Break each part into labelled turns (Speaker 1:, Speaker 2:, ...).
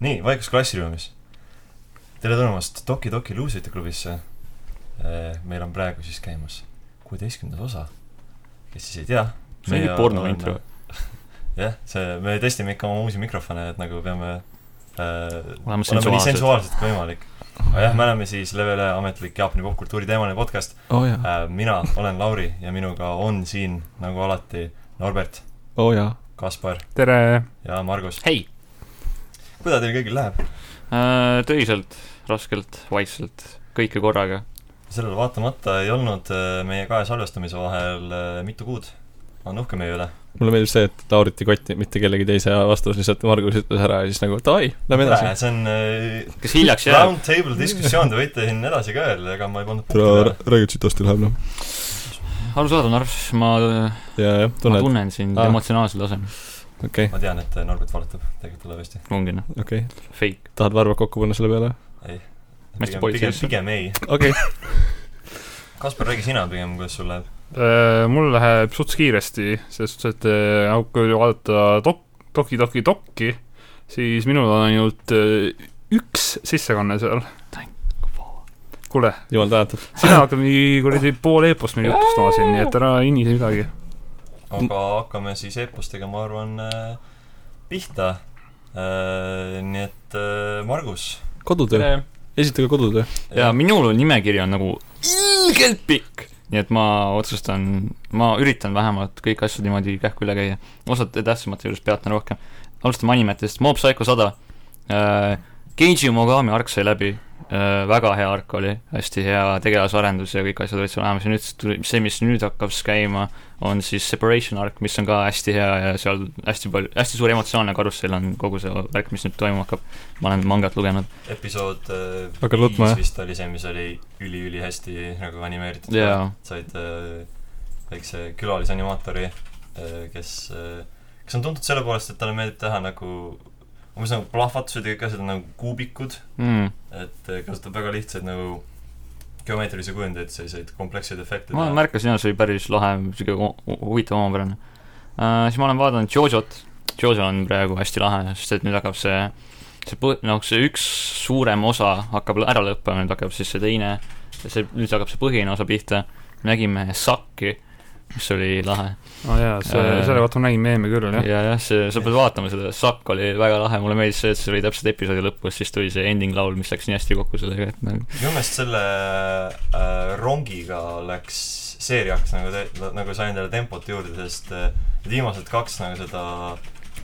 Speaker 1: nii , Vaikus klassiruumis . tere tulemast Toki Toki luusrite klubisse . meil on praegu siis käimas kuueteistkümnes osa . kes siis ei tea .
Speaker 2: see on mingi porno intro ..
Speaker 1: jah , see , me testime ikka oma uusi mikrofone , et nagu peame äh,
Speaker 2: oleme
Speaker 1: oleme nii
Speaker 2: sensuaalsed .
Speaker 1: sensuaalsed kui võimalik . aga jah , me oleme siis Level ühe ametlik Jaapani popkultuuri teemaline podcast .
Speaker 3: oo Oh jaa ,
Speaker 1: mina olen Lauri ja minuga on siin nagu alati Norbert ,
Speaker 3: oo Oh jaa .
Speaker 1: Kaspar
Speaker 4: tere ,
Speaker 1: ja Margus .
Speaker 2: hei
Speaker 1: kuidas teil kõigil läheb ?
Speaker 2: äh, . töiselt , raskelt , vaikselt , kõike korraga .
Speaker 1: sellele vaatamata ei olnud äh, meie kahe salvestamise vahel äh, mitu kuud . on uhke meie üle .
Speaker 3: mulle meeldib see , et Laurit ei kotti mitte kellegi teise vastus , lihtsalt Margus ütles ära ja siis nagu davai , lähme edasi .
Speaker 1: see on äh,
Speaker 2: kes hiljaks jääb ,
Speaker 1: round table diskussioon , te võite siin edasi ka öelda , ega ma ei pannud punkti
Speaker 3: tule
Speaker 1: peale .,
Speaker 3: räägid sitasti läheb noh .
Speaker 2: arusaadav , Narv , ma ,
Speaker 3: ja , jah ,
Speaker 2: ma
Speaker 3: tunned ,
Speaker 2: tunnen sind
Speaker 3: Aa.
Speaker 2: ah. emotsionaalsel tasemel .
Speaker 3: okei ,
Speaker 1: ma tean , et äh, Norbert valetab , tegelikult tuleb hästi .
Speaker 2: ongi noh ,
Speaker 3: okei ,
Speaker 2: fake .
Speaker 3: tahad varvad kokku panna selle peale ?
Speaker 1: ei .
Speaker 2: Hästi
Speaker 1: pigem ,
Speaker 2: poiss
Speaker 1: pigem ,
Speaker 2: asja.
Speaker 1: pigem ei .
Speaker 3: okei ,
Speaker 1: Kaspar , räägi sina pigem , kuidas sul läheb .
Speaker 4: Äh, mul läheb suts kiiresti , selles suhtes , et äh, kui vaadata dok- , Toki Toki Tokki , siis minul on ainult äh, üks sissekanne seal . kuule ,
Speaker 3: jumal tänatud .
Speaker 4: sina hakkad mingi kuradi pool eepost meil jutustama siin , nii et ära hinise midagi .
Speaker 1: aga hakkame siis e-postega , ma arvan , pihta . nii et äh, Margus , e-
Speaker 3: kodutöö , esitage kodutöö .
Speaker 2: ja minul on nimekiri on nagu ilgelt pikk , nii et ma otsustan , ma üritan vähemalt kõik asjad niimoodi kähku üle käia . osad tähtsamate juures peatan rohkem . alustame animetest , Mob Psycho sada . Keiji Mogami ark sai läbi , väga hea ark oli , hästi hea tegelasarendus ja kõik asjad olid seal olemas ja nüüd tuli , see , mis nüüd hakkab siis käima , on siis Separation ark , mis on ka hästi hea ja seal hästi palju , hästi suur emotsionaalne karussell on kogu see värk , mis nüüd toimuma hakkab . ma olen mangat lugenud .
Speaker 1: episood äh,
Speaker 3: Hakkad nutma, jah?
Speaker 1: viis vist oli see , mis oli üli-ülihästi nagu animeeritud
Speaker 2: jaa ,
Speaker 1: said äh, väikse külalisanimaatori äh, , kes äh, , kes on tuntud selle poolest , et talle meeldib teha nagu umbes nagu plahvatused ja kõik asjad on nagu kuubikud ,
Speaker 2: Mm.
Speaker 1: et äh, kasutab väga lihtsaid nagu geomeetrilisi kujundeid , selliseid kompleksseid efekte .
Speaker 2: ma märkasin jah , see oli päris lahe , sihuke hu- hu- huvitav omapärane uh, . siis ma olen vaadanud Jojot , Jojo on praegu hästi lahe , sest et nüüd hakkab see , see põ- , noh , see üks suurem osa hakkab lõ- ära lõppema , nüüd hakkab siis see teine , see , nüüd hakkab see põhiline osa pihta , nägime Sakki , mis oli lahe .
Speaker 4: aa Ah, jaa , see
Speaker 2: Äh. ,
Speaker 4: selle kohta ma nägin meeme küll , jah .
Speaker 2: ja jah , see , sa pead vaatama seda , Sakk oli väga lahe , mulle meeldis see , et see oli täpselt episoodi lõpus , siis tuli see ending laul , mis läks nii hästi kokku sellega , et nagu
Speaker 1: minu meelest selle äh, rongiga läks seeria hakkas nagu te- , nagu sai endale tempot juurde , sest äh, need viimased kaks nagu seda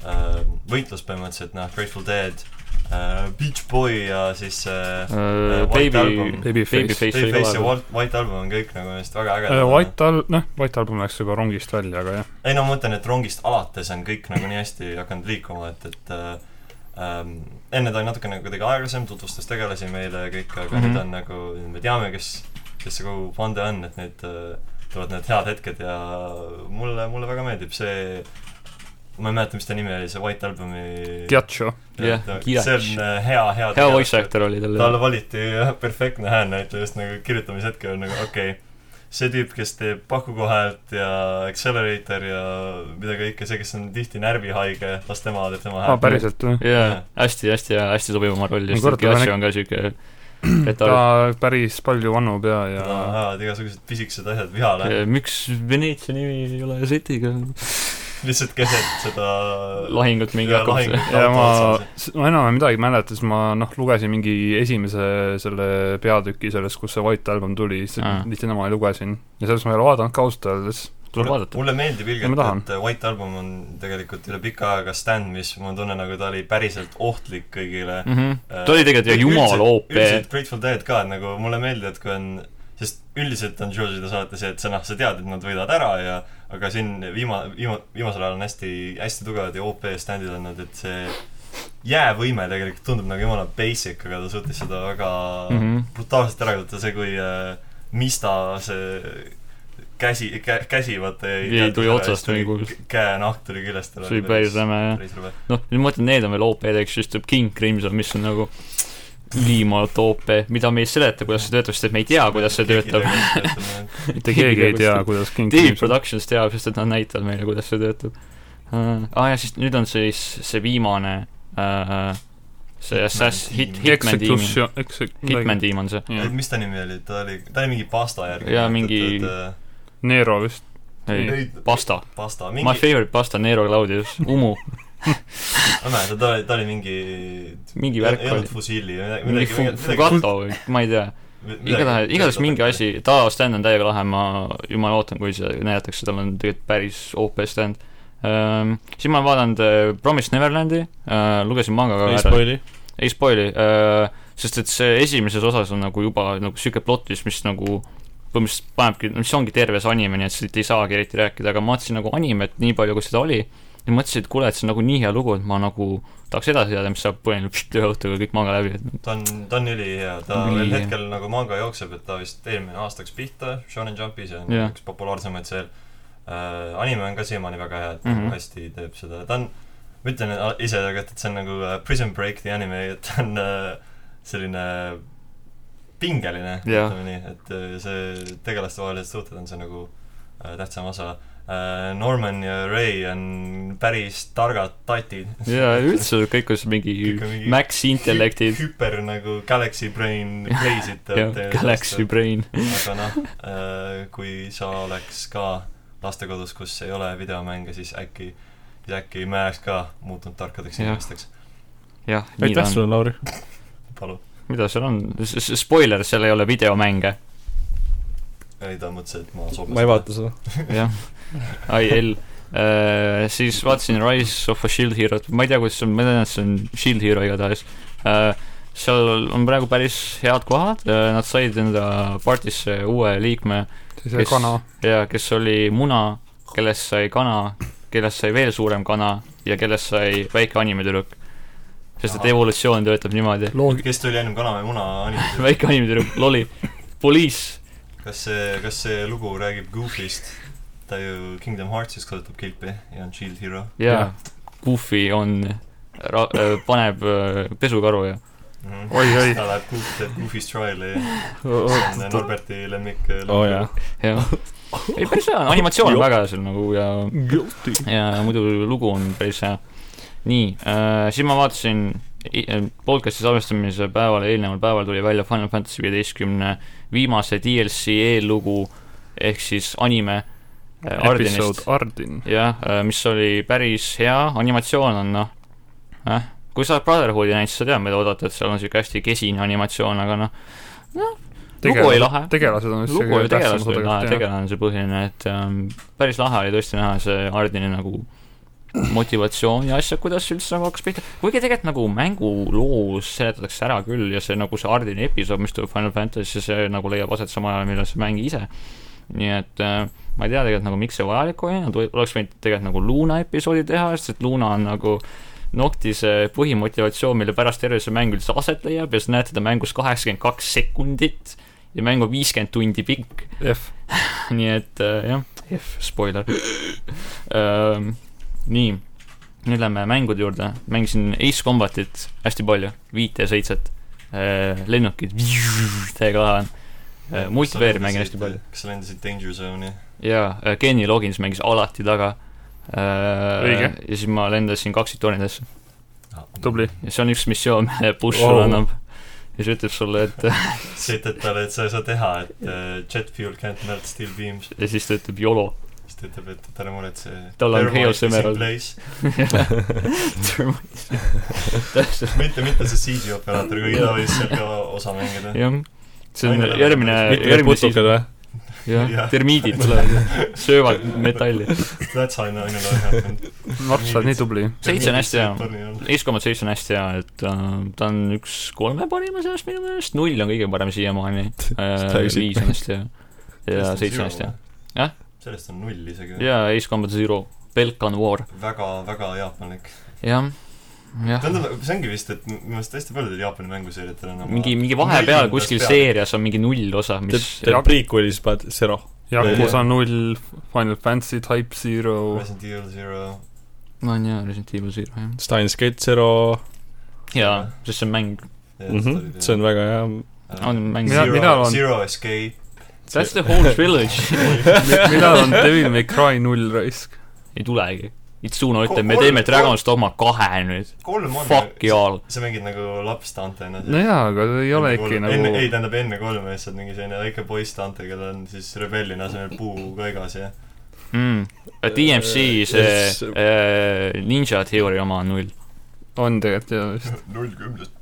Speaker 1: äh, võitlust põhimõtteliselt noh , Grateful Dead äh, , Beach Boy ja siis äh,
Speaker 2: uh,
Speaker 1: White
Speaker 2: Baby
Speaker 1: Album. ,
Speaker 4: Babyface.
Speaker 2: Babyface oli
Speaker 1: Babyface ja
Speaker 2: ka lahe .
Speaker 1: White , White Album on kõik nagu minu meelest väga ägedad .
Speaker 4: White Al- , noh , White Album läks juba rongist välja , aga jah .
Speaker 1: ei no ma mõtlen , et rongist alates on kõik nagu nii hästi hakanud liikuma , et , et äh, ähm, enne ta oli natukene kuidagi aeglasem , tutvustas tegelasi meile ja kõik , aga mm
Speaker 2: Mhm.
Speaker 1: -hmm. nüüd on nagu , me teame , kes , kes see kogu pande on , et nüüd äh, tulevad need head hetked ja mulle , mulle väga meeldib see , ma ei mäleta , mis ta nimi oli , see White Albumi
Speaker 4: Giacho .
Speaker 2: jah, Giatš.
Speaker 1: see on äh, hea , hea
Speaker 2: hea voice . actor oli tal .
Speaker 1: talle valiti jah, perfektne häälnäitleja , just nagu kirjutamishetkel on nagu okei okay, , see tüüp , kes teeb pakukoha häält ja accelerator ja mida kõike , see , kes on tihti närvihaige , las tema teeb tema
Speaker 4: aa ,
Speaker 1: häält .
Speaker 4: Ah, päriselt , jah .
Speaker 2: jaa , hästi , hästi hea , hästi sobiv oma roll ja
Speaker 4: Ma
Speaker 2: siis
Speaker 4: kordan,
Speaker 2: Kiassi
Speaker 4: ma
Speaker 2: on ka siuke retard .
Speaker 4: ta päris palju vannub ja ,
Speaker 1: ja
Speaker 4: ja
Speaker 1: ajavad igasugused pisikesed asjad vihale ,
Speaker 2: eh, miks Veneetsia nimi ei ole setiga ?
Speaker 1: lihtsalt keset seda
Speaker 2: lahingut mingi
Speaker 1: ja
Speaker 2: hakkab see .
Speaker 1: lahingut
Speaker 4: ja
Speaker 1: auto
Speaker 4: ma
Speaker 1: otsas. ,
Speaker 4: ma enam-vähem midagi ei mäleta , siis ma noh , lugesin mingi esimese selle peatüki sellest , kus see White Album tuli , siis
Speaker 2: Aa.
Speaker 4: lihtsalt tema lugesin . ja sellest ma ei ole vaadanud ka ausalt öeldes .
Speaker 2: tuleb
Speaker 1: Mulle-
Speaker 2: vaadata .
Speaker 1: mulle meeldib
Speaker 4: Ma tahan.
Speaker 1: ilgelt , et White Album on tegelikult üle pika ajaga stand , mis ma tunnen , nagu ta oli päriselt ohtlik kõigile
Speaker 2: Mhm. ta oli tegelikult ju jumala OP .
Speaker 1: üldiselt Grateful Dead ka , et nagu mulle meeldib , et kui on , sest üldiselt on George'ide saate see , et sa noh , sa tead , et nad võidavad ära ja aga siin viima- , viima- , viimasel ajal on hästi , hästi tugevad ja OP stand'id olnud , et see jäävõime tegelikult tundub nagu jumala basic , aga ta suutis seda väga mm
Speaker 2: Mhm.
Speaker 1: -hmm. brutaalselt ära kasutada , see kui äh, Mista see käsi kä, , käsi vaata
Speaker 2: Ei, tuli otsast või kuhugi.
Speaker 1: käenahk tuli küljest ära .
Speaker 2: see oli päris räme jah .
Speaker 1: päris rõve .
Speaker 2: noh , nüüd ma mõtlen , need on veel OP-d , eks ju , siis tuleb King Crimson , mis on nagu ülimalt OP , mida me ei seleta , kuidas see töötab , sest et me ei tea , kuidas see töötab .
Speaker 4: mitte keegi ei tea , kuidas King
Speaker 2: David
Speaker 4: Crimson
Speaker 2: Productions teab , sest et nad näitavad meile , kuidas see töötab . aa ah, ja siis nüüd on siis see viimane äh, see Assass , Hit- ,
Speaker 1: tiim.
Speaker 2: Hitman tiimi , Hitman
Speaker 4: Hitman .
Speaker 2: tiim on see .
Speaker 1: et mis ta nimi oli , ta oli , ta oli mingi pasta järgi . äh,
Speaker 2: Jaa, mingi-
Speaker 4: Nero vist .
Speaker 2: ei , pasta .
Speaker 1: pasta ,
Speaker 2: My
Speaker 1: mingi ,
Speaker 2: favorite pasta , Nero Claudius , Umu ,
Speaker 1: ma ei mäleta , ta oli , ta oli mingi
Speaker 2: mingi
Speaker 1: ei
Speaker 2: värk
Speaker 1: ei olnud
Speaker 2: oli .
Speaker 1: fusiili või midagi ,
Speaker 2: mingi fu- , Fugato või ma ei tea , igatahes , igatahes mingi . asi , ta stand on täiega lahe , ma jumala ootan , kui see näidatakse , tal on tegelikult päris OP stand . Siis ma olen vaadanud äh, Promise Neverlandi , lugesin manga ka
Speaker 3: ei
Speaker 2: ära ,
Speaker 3: spoil'i .
Speaker 2: ei spoil'i , sest et see esimeses osas on nagu juba nagu sihuke plott , mis mis nagu põhimõtteliselt panebki , mis ongi terve see anime , nii et siit ei saagi eriti rääkida , aga ma vaatasin nagu animet nii palju , kui seda oli ja mõtlesin , et kuule , et see on nagu nii hea lugu , et ma nagu tahaks edasi teada , mis saab , panin pšt, ühe õhtuga kõik manga läbi , et
Speaker 1: ta on , ta on ülihea , ta
Speaker 2: Ülihea.
Speaker 1: veel hetkel nagu manga jookseb , et ta vist eelmine aasta läks pihta , Shonen Jumpis on
Speaker 2: Jah.
Speaker 1: yeah. üks populaarsemaid seal äh, . anime on ka siiamaani väga hea , et mm
Speaker 2: Mhm.
Speaker 1: -hmm. hästi teeb seda , ta on , ma ütlen a- ise tegelikult , et see on nagu äh, Prison Break the anime , et ta on äh, selline pingeline ,
Speaker 2: Jah.
Speaker 1: ütleme nii , et äh, see tegelastevahelised suhted on see nagu äh, tähtsam osa . Norman ja Ray on päris targad tatid .
Speaker 2: ja üldse kõik on seal mingi
Speaker 1: Kõik on mingi-
Speaker 2: Max intellektid
Speaker 1: Hü- hüper nagu Galaxy Brain playsid
Speaker 2: ja Galaxy Brain .
Speaker 1: aga noh , kui sa oleks ka lastekodus , kus ei ole videomänge , siis äkki , siis äkki me oleks ka muutunud tarkadeks
Speaker 2: Jah.
Speaker 1: inimesteks .
Speaker 2: jah , nii ta
Speaker 3: aitäh
Speaker 2: on .
Speaker 3: sulle , Lauri .
Speaker 1: palun .
Speaker 2: mida seal on ? Spoiler , seal ei ole videomänge .
Speaker 1: ei , ta mõtles , et ma sobin .
Speaker 3: ma ei . vaata seda .
Speaker 2: jah , IL . Äh, siis vaatasin Rise of a Shield Hero't , ma ei tea , kuidas see on , ma tean , et see on Shield Hero igatahes . seal on praegu päris head kohad , nad said enda partisse uue liikme
Speaker 4: siis see
Speaker 2: Kes-
Speaker 4: kana .
Speaker 2: ja kes oli muna , kellest sai kana , kellest sai veel suurem kana ja kellest sai väike animetüdruk . sest et
Speaker 1: Ahah.
Speaker 2: evolutsioon töötab niimoodi .
Speaker 4: loogi- ,
Speaker 1: kes tuli ennem kana või muna animesi ?
Speaker 2: väike animetüdruk , loli , poliis ,
Speaker 1: kas see , kas see lugu räägib Goofist ? ta ju Kingdom Heartsis kasutab kilpi ja on Shield Hero
Speaker 2: jaa , Goofy on , paneb äh, pesukaru ja
Speaker 1: mm . -hmm.
Speaker 4: Oi, oi.
Speaker 1: ta läheb Goof , teeb Goofist trial'i ja see on Norberti lemmik .
Speaker 3: oo Oh jaa .
Speaker 2: jah . ei , päris hea , animatsioon on
Speaker 3: Jop.
Speaker 2: väga hea seal nagu ja ,
Speaker 4: Guilty .
Speaker 2: ja muidu lugu on päris hea . nii äh, , siis ma vaatasin , podcast'i salvestamise päeval , eelneval päeval tuli välja Final Fantasy viieteistkümne viimase DLC eellugu ehk siis anime äh,
Speaker 4: episood
Speaker 2: Ardenist ,
Speaker 4: Ardin .
Speaker 2: jah , mis oli päris hea , animatsioon on noh , eh , kui sa oled Brotherhoodi näinud , siis sa tead , mida oodata , et seal on siuke hästi kesine animatsioon , aga noh , lugu oli lahe .
Speaker 4: tegelased on vist
Speaker 2: lugu oli tegelased olid lahe ,
Speaker 4: tegelikult, jah.
Speaker 2: tegelane on see põhiline , et ähm, päris lahe oli tõesti näha see Hardini nagu motivatsioon ja asjad , kuidas üldse nagu hakkas pihta , kuigi tegelikult nagu mänguloos seletatakse ära küll ja see nagu see Hardini episood , mis tuleb Final Fantasy , see nagu leiab aset samal ajal , millal see mäng ise . nii et äh, ma ei tea tegelikult nagu , miks see vajalik oli , nad või- oleks võinud tegelikult nagu Luna episoodi teha , sest et Luna on nagu Nocti see põhimotivatsioon , mille pärast terve see mäng üldse aset leiab ja sa näed teda mängus kaheksakümmend kaks sekundit ja mäng on viiskümmend tundi pikk ,
Speaker 4: F .
Speaker 2: nii et äh, jah , F , spoiler ähm, . nii , nüüd lähme mängude juurde , mängisin Ace Combatit hästi palju , viite ja seitset äh, , lennukid , täiega lahe on äh, . multiplayer mängin hästi palju .
Speaker 1: äh, kas sa lendasid Danger Zone'i ?
Speaker 2: jaa äh, , Kenny Loggins mängis alati taga äh, .
Speaker 4: Õige.
Speaker 2: ja siis ma lendasin kaksitornidesse .
Speaker 3: Ah,
Speaker 4: tubli .
Speaker 2: ja see on üks missioon , mille push
Speaker 3: Wow.
Speaker 2: sulle annab . ja siis ütleb sulle , et
Speaker 1: sa ütled talle , et sa ei saa teha , et uh, jet fuel can't melt steel beams ,
Speaker 2: ja siis ta ütleb YOLO .
Speaker 1: siis ta ütleb , et ära muretse .
Speaker 2: Tal on Chaos Emerald. täpselt ,
Speaker 1: mitte , mitte see CG operaator , kuigi ta võis seal ka osa mängida .
Speaker 2: jah . see on
Speaker 1: Ainult-
Speaker 2: järgmine ,
Speaker 1: Mitte
Speaker 3: mitte need
Speaker 2: järgmine siis ,
Speaker 3: putukad või ?
Speaker 2: jah
Speaker 1: Jah. ,
Speaker 2: termiidid tulevad ja söövad metalli .
Speaker 1: That's how I know I know I happened .
Speaker 4: Mart , sa oled nii tubli .
Speaker 2: Seitse on hästi hea. Ace Combat seitse on hästi hea , et äh, ta on üks kolme parima seas minu meelest , null on kõige parem siiamaani äh,
Speaker 3: Seda , ei
Speaker 2: viis on hästi hea ja seitse on hästi hea .. Jah? ?
Speaker 1: sellest on null isegi .
Speaker 2: ja Ace Combat Zero , Belkan War ,
Speaker 1: väga , väga jaapanlik .
Speaker 2: jah , jah
Speaker 1: tähendab , see ongi vist , et minu meelest hästi paljudel Jaapani mänguseeriatel on oma
Speaker 2: mingi , mingi vahepeal
Speaker 1: neljandas
Speaker 2: kuskil
Speaker 1: peal.
Speaker 2: seerias on mingi null osa , mis
Speaker 3: teeb prequel'i , siis paned Zero .
Speaker 4: Yakuza null , Final Fantasy Type Zero .
Speaker 1: Resident Evil Zero .
Speaker 2: on jaa , Resident Evil Zero , jah .
Speaker 3: Steins Gate Zero .
Speaker 2: jaa , sest see on mäng , Mhm.
Speaker 3: see on väga hea .
Speaker 2: on mäng .
Speaker 4: Mina-
Speaker 1: Zero-
Speaker 4: mina olen-
Speaker 1: Zero Escape .
Speaker 2: That's the whole village .
Speaker 4: millal on Devil May Cry null raisk ?
Speaker 2: ei tulegi . Itsuno ütleb , me
Speaker 1: Kolm-
Speaker 2: teeme Dragon's Dogma kahe nüüd .
Speaker 1: kolm on .
Speaker 2: Fuck y'all .
Speaker 1: sa mängid nagu laps Dantena .
Speaker 4: no jaa , aga ta ei ole äkki
Speaker 1: enne , ei
Speaker 4: nagu ,
Speaker 1: tähendab enne kolme lihtsalt mingi selline väike poiss Dante , kellel on siis rebellina asemel puu kõigas ja
Speaker 2: mm. . DMC see
Speaker 3: Yes.
Speaker 2: äh, Ninja Theory oma on null .
Speaker 4: on tegelikult jaa vist .
Speaker 1: null kümnest .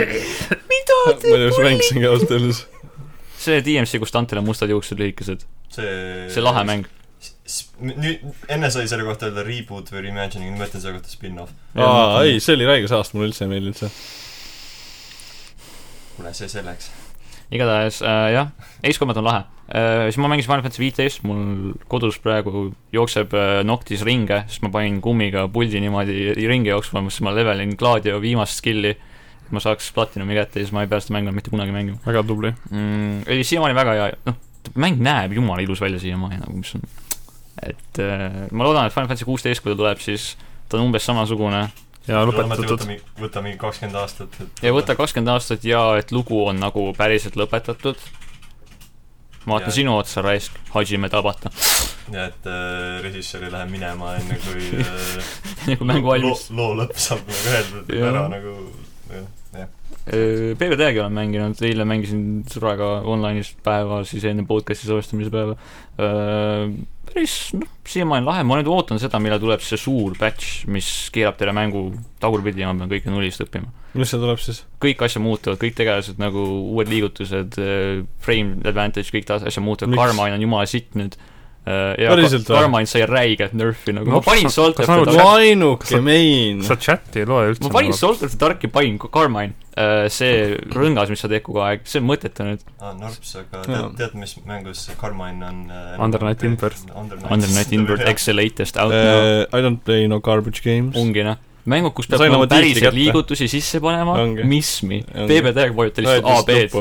Speaker 3: ma just mängisingi ausalt öeldes .
Speaker 2: see DMC , kus Dantel on mustad juuksed lühikesed ,
Speaker 1: see
Speaker 2: see lahe . mäng .
Speaker 1: nüüd , enne sai selle kohta öelda reboot või reimagining , nüüd ma ütlen selle kohta spin-off .
Speaker 3: aa , ei , see oli räige see aasta , mulle üldse ei meeldinud see .
Speaker 1: kuule , see selleks .
Speaker 2: igatahes äh, jah , Ace Combat on lahe äh, . siis ma mängisin Final Fantasy viiteist , mul kodus praegu jookseb äh, Noctis ringe , siis ma panin kummiga puldi niimoodi ringi jooksma , siis ma levelin Gladio viimast skill'i , et ma saaks platinumi kätte ja siis ma ei pea seda mängu enam mitte kunagi mängima
Speaker 4: väga tubli .
Speaker 2: mm, . ei , siiamaani väga hea , noh , mäng näeb jumala ilus välja siiamaani nagu , mis on , et äh, ma loodan , et Final Fantasy kuusteist , kui ta tuleb , siis ta on umbes samasugune
Speaker 4: ja lõpetatud .
Speaker 1: võta mingi kakskümmend aastat , et
Speaker 2: ja võta kakskümmend aastat ja et lugu on nagu päriselt lõpetatud . ma vaatan
Speaker 1: Ja-
Speaker 2: sinu otsa , raisk , Hajime Tabata ,
Speaker 1: ja et äh, režissöör ei lähe minema enne , kui äh,
Speaker 2: nagu mäng valmis .
Speaker 1: loo- loo lõpp saab nagu öeldud
Speaker 2: Jah.
Speaker 1: ära nagu jah.
Speaker 2: PVD-ga olen mänginud , eile mängisin sõbraga online'is päeva , siis enne podcast'i salvestamise päeva . päris , noh , siiamaani lahe , ma nüüd ootan seda , millal tuleb see suur batch , mis keerab teile mängu tagurpidi ja ma pean kõike nullist õppima .
Speaker 3: mis see tuleb siis ?
Speaker 2: kõik asja muutuvad , kõik tegelased nagu uued liigutused , frame advantage , kõik taas asja muutuvad ,
Speaker 3: Miks?
Speaker 2: Carmine on jumala sitt nüüd . ja
Speaker 3: Päriselt
Speaker 2: Ka-
Speaker 3: või?
Speaker 2: Carmine sai räiget nörfi nagu , ma
Speaker 4: No,
Speaker 2: panin
Speaker 4: kas-
Speaker 2: Solterti
Speaker 4: kas sa
Speaker 2: tarki ,
Speaker 4: arvad-
Speaker 3: ainuke mein .
Speaker 4: sa chati ei loe üldse .
Speaker 2: ma panin Solterti tarki , panin ka- Carmine , see rõngas , mis sa teed kogu aeg , see on mõttetu nüüd .
Speaker 1: ah, Norps , aga
Speaker 3: Jaa.
Speaker 1: tead , tead , mis mängus Carmine on äh,
Speaker 4: Undernight Inverse.
Speaker 2: Undernight Invert , eks see latest out now
Speaker 3: Eh, I don't play no garbage games .
Speaker 2: ongi noh , mängud , kus
Speaker 3: Äh, Ma
Speaker 2: peab
Speaker 3: sain
Speaker 2: nagu
Speaker 3: oma tiitli
Speaker 2: päriselt
Speaker 3: kätte.
Speaker 2: liigutusi sisse panema
Speaker 3: Ongi. ,
Speaker 2: mismi ,
Speaker 3: Ongi.
Speaker 2: PBD-ga vajuta lihtsalt AB-d ,.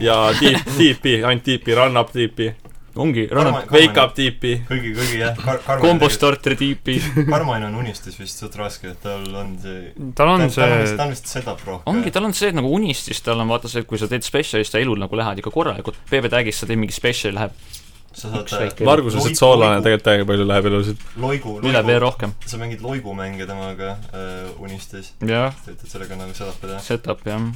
Speaker 3: ja tiip , tiipi , ainult tiipi , run up tiipi ,
Speaker 2: ongi , rannad ,
Speaker 3: wake up tiipi .
Speaker 1: kuigi , kuigi jah , Carmine
Speaker 2: kombo starter tiipi ,
Speaker 1: Carmine on unistus vist suht raske , et tal on see
Speaker 4: tal on
Speaker 1: ta on vist ,
Speaker 4: see
Speaker 1: ta , on vist sedap rohkem .
Speaker 2: ongi , tal on see , et nagu unistis , tal on vaata see , et kui sa teed spetsiali , siis ta elul nagu lähevad ikka korralikult , PB-tagis sa teed mingi spetsiali , läheb
Speaker 1: sa
Speaker 2: üks väike-
Speaker 1: saad äh,
Speaker 3: Margus ütles , et soolane tegelikult väga palju läheb elusid .
Speaker 1: loigu ,
Speaker 2: üle veel
Speaker 1: loigu ,
Speaker 2: rohkem .
Speaker 1: sa mängid loigumänge temaga äh, unistus ,
Speaker 2: jah ,
Speaker 1: sa ütled sellega nagu sedap teha .
Speaker 2: setup jah mm, .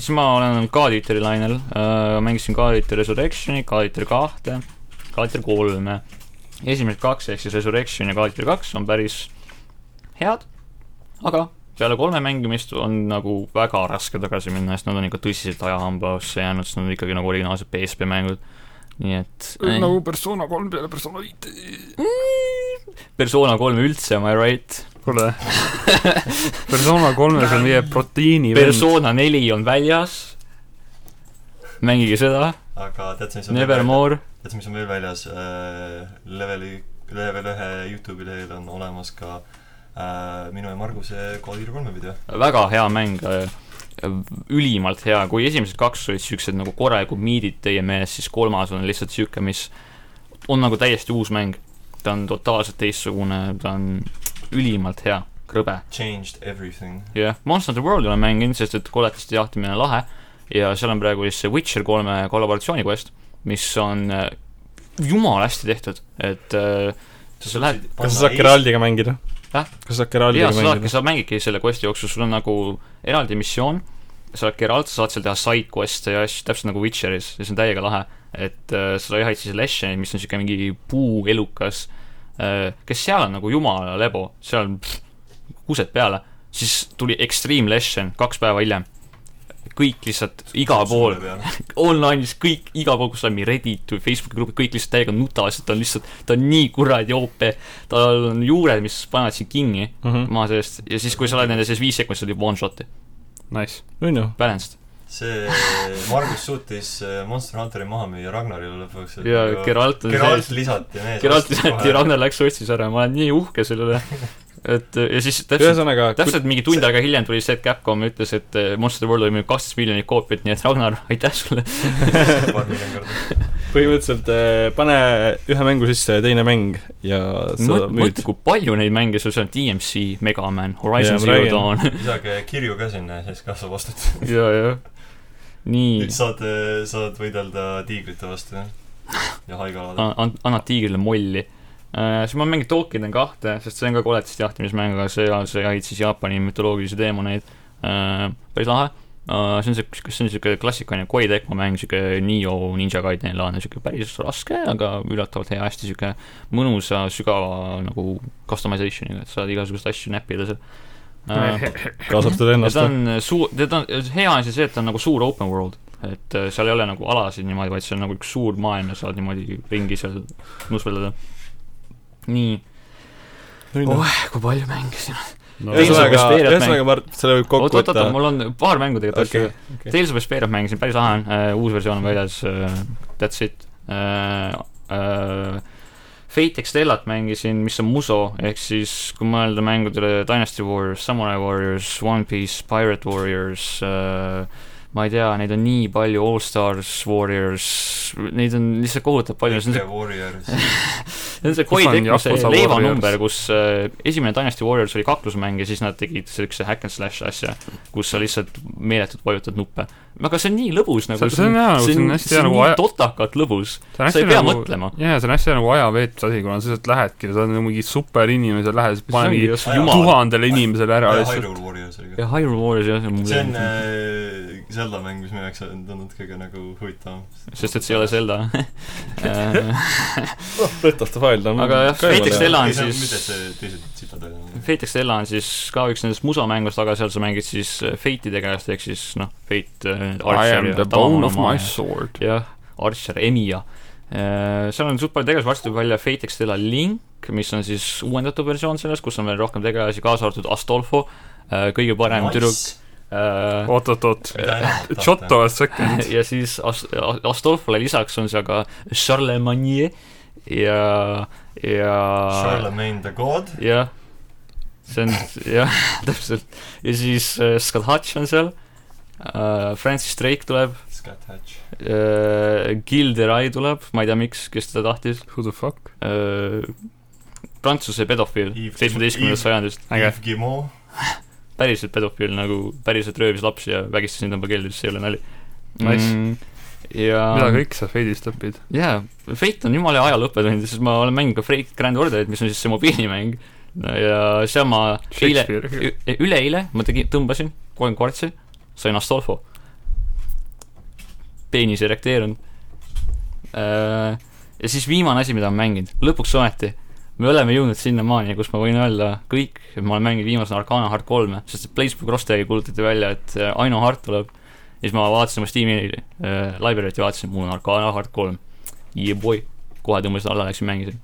Speaker 2: siis ma olen Kaaditeri lainel uh, , mängisin Kaaditeri Resurrectioni , Kaaditeri kahte , Kaaditeri kolme . esimesed kaks ehk siis Resurrection ja Kaaditeri kaks on päris head , aga peale kolme mängimist on nagu väga raske tagasi minna , sest nad on ikka tõsiselt ajahambasse jäänud , sest nad on ikkagi nagu originaalsed PSP mängud , nii et
Speaker 4: nagu persona kolm peale persona viite .
Speaker 2: persona kolme üldse , am I right ?
Speaker 4: kuule , persona kolmes on meie proteiini vend .
Speaker 2: persona neli on väljas , mängige seda ,
Speaker 1: aga tead sa , mis on
Speaker 2: Nevermore ,
Speaker 1: tead sa , mis on veel väljas äh, ? Leveli , level ühe Youtube'i lehel on olemas ka äh, minu ja Marguse Code Gear kolme video .
Speaker 2: väga hea mäng , ülimalt hea , kui esimesed kaks olid siuksed nagu korralikud miidid teie meelest , siis kolmas on lihtsalt siuke , mis on nagu täiesti uus mäng . ta on totaalselt teistsugune , ta on ülimalt hea , krõbe .
Speaker 1: Changed everything .
Speaker 2: jah , Monster Hunter World'i olen mänginud , sest et koletiste jahtimine on lahe ja seal on praegu siis see Witcher kolme kollaboratsiooni quest , mis on äh, jumala hästi tehtud , et äh, sa lähed ,
Speaker 3: kas sa saad Geraldiga mängida ?
Speaker 2: Häh?
Speaker 3: kas sa saad Geraldiga
Speaker 2: jaa , sa saadki ,
Speaker 3: mängida ?
Speaker 2: sa mängidki selle quest'i jooksul , sul on nagu eraldi missioon , sa oled Geralt , sa saad seal teha side quest'e ja asju , täpselt nagu Witcheris ja see on täiega lahe , et äh, sa jahid siis Lesheni , mis on siuke mingi puuelukas äh, , kes seal on nagu jumala lebo , seal on pff, kused peale , siis tuli Extreme Leshen kaks päeva hiljem , kõik lihtsalt igal pool online'is kõik , igal pool , kus on nii Reddit või Facebooki grupid , kõik lihtsalt täiega nutavad , sest ta on lihtsalt , ta on nii kuradi OP , tal on juured , mis panevad sind kinni
Speaker 3: Mhm.
Speaker 2: maa seest ja siis , kui sa oled nende sees viis sekundit , sa teed one shot'i ,
Speaker 4: Nice .
Speaker 3: on ju ?
Speaker 2: balanced .
Speaker 1: see , Margus suutis äh, Monster Hunteri maha müüa Ragnarile lõpuks .
Speaker 2: ja Geralt on
Speaker 1: Geralt
Speaker 2: sees ,
Speaker 1: lisati mees .
Speaker 2: Geralt lisati , Ragnar läks otsis ära , ma olen nii uhke selle üle . et ja siis täpselt ,
Speaker 3: ühesõnaga ,
Speaker 2: täpselt mingi tund aega hiljem tuli see , et Capcom ütles , et eh, Monster World oli müünud kaksteist miljonit koopiat , nii et Ragnar , aitäh sulle .
Speaker 1: lisati .
Speaker 3: põhimõtteliselt eh, pane ühe mängu sisse ja teine mäng ja sa müüd
Speaker 2: mõtle , kui palju neid mänge sul seal on , DMC , Mega Man ,
Speaker 3: Jaa,
Speaker 2: Horizon
Speaker 3: ma
Speaker 2: Zero
Speaker 3: räägin.
Speaker 2: Dawn ,
Speaker 1: lisage kirju ka sinna ja siis kasvab vastutus .
Speaker 2: ja , ja . nii
Speaker 1: nüüd , saad ,
Speaker 2: Ah,
Speaker 1: saad võidelda tiigrite vastu , jah ? ja haigalad .
Speaker 2: annad tiigrile molli Äh, siis ma olen mänginud Tolkien'i kahte , sest see on ka koletist jahtimismäng , aga seal sa jahid siis Jaapani mütoloogilisi teemoneid . päris lahe . see on siuke , see on siuke klassikaline Koi Tecmo mäng , siuke Nio Ninja Gaideni laadne , siuke päris raske , aga üllatavalt hea , hästi siuke mõnusa sügava nagu customization'iga , et saad igasuguseid asju näppida seal . Äh,
Speaker 3: kaasatud
Speaker 2: ja
Speaker 3: ennast
Speaker 2: ta
Speaker 3: või ?
Speaker 2: on äh, suur , ta on , hea asi see , et ta on nagu suur open world , et äh, seal ei ole nagu alasid niimoodi , vaid see on nagu üks suur maailm ja saad niimoodi ringi seal nusveldada . nii , oh , kui palju mänge siin on .
Speaker 4: no,
Speaker 2: Tales of
Speaker 3: ühesõnaga ,
Speaker 2: Vesperiat
Speaker 3: ühesõnaga Mart , selle võib kokku
Speaker 2: oot , oot , oot
Speaker 3: võtta ,.
Speaker 2: mul on paar mängu tegelikult
Speaker 3: Okei,
Speaker 2: okay, . Okay. Tales of Vesperia mängisin , päris lahe on uh, , uus versioon on väljas uh, , that's it uh, . Uh, Fate Extellat mängisin , mis on muso , ehk siis kui mõelda mängudele Dynasty Warriors , Samurai Warriors , One Piece , Pirate Warriors uh, , ma ei tea , neid on nii palju , All Stars Warriors , neid on lihtsalt kohutavalt palju , see on
Speaker 1: Ninja Warriors .
Speaker 2: see on see
Speaker 4: Kus
Speaker 2: Koi
Speaker 4: on
Speaker 2: Tecmose
Speaker 4: Yakuza
Speaker 2: leivanumber , kus äh, esimene Dynasty Warriors oli kaklusmäng ja siis nad tegid siukse hack and slash asja , kus sa lihtsalt meeletult vajutad nuppe . aga see on nii lõbus nagu .
Speaker 4: See- see on hea, see on hästi hea nagu aja-
Speaker 2: nii totakalt lõbus , sa ei pea mõtlema .
Speaker 4: nagu- jaa , see on hästi nagu ajaveetmise asi , kuna sa lihtsalt lähedki , sa oled nagu mingi superinimesel , lähed , siis paned mingi
Speaker 1: just jumal.
Speaker 4: tuhandele inimesele ära
Speaker 1: ja
Speaker 4: lihtsalt .
Speaker 1: Hyrule Warriors oli ka .
Speaker 2: ja Hyrule Warriors jah , see on
Speaker 1: see on
Speaker 2: mulle ,
Speaker 1: äh, Zelda mäng , mis minu jaoks on tundunud kõige nagu huvitavam .
Speaker 2: sest et see ei ole Zelda . Äh,
Speaker 3: Breath of the Wild on
Speaker 2: Aga jah, näiteks Stella on siis-
Speaker 1: mitte see teised sitad olid .
Speaker 2: Fate Extella on siis ka üks nendest musomängust , aga seal sa mängid siis äh, Fate'i tegelast ehk siis noh , Fate äh,
Speaker 4: I am
Speaker 2: Archer
Speaker 4: the
Speaker 2: ja
Speaker 4: bone of my
Speaker 2: Tamamaaja.
Speaker 4: sword .
Speaker 2: jah , Archer , Emiya . seal on suht palju tegelasi , varsti tuleb välja Fate Extella Link , mis on siis uuendatud versioon sellest , kus on veel rohkem tegelasi , kaasa arvatud Astolfo , kõige parem nice. tüdruk .
Speaker 4: oot-oot-oot , Giotto a second .
Speaker 2: ja siis As- , Astolfole lisaks on seal ka Charlemagne ja , ja ,
Speaker 1: Charlemagne the God .
Speaker 2: jah , see on jah , täpselt . ja siis äh, Scott Hutch on seal , Francis Drake tuleb ,
Speaker 1: Scat Hatch .
Speaker 2: Gilderai tuleb , ma ei tea , miks , kes teda tahtis .
Speaker 4: Who the fuck ?
Speaker 2: Öö, Äh, Prantsuse pedofiil
Speaker 1: Yves-
Speaker 2: seitsmeteistkümnendast
Speaker 1: Yves-
Speaker 2: sajandist , äge ,
Speaker 1: Yves Guillemot .
Speaker 2: päriselt pedofiil nagu päriselt röövis lapsi ja vägistas neid oma keldris , see ei ole nali .
Speaker 4: Nice.
Speaker 2: ja ,
Speaker 4: Mm. mida kõik sa Fade'ist õpid ?
Speaker 2: jaa , Fate on jumala hea lõppetund , sest ma olen mänginud ka Fate Grand Orderit , mis on siis see mobiilimäng No ja seal ma eile ,
Speaker 4: Shakespeare .
Speaker 2: e, üleeile ma tegin , tõmbasin kolm kvartsi , sain Astolfo . peenis erekteerunud . ja siis viimane asi , mida ma mänginud , lõpuks ometi , me oleme jõudnud sinnamaani , kus ma võin öelda kõik , et ma olen mänginud viimasena Arcana Heart kolme , sest et Blazblue Crosstag'i kuulutati välja , et äh, Aino Heart tuleb . ja siis ma vaatasin oma Steam'i äh, library't ja vaatasin , mul on Arcana Heart kolm . Yeah boy , kohe tõmbasin alla , läksin mängisin .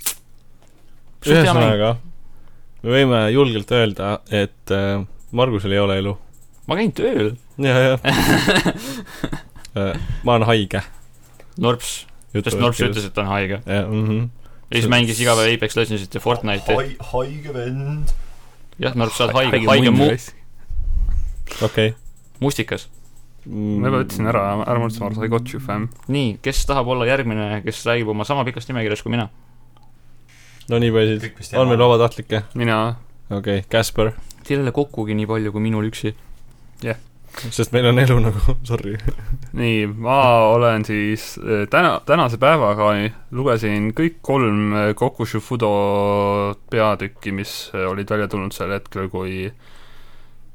Speaker 3: ühesõnaga , me võime julgelt öelda , et äh, Margusel ei ole elu .
Speaker 2: ma käin tööl ,
Speaker 3: ja , ja ma olen haige .
Speaker 2: Norps , sest Norps ütles , et ta on haige .
Speaker 3: mhm,
Speaker 2: ja siis
Speaker 3: See-
Speaker 2: mängis iga päev Apex Legendsit ja Fortnite'i .
Speaker 1: haige vend .
Speaker 2: jah , Narp , sa oled haige , haige mu- ,.
Speaker 3: okei .
Speaker 2: mustikas .
Speaker 4: ma juba ütlesin ära , ära muretse , Mars , I got you fam .
Speaker 2: nii , kes tahab olla järgmine , kes räägib oma sama pikast nimekirjas kui mina ?
Speaker 3: no nii palju siis .
Speaker 1: kõik vist
Speaker 3: on meil . vabatahtlikke ?
Speaker 4: mina ,
Speaker 3: okei , Käsper ,
Speaker 2: Teil ei ole kokkugi nii palju kui minul üksi .
Speaker 3: sest meil on elu nagu , sorry .
Speaker 4: nii , ma olen siis äh, täna , tänase päevaga lugesin kõik kolm äh, Kokushu Fudo peatükki , mis äh, olid välja tulnud sel hetkel , kui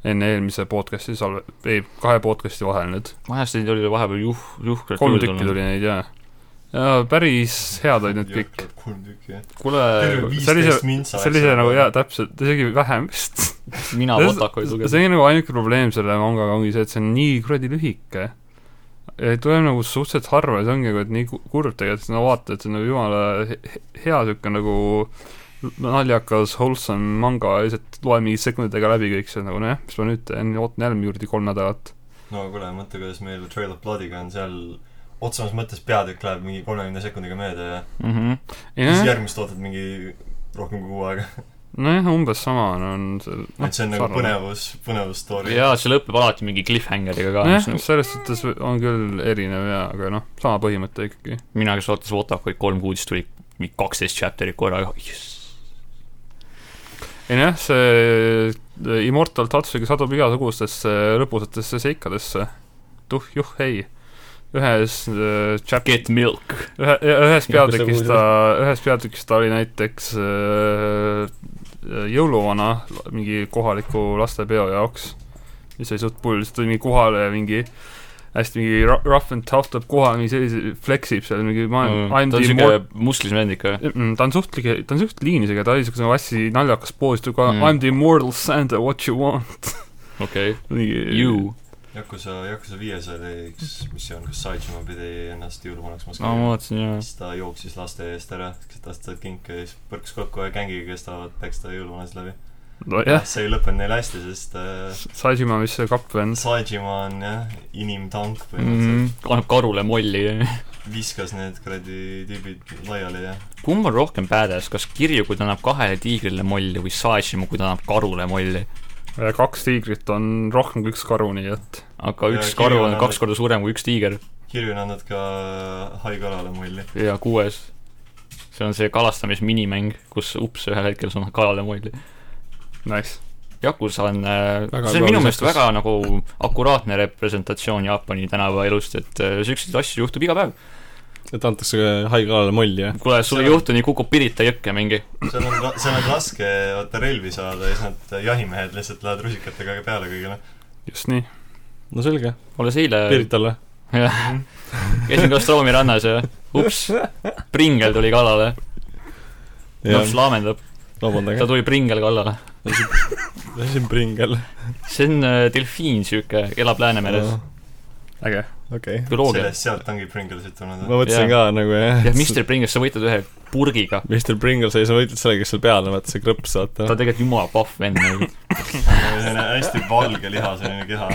Speaker 4: enne eelmise podcast'i salve- , ei , kahe podcast'i vahel nüüd .
Speaker 2: vahest neid oli vahepeal juh- , juhkralt
Speaker 4: kolm tükki . tuli neid , jaa . ja päris head olid need kõik .
Speaker 1: kolm tükki , jah .
Speaker 2: kuule ,
Speaker 1: viisteist mintsa .
Speaker 4: sellise nagu jaa , täpselt , isegi vähem vist .
Speaker 2: mina
Speaker 4: See-
Speaker 2: Votakoid lugesin .
Speaker 4: see on nagu ainuke probleem selle mangaga ongi see , et see on nii kuradi lühike . tuleb nagu suhteliselt harva ja see ongi nagu , et nii ku- kurb tegelikult , no vaata , et see on nagu jumala he- he- hea siuke nagu naljakas , wholesome manga ja lihtsalt loen mingi sekunditega läbi kõik see nagu nojah , mis ma nüüd teen , ootan jälle juurde kolm nädalat .
Speaker 1: no kuule , mõtle , kuidas meil Trail of Bloodiga on seal otsemas mõttes peatükk läheb mingi kolmekümne sekundiga mööda ja
Speaker 2: Mhm.
Speaker 1: siis
Speaker 4: nojah ,
Speaker 1: järgmist ootad mingi rohkem kui kuu aega .
Speaker 4: nojah , umbes sama on, on see noh,
Speaker 1: et see on nagu
Speaker 4: sarnane.
Speaker 1: põnevus , põnevus story .
Speaker 2: jaa , see lõpeb alati mingi cliffhangeriga ka , mis
Speaker 4: nojah ,
Speaker 2: nagu
Speaker 4: selles suhtes on küll erinev jaa , aga noh , sama põhimõte ikkagi .
Speaker 2: mina , kes ootas Votakoid kolm kuud , siis tuli mingi kaksteist chapter'it korraga , jess .
Speaker 4: ei nojah , see Immortal Tatsugi satub igasugustesse lõbusatesse seikadesse . tuh juh ei . ühes äh, chap- ,
Speaker 2: Get milk .
Speaker 4: ühe ,
Speaker 5: Jah, kus
Speaker 4: ühes
Speaker 5: sa
Speaker 4: peatükis
Speaker 5: kuulsid?
Speaker 4: ta , ühes peatükis ta oli näiteks äh, jõuluvana mingi kohaliku lastepeo jaoks , mis oli suht pull , siis tuli mingi kohale mingi hästi mingi ra- rough and tough tuleb kohale , mingi sellise , fleksib seal mingi ma
Speaker 5: Mm,
Speaker 4: mm, , I m
Speaker 2: ta on
Speaker 4: the
Speaker 2: siuke
Speaker 4: immor-
Speaker 2: muslis vend ikka .
Speaker 4: Mm, ta on suht- , ta on suht- liinis , aga ta oli siukse hästi naljakas poos , ta ütles
Speaker 2: Mm.
Speaker 4: mm. I m the immortal Santa , what you want .
Speaker 2: okei okay. ,
Speaker 4: mingi
Speaker 2: you .
Speaker 1: Yakuza , Yakuza viies oli üks missioon , kus Saitšima pidi ennast jõuluvanaks
Speaker 2: aa , ma
Speaker 1: maskima .
Speaker 2: vaatasin jaa .
Speaker 1: siis ta jooksis laste eest ära , kes tahtsid sealt kinke ja siis põrkas kokku ühe gängiga , kes tahavad peksta jõuluvanast läbi .
Speaker 4: nojah ,
Speaker 1: see ei lõppenud neil hästi , sest äh,
Speaker 4: Sajima , mis see kapp vend .
Speaker 1: Saitšima on jah , inimtank põhimõtteliselt mm. .
Speaker 2: Mhm. annab karule molli .
Speaker 5: Mhm.
Speaker 1: viskas need kuradi tüübid laiali ja
Speaker 2: kumb on rohkem badass , kas Kirju , kui ta annab kahele tiigrile molli või Saishima , kui ta annab karule molli ?
Speaker 4: kaks tiigrit on rohkem kui üks karu , nii et
Speaker 2: aga
Speaker 1: Ja
Speaker 2: üks
Speaker 1: Kirju
Speaker 2: karu
Speaker 1: on
Speaker 2: on
Speaker 1: alles-
Speaker 2: kaks korda suurem kui üks tiiger
Speaker 1: Kirju on andnud ka haikalale mulli .
Speaker 2: ja kuues . see on see kalastamisminimäng , kus ups , ühel hetkel sa annad kalale molli .
Speaker 4: nice .
Speaker 2: Yakuza on ,
Speaker 5: Väga
Speaker 2: see on minu
Speaker 5: kaunis
Speaker 2: meelest
Speaker 5: Yakuza.
Speaker 2: väga nagu akuraatne representatsioon Jaapani tänapäevaelust , et äh, siukseid asju juhtub iga päev .
Speaker 5: et antakse
Speaker 3: äh,
Speaker 5: haiglaale molli ja
Speaker 2: kuule , sul ei
Speaker 1: Seal-
Speaker 2: juhtu nii , kukub Pirita jõkke mingi .
Speaker 1: seal on , seal on raske vaata relvi saada ja siis nad äh, jahimehed lihtsalt lähevad rusikatega peale kõigile .
Speaker 4: just nii .
Speaker 5: no selge ,
Speaker 2: olles eile ,
Speaker 5: Piritale .
Speaker 2: jah , käisin Kastroomi rannas ja ups , pringel tuli kallale .
Speaker 5: jah
Speaker 2: noh ,, laamendab , ta
Speaker 5: vabandage ,
Speaker 2: tuli pringel kallale .
Speaker 5: lasin pringel .
Speaker 2: see on äh, delfiin , siuke , elab Läänemeres .
Speaker 4: äge .
Speaker 5: okei ,
Speaker 2: bioloogia .
Speaker 1: sellest , sealt ongi Pringlesid tulnud .
Speaker 5: ma mõtlesin ka nagu jah .
Speaker 2: jah , Mr Pringles , sa võitled ühe purgiga .
Speaker 5: Mr Pringle sai , sa võitled sellega , kes seal peal on , vaata see krõps ,
Speaker 2: ta on
Speaker 5: vaata .
Speaker 2: tegelikult jumala pahv vend nagu .
Speaker 1: selline hästi valge liha selline keha .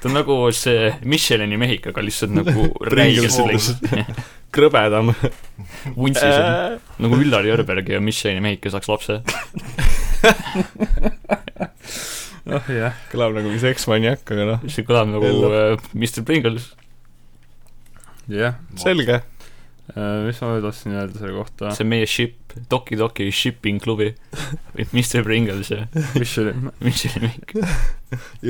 Speaker 2: ta on nagu see Michelini mehik , aga lihtsalt nagu
Speaker 5: Pringles
Speaker 2: räigelt
Speaker 1: Pringles.
Speaker 2: lihtsalt
Speaker 5: krõbedam .
Speaker 2: vuntsis on .
Speaker 5: see
Speaker 2: nagu Üllar Jörberg ja Michelini mehik , kes saaks lapse .
Speaker 4: oh jah .
Speaker 5: kõlab nagu mingi seksmaniak , aga noh ,
Speaker 2: see kõlab nagu
Speaker 5: Ella.
Speaker 2: äh, Mr Pringles .
Speaker 4: jah ,
Speaker 5: selge .
Speaker 4: mis ma veel tahtsin öelda selle kohta ?
Speaker 2: see on meie ship , Doki Doki shipping klubi . Mr Pringles ja
Speaker 4: mis see oli ?
Speaker 2: Michelini mehik .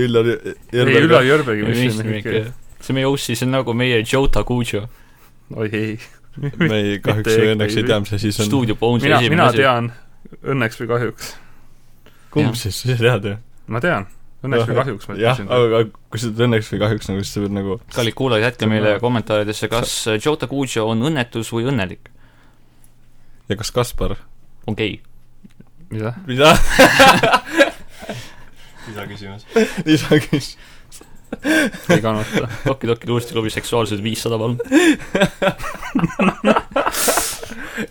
Speaker 5: Üllar
Speaker 4: ei , Ülo
Speaker 5: Jürberg .
Speaker 4: Jõrbegi , mis see
Speaker 2: Michelini
Speaker 4: nimi
Speaker 2: mehik ,
Speaker 4: oli ?
Speaker 2: jah . see on meie OC , see on nagu meie Joe Tagucho .
Speaker 4: oi ei .
Speaker 5: me ei , kahjuks
Speaker 4: Mitte
Speaker 5: või õnneks ei
Speaker 4: ikkagi.
Speaker 5: tea , mis asi see on .
Speaker 2: stuudio Bones'i
Speaker 4: mina ,
Speaker 2: esimene
Speaker 4: mina
Speaker 2: asi .
Speaker 4: tean , õnneks või kahjuks .
Speaker 5: kumb siis , sa tead ju ?
Speaker 4: ma tean , õnneks või
Speaker 5: Jah.
Speaker 4: kahjuks ma
Speaker 5: jah ,
Speaker 4: ütlesin .
Speaker 5: aga kui sa ütled õnneks või kahjuks nagu , siis sa pead nagu
Speaker 2: kallid kuulajad , jätke meile kommentaaridesse , kas äh, Joe Tagucho on õnnetus või õnnelik .
Speaker 5: ja kas Kaspar ?
Speaker 2: on gei .
Speaker 4: mida ?
Speaker 5: mida ?
Speaker 1: lisaküsimus .
Speaker 5: lisaküsimus .
Speaker 4: ei kannata .
Speaker 2: Doki Doki Luusti klubi seksuaalsed viissada , palun .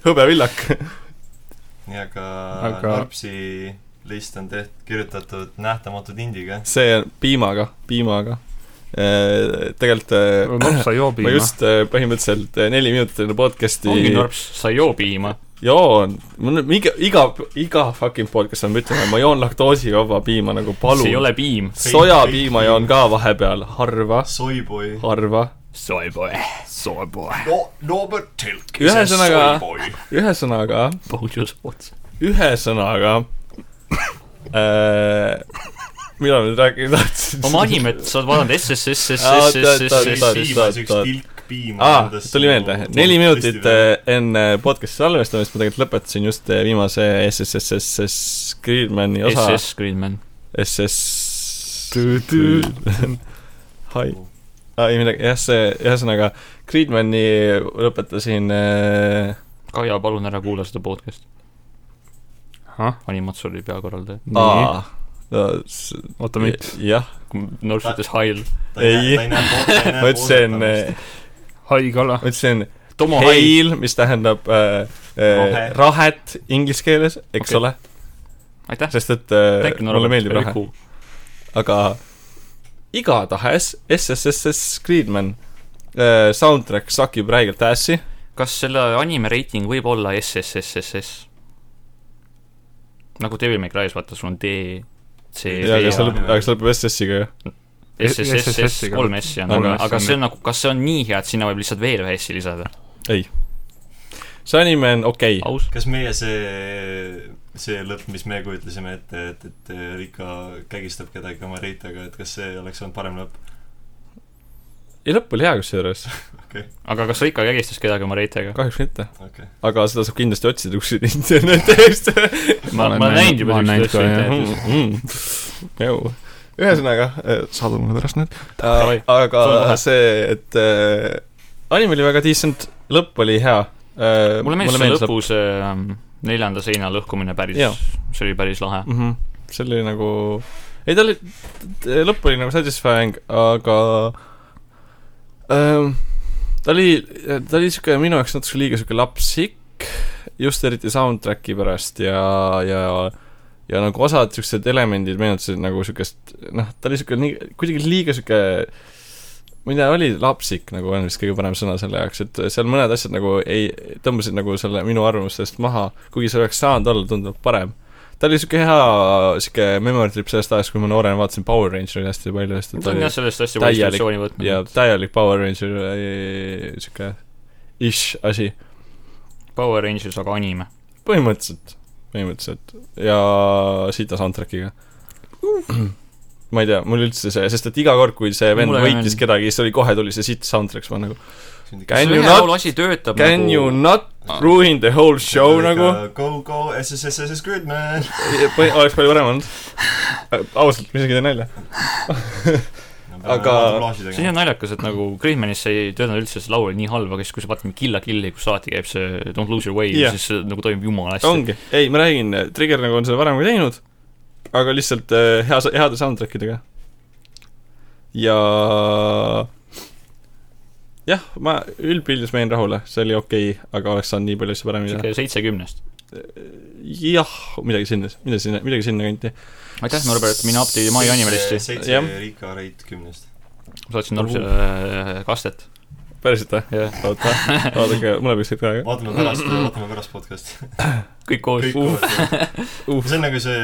Speaker 5: hõbevillak .
Speaker 1: nii , aga
Speaker 4: Aga-
Speaker 1: Narpsi list on teht- , kirjutatud nähtamatud indiga .
Speaker 5: see on piimaga , piimaga . Tegelikult eh,
Speaker 4: Norps sai joobi .
Speaker 5: ma just eh, põhimõtteliselt eh, neli minutit enne podcast'i
Speaker 2: ongi norps , sa ei joo piima .
Speaker 5: joon , mul on iga , iga , iga fucking podcast on , ma ütlen , ma joon laktoosivaba piima nagu
Speaker 2: see ei
Speaker 5: palun .
Speaker 2: ole piim .
Speaker 5: sojapiima joon ka vahepeal , harva ,
Speaker 1: Soiboi .
Speaker 5: harva .
Speaker 2: Soyboy . Soyboy .
Speaker 1: no , Norbert Tilk .
Speaker 5: Ühesõnaga- . ühesõnaga ,
Speaker 2: Bogus ots .
Speaker 5: ühesõnaga äh, , mida ma nüüd rääkida tahtsin ?
Speaker 2: oma animet sa oled vaadanud SSS ,
Speaker 5: Aa, tead, tead, tead.
Speaker 2: SSS ,
Speaker 1: piimas üks
Speaker 5: Saad-
Speaker 1: tilk piima . nagu
Speaker 5: aa , tuli meelde , neli minutit äh, enne podcast'i salvestamist ma tegelikult lõpetasin just äh, viimase SSSS Greenmani osa
Speaker 2: SS Greenman .
Speaker 5: SS
Speaker 4: Tü-tü.
Speaker 5: Hai , ei midagi , jah , see , ühesõnaga Greenmani lõpetasin äh,
Speaker 2: Kaia , palun ära kuula seda podcast'i .
Speaker 4: ahah ,
Speaker 2: animatsiooni peakorraldaja .
Speaker 4: nii .
Speaker 5: aa , no s-
Speaker 4: oota , miks ?
Speaker 5: jah ,
Speaker 2: norps ütles Hail .
Speaker 5: ei. ma ütlesin , äh,
Speaker 4: hai kala .
Speaker 5: ma ütlesin
Speaker 2: Tomo Hail .
Speaker 5: hail , mis tähendab äh, äh,
Speaker 1: Rohe.
Speaker 5: rahet inglise keeles , eks
Speaker 2: Okei.
Speaker 5: okay. ole ,
Speaker 2: aitäh .
Speaker 5: sest et äh,
Speaker 2: Thank you ,
Speaker 5: mulle meeldib rahe .
Speaker 2: Norb .
Speaker 5: aga igatahes SSSS Creedman äh, soundtrack sakib räigelt ässi ,
Speaker 2: kas selle anime reiting võib olla SSSSS ? nagu Devil May Cry's , vaata , sul on D , C ,
Speaker 1: Jaa,
Speaker 2: D
Speaker 5: aga see
Speaker 1: seal-
Speaker 5: lõpeb , aga see lõpeb SS-iga ju .
Speaker 2: SSSS
Speaker 4: SSS-iga.
Speaker 2: kolm S-i on ,
Speaker 5: Kolm
Speaker 2: aga ,
Speaker 4: S-i
Speaker 2: aga
Speaker 4: on
Speaker 2: see on nagu , kas see on nii hea , et sinna võib lihtsalt veel ühe S-i lisada ?
Speaker 5: see anime on okei okay. ,
Speaker 2: aus .
Speaker 1: kas meie see , see lõpp , mis me kujutlesime ette , et , et Rika kägistab kedagi oma reitaga , et kas see oleks olnud parem lõpp ?
Speaker 5: ei , lõpp oli hea kusjuures ,
Speaker 2: aga kas sa ikka kägistas kedagi oma reitega ?
Speaker 5: kahjuks mitte
Speaker 1: Okei. .
Speaker 5: aga seda saab kindlasti otsida kuskilt internetist .
Speaker 2: ma , ma olen näinud juba siukseid asju internetis .
Speaker 5: ühesõnaga , saadu mulle pärast need .
Speaker 2: Davai.
Speaker 5: aga
Speaker 2: Sul on vahe.
Speaker 5: see , et äh, anim oli väga decent , lõpp oli hea . äh,
Speaker 2: mulle meeldis see . lõpu see ähm, neljanda seina lõhkumine päris
Speaker 5: Jaa. ,
Speaker 2: see oli päris lahe .
Speaker 5: see oli nagu , ei ta oli , lõpp oli nagu satisfying , aga ähm, ta oli , ta oli siuke minu jaoks natuke liiga siuke lapsik , just eriti soundtrack'i pärast ja , ja ja nagu osad siuksed elemendid meenutasid nagu siukest , noh , ta oli siuke nii , kuidagi liiga siuke ma ei tea , oli lapsik nagu on vist kõige parem sõna selle jaoks , et seal mõned asjad nagu ei , tõmbasid nagu selle minu arvamustest maha , kuigi see oleks saanud olla tunduvalt parem . ta oli siuke hea siuke memory trip sellest ajast , kui ma noorena vaatasin Power Rangereid hästi palju , sest et
Speaker 2: ta
Speaker 5: ta
Speaker 2: on
Speaker 5: oli
Speaker 2: jah sellest hästi
Speaker 5: täielik-
Speaker 2: konstruktsiooni
Speaker 5: ja
Speaker 2: võtnud .
Speaker 5: täielik Power Ranger äh, siuke ish asi
Speaker 2: Power Rangers , aga anime .
Speaker 5: põhimõtteliselt , põhimõtteliselt ja sita soundtrack'iga . ma ei tea , mul üldse see , sest et iga kord , kui see vend
Speaker 2: Uh. Mulle
Speaker 5: võitis
Speaker 2: on-
Speaker 5: kedagi , siis oli kohe tuli see sit soundtrack , siis ma nagu Can
Speaker 2: see
Speaker 5: you
Speaker 2: ühe
Speaker 5: not-
Speaker 2: laulu asi töötab
Speaker 5: Can you
Speaker 2: nagu ,
Speaker 5: not ruin the whole show nagu ,
Speaker 1: Go , go , SSSS good man .
Speaker 5: oleks palju parem olnud . ausalt , ma isegi teen nalja . Aga-
Speaker 2: see on ju naljakas , et nagu Gridmanis see ei töötanud üldse , see laul oli nii halb , aga siis , kui sa vaatad Kill la Killi , kus alati käib see Don't lose your way
Speaker 5: Jah.
Speaker 2: yeah. , siis see nagu toimib jumala hästi .
Speaker 5: ongi , ei , ma räägin , Trigger nagu on seda varem ka teinud , aga lihtsalt äh, hea , heade soundtrack idega . ja jah , ma üldpildis ma jäin rahule , see oli okei okay, , aga oleks saanud nii palju asju paremini teha .
Speaker 2: sihuke seitsekümnest .
Speaker 5: jah , midagi sinna , midagi sinna , midagi sinnakanti .
Speaker 2: aitäh , Norbert , mina appi mai animalisti ,
Speaker 1: seitse
Speaker 5: jah.
Speaker 1: Riika reit kümnest .
Speaker 2: ma saatsin Norbile äh, kastet .
Speaker 5: päriselt või ?
Speaker 2: jah ,
Speaker 5: oota , vaadake , mul läks hetk aega .
Speaker 2: Mm.
Speaker 1: vaatame pärast , vaatame pärast podcast'i .
Speaker 2: kõik koos .
Speaker 1: kõik koos .
Speaker 5: Uh.
Speaker 1: see on nagu see ,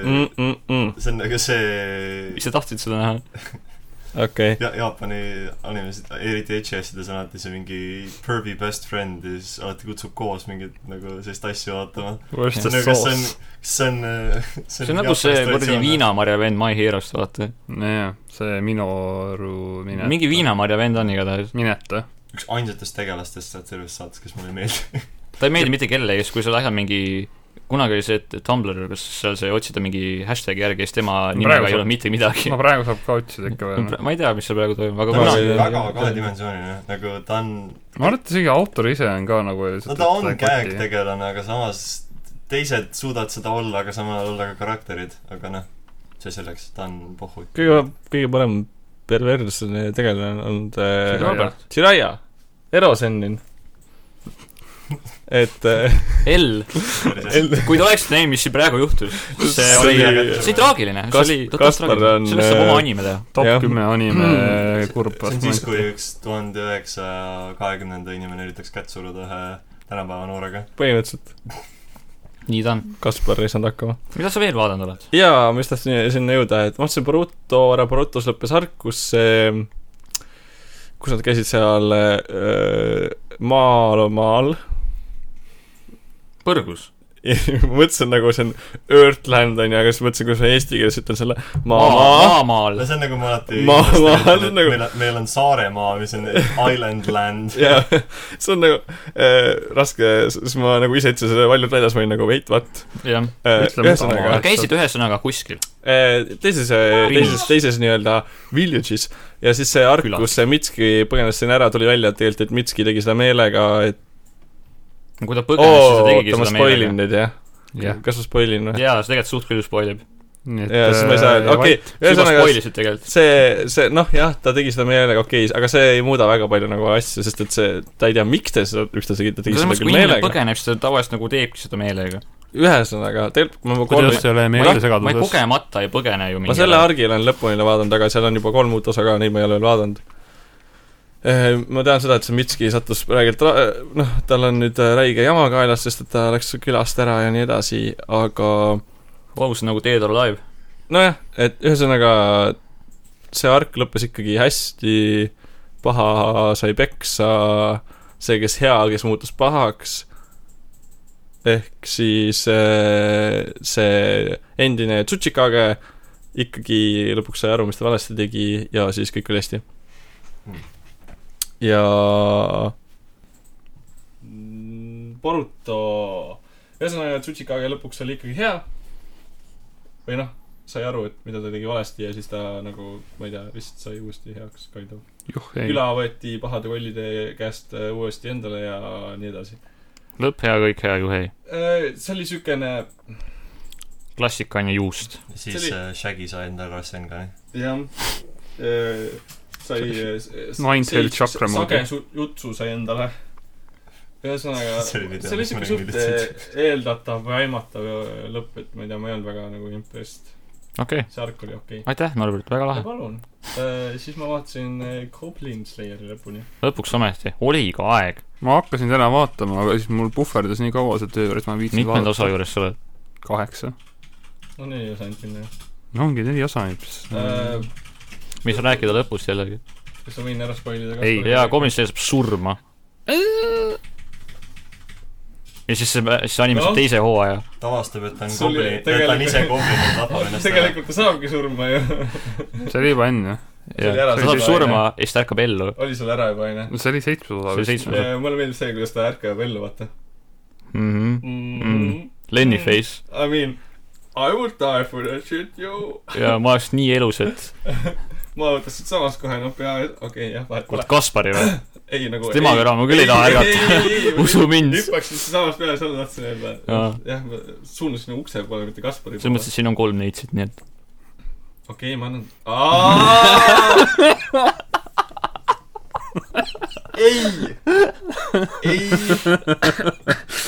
Speaker 5: Mm,
Speaker 1: see on nagu see
Speaker 2: Mm. mis sa tahtsid seda näha ?
Speaker 5: okei ,
Speaker 1: ja, Jaapani animesid , eriti edgy asjades on alati see mingi pervy best friend ja siis alati kutsub koos mingit nagu sellist asja vaatama .
Speaker 4: Where's the
Speaker 1: see on , kas see on
Speaker 4: sauce ?,
Speaker 1: kas see on äh,
Speaker 2: see on nagu see kuradi . viinamarja vend My Hero'st , vaata .
Speaker 4: nojah , see Minoru minet .
Speaker 2: mingi . viinamarja vend on igatahes .
Speaker 4: Mineta .
Speaker 1: üks ainsatest tegelastest sealt terves saates , kes mulle ei meeldi .
Speaker 2: ta ei meeldi mitte kellelegi , sest kui sa lähed mingi kunagi oli see , et Tumblr , kus seal sai otsida mingi hashtag'i järgi , siis tema nimega
Speaker 4: Praegu
Speaker 2: ei
Speaker 4: saab-
Speaker 2: olnud mitte midagi
Speaker 4: no . praegu saab ka otsida ikka veel .
Speaker 2: ma ei tea , mis seal praegu toimub , aga
Speaker 1: ta on
Speaker 5: Kunagi-
Speaker 2: kunagi
Speaker 1: siuke väga
Speaker 5: jah.
Speaker 1: kahedimensiooniline , nagu ta on ,
Speaker 4: ma arvan , et isegi autor ise on ka nagu
Speaker 1: no ta on käegtegelane , aga samas teised suudavad seda olla , aga samal ajal olla ka karakterid , aga noh , see selleks , ta on pohhu .
Speaker 5: kõige , kõige parem perversne tegelane on olnud äh,
Speaker 4: Jiraiya.
Speaker 5: Jiraiya , Ero Sennin . et äh,
Speaker 2: L , kui te oleksite näinud , mis siin praegu juhtus , see
Speaker 5: See
Speaker 2: oli ,
Speaker 1: oli-
Speaker 2: see oli traagiline , see
Speaker 5: Kas-
Speaker 2: oli
Speaker 5: Kaspar on,
Speaker 2: sellest saab
Speaker 5: äh,
Speaker 2: oma anime teha .
Speaker 4: top
Speaker 5: Jah. Hmm.
Speaker 4: kümme anime kurb .
Speaker 1: see on siis , kui üks tuhande üheksasaja kahekümnenda inimene üritaks kätt suruda ühe tänapäeva noorega .
Speaker 5: põhimõtteliselt
Speaker 2: nii ta on .
Speaker 5: Kaspar ei saanud hakkama .
Speaker 2: mida sa veel vaadanud oled ?
Speaker 5: jaa , ma just tahtsin sinna jõuda , et ma vaatasin Boruto ära , Borutos lõppes arg , kus see , kus nad käisid seal äh, maal ,
Speaker 2: põrgus .
Speaker 5: ma mõtlesin nagu see on Earthland on ju , aga siis mõtlesin , kuidas ma eesti keeles ütlen selle maa, maa. ,
Speaker 2: maamaal
Speaker 1: no . see on nagu ma alati
Speaker 5: Ma-
Speaker 1: ma,
Speaker 5: ma-
Speaker 1: ma,
Speaker 5: see on nagu-
Speaker 1: meil, meil on Saaremaa , mis on island land .
Speaker 5: jaa , see on nagu äh, raske , siis ma nagu ise ütlesin selle valjult väljas , ma olin nagu wait what
Speaker 2: jah .
Speaker 5: äh, .
Speaker 4: Ütle mu
Speaker 5: ühesõnaga
Speaker 4: maa.
Speaker 2: aga käisid ühesõnaga kuskil .
Speaker 5: äh, teises , teises , teises nii-öelda village'is ja siis see ark ,
Speaker 2: Külas.
Speaker 5: kus see Mitski põgenes sinna ära , tuli välja et tegelikult , et Mitski tegi seda meelega , et
Speaker 2: kui ta põgenes , siis
Speaker 5: oo ,
Speaker 2: ta tegigi
Speaker 5: oota , ma
Speaker 2: seda
Speaker 5: spoilin
Speaker 2: meelega .
Speaker 5: nüüd jah
Speaker 4: Jah.
Speaker 5: yeah. ? kas ma spoilin või ?
Speaker 2: jaa , see tegelikult suht küll spoilib .
Speaker 5: jaa , siis ma
Speaker 4: äh,
Speaker 5: ei saa öelda ,
Speaker 2: sa
Speaker 5: okei ,
Speaker 2: äh, juba
Speaker 5: ühesõnaga
Speaker 2: spoilisid tegelikult .
Speaker 5: see , see noh , jah , ta tegi seda meelega , okei okay, , aga see ei muuda väga palju nagu asju , sest et see , ta ei tea , miks ta seda , miks ta tegi , ta tegi
Speaker 2: selles
Speaker 5: seda
Speaker 2: mõttes ,
Speaker 5: küll
Speaker 2: kui inimene
Speaker 5: meelega .
Speaker 2: põgeneb , siis ta tavaliselt nagu teebki seda meelega .
Speaker 5: ühesõnaga , tegelikult ma kolm ,
Speaker 4: kuidas see oli
Speaker 2: ma ei , ma ei
Speaker 4: meeldesegaduses ?
Speaker 2: kogemata ei põgene ju
Speaker 5: ma
Speaker 2: mingi
Speaker 5: selle . argi olen lõpuni vaadanud , aga seal on juba kolm uut osa ka , neid ma ei ole veel vaadanud . Ma tean seda , et see Mitski sattus räigelt ra- , noh , tal on nüüd äh, räige jama kaelas , sest et ta läks külast ära ja nii edasi , aga
Speaker 2: Vau , see on nagu Dead or Alive .
Speaker 5: nojah , et ühesõnaga see ark lõppes ikkagi hästi , paha sai peksa , see , kes hea , kes muutus pahaks , ehk siis eh, see endine Tsuchikage ikkagi lõpuks sai aru , mis ta valesti tegi ja siis kõik oli hästi .
Speaker 3: ja
Speaker 5: Boruto , ühesõnaga Tsuchikage lõpuks oli ikkagi hea . või noh , sai aru , et mida ta tegi valesti ja siis ta nagu , ma ei tea , vist sai uuesti heaks , kind of .
Speaker 4: juh , ei .
Speaker 5: küla võeti pahade kollide käest äh, uuesti endale ja nii edasi .
Speaker 2: lõpp hea , kõik hea , juhei .
Speaker 5: see oli siukene ,
Speaker 2: klassika on ju juust .
Speaker 1: siis
Speaker 5: See
Speaker 1: äh, Shaggy sai endale Rassengani .
Speaker 5: jah , sai .
Speaker 4: Mindfield chakra moodi.
Speaker 5: sage su- jutsu sai endale . ühesõnaga ,
Speaker 1: See
Speaker 5: see
Speaker 1: oli video,
Speaker 5: oli
Speaker 1: mis ma
Speaker 5: siuke
Speaker 1: nägin
Speaker 5: suht
Speaker 1: videost.
Speaker 5: eh, eeldatav või aimatav eh, lõpp , et ma ei tea , ma ei olnud väga nagu impressed .
Speaker 2: okei okay. ,
Speaker 5: see arg oli okei okay. .
Speaker 2: aitäh , Norbert , väga lahe .
Speaker 5: palun . siis ma vaatasin eh, Goblin Slayeri lõpuni .
Speaker 2: lõpuks ometi , oli ka aeg .
Speaker 4: ma hakkasin täna vaatama , aga siis mul puhverdas nii kaua see töö juures , ma ei viitsinud
Speaker 2: mitmenda osa ? juures sa oled ?
Speaker 4: kaheksa .
Speaker 5: no neli osa ainult minna .
Speaker 4: no ongi neli osa
Speaker 1: Äh,
Speaker 4: ainult .
Speaker 2: me ei saa rääkida lõpust jällegi .
Speaker 5: Äh, kas ma võin ära spoilida ?
Speaker 2: ei , Äh. hea . komisjon saab surma . ja siis see , siis anime saab
Speaker 5: Noh.
Speaker 2: teise hooaja .
Speaker 1: ta avastab , et ta on
Speaker 5: See oli
Speaker 1: goblin , et ta on
Speaker 5: tegelikult-
Speaker 1: ise goblin ja tapab ennast ära .
Speaker 5: tegelikult ta saabki surma ju .
Speaker 4: see oli juba enne .
Speaker 5: See oli ära
Speaker 2: ta saab
Speaker 5: surma,
Speaker 2: surma ja siis ta ärkab ellu .
Speaker 5: oli seal ära juba onju .
Speaker 4: no see oli seitsmes osa
Speaker 2: See oli seitsmes osa.
Speaker 5: mulle meeldib see , kuidas ta ärkab ellu , vaata
Speaker 2: Mm. Lenni face
Speaker 5: I mean , I would die for that shit , yo .
Speaker 2: ja ma oleks nii elus , et
Speaker 5: ma võtasin samas kohe , noh , pea , okei okay, , jah , vahet
Speaker 2: kurat
Speaker 5: pole .
Speaker 2: Kaspari või ?
Speaker 5: ei nagu .
Speaker 2: tema kõrval ma küll ei taha ärgata . usu mind .
Speaker 5: hüppaksin samas peale , seda tahtsin öelda
Speaker 2: Jaa. .
Speaker 5: jah , ma suunasin ukse poole , mitte Kaspari
Speaker 2: selles mõttes ,
Speaker 5: poole .
Speaker 2: et siin on kolm neitsit , nii et
Speaker 5: okei , ma annan . ei , ei ,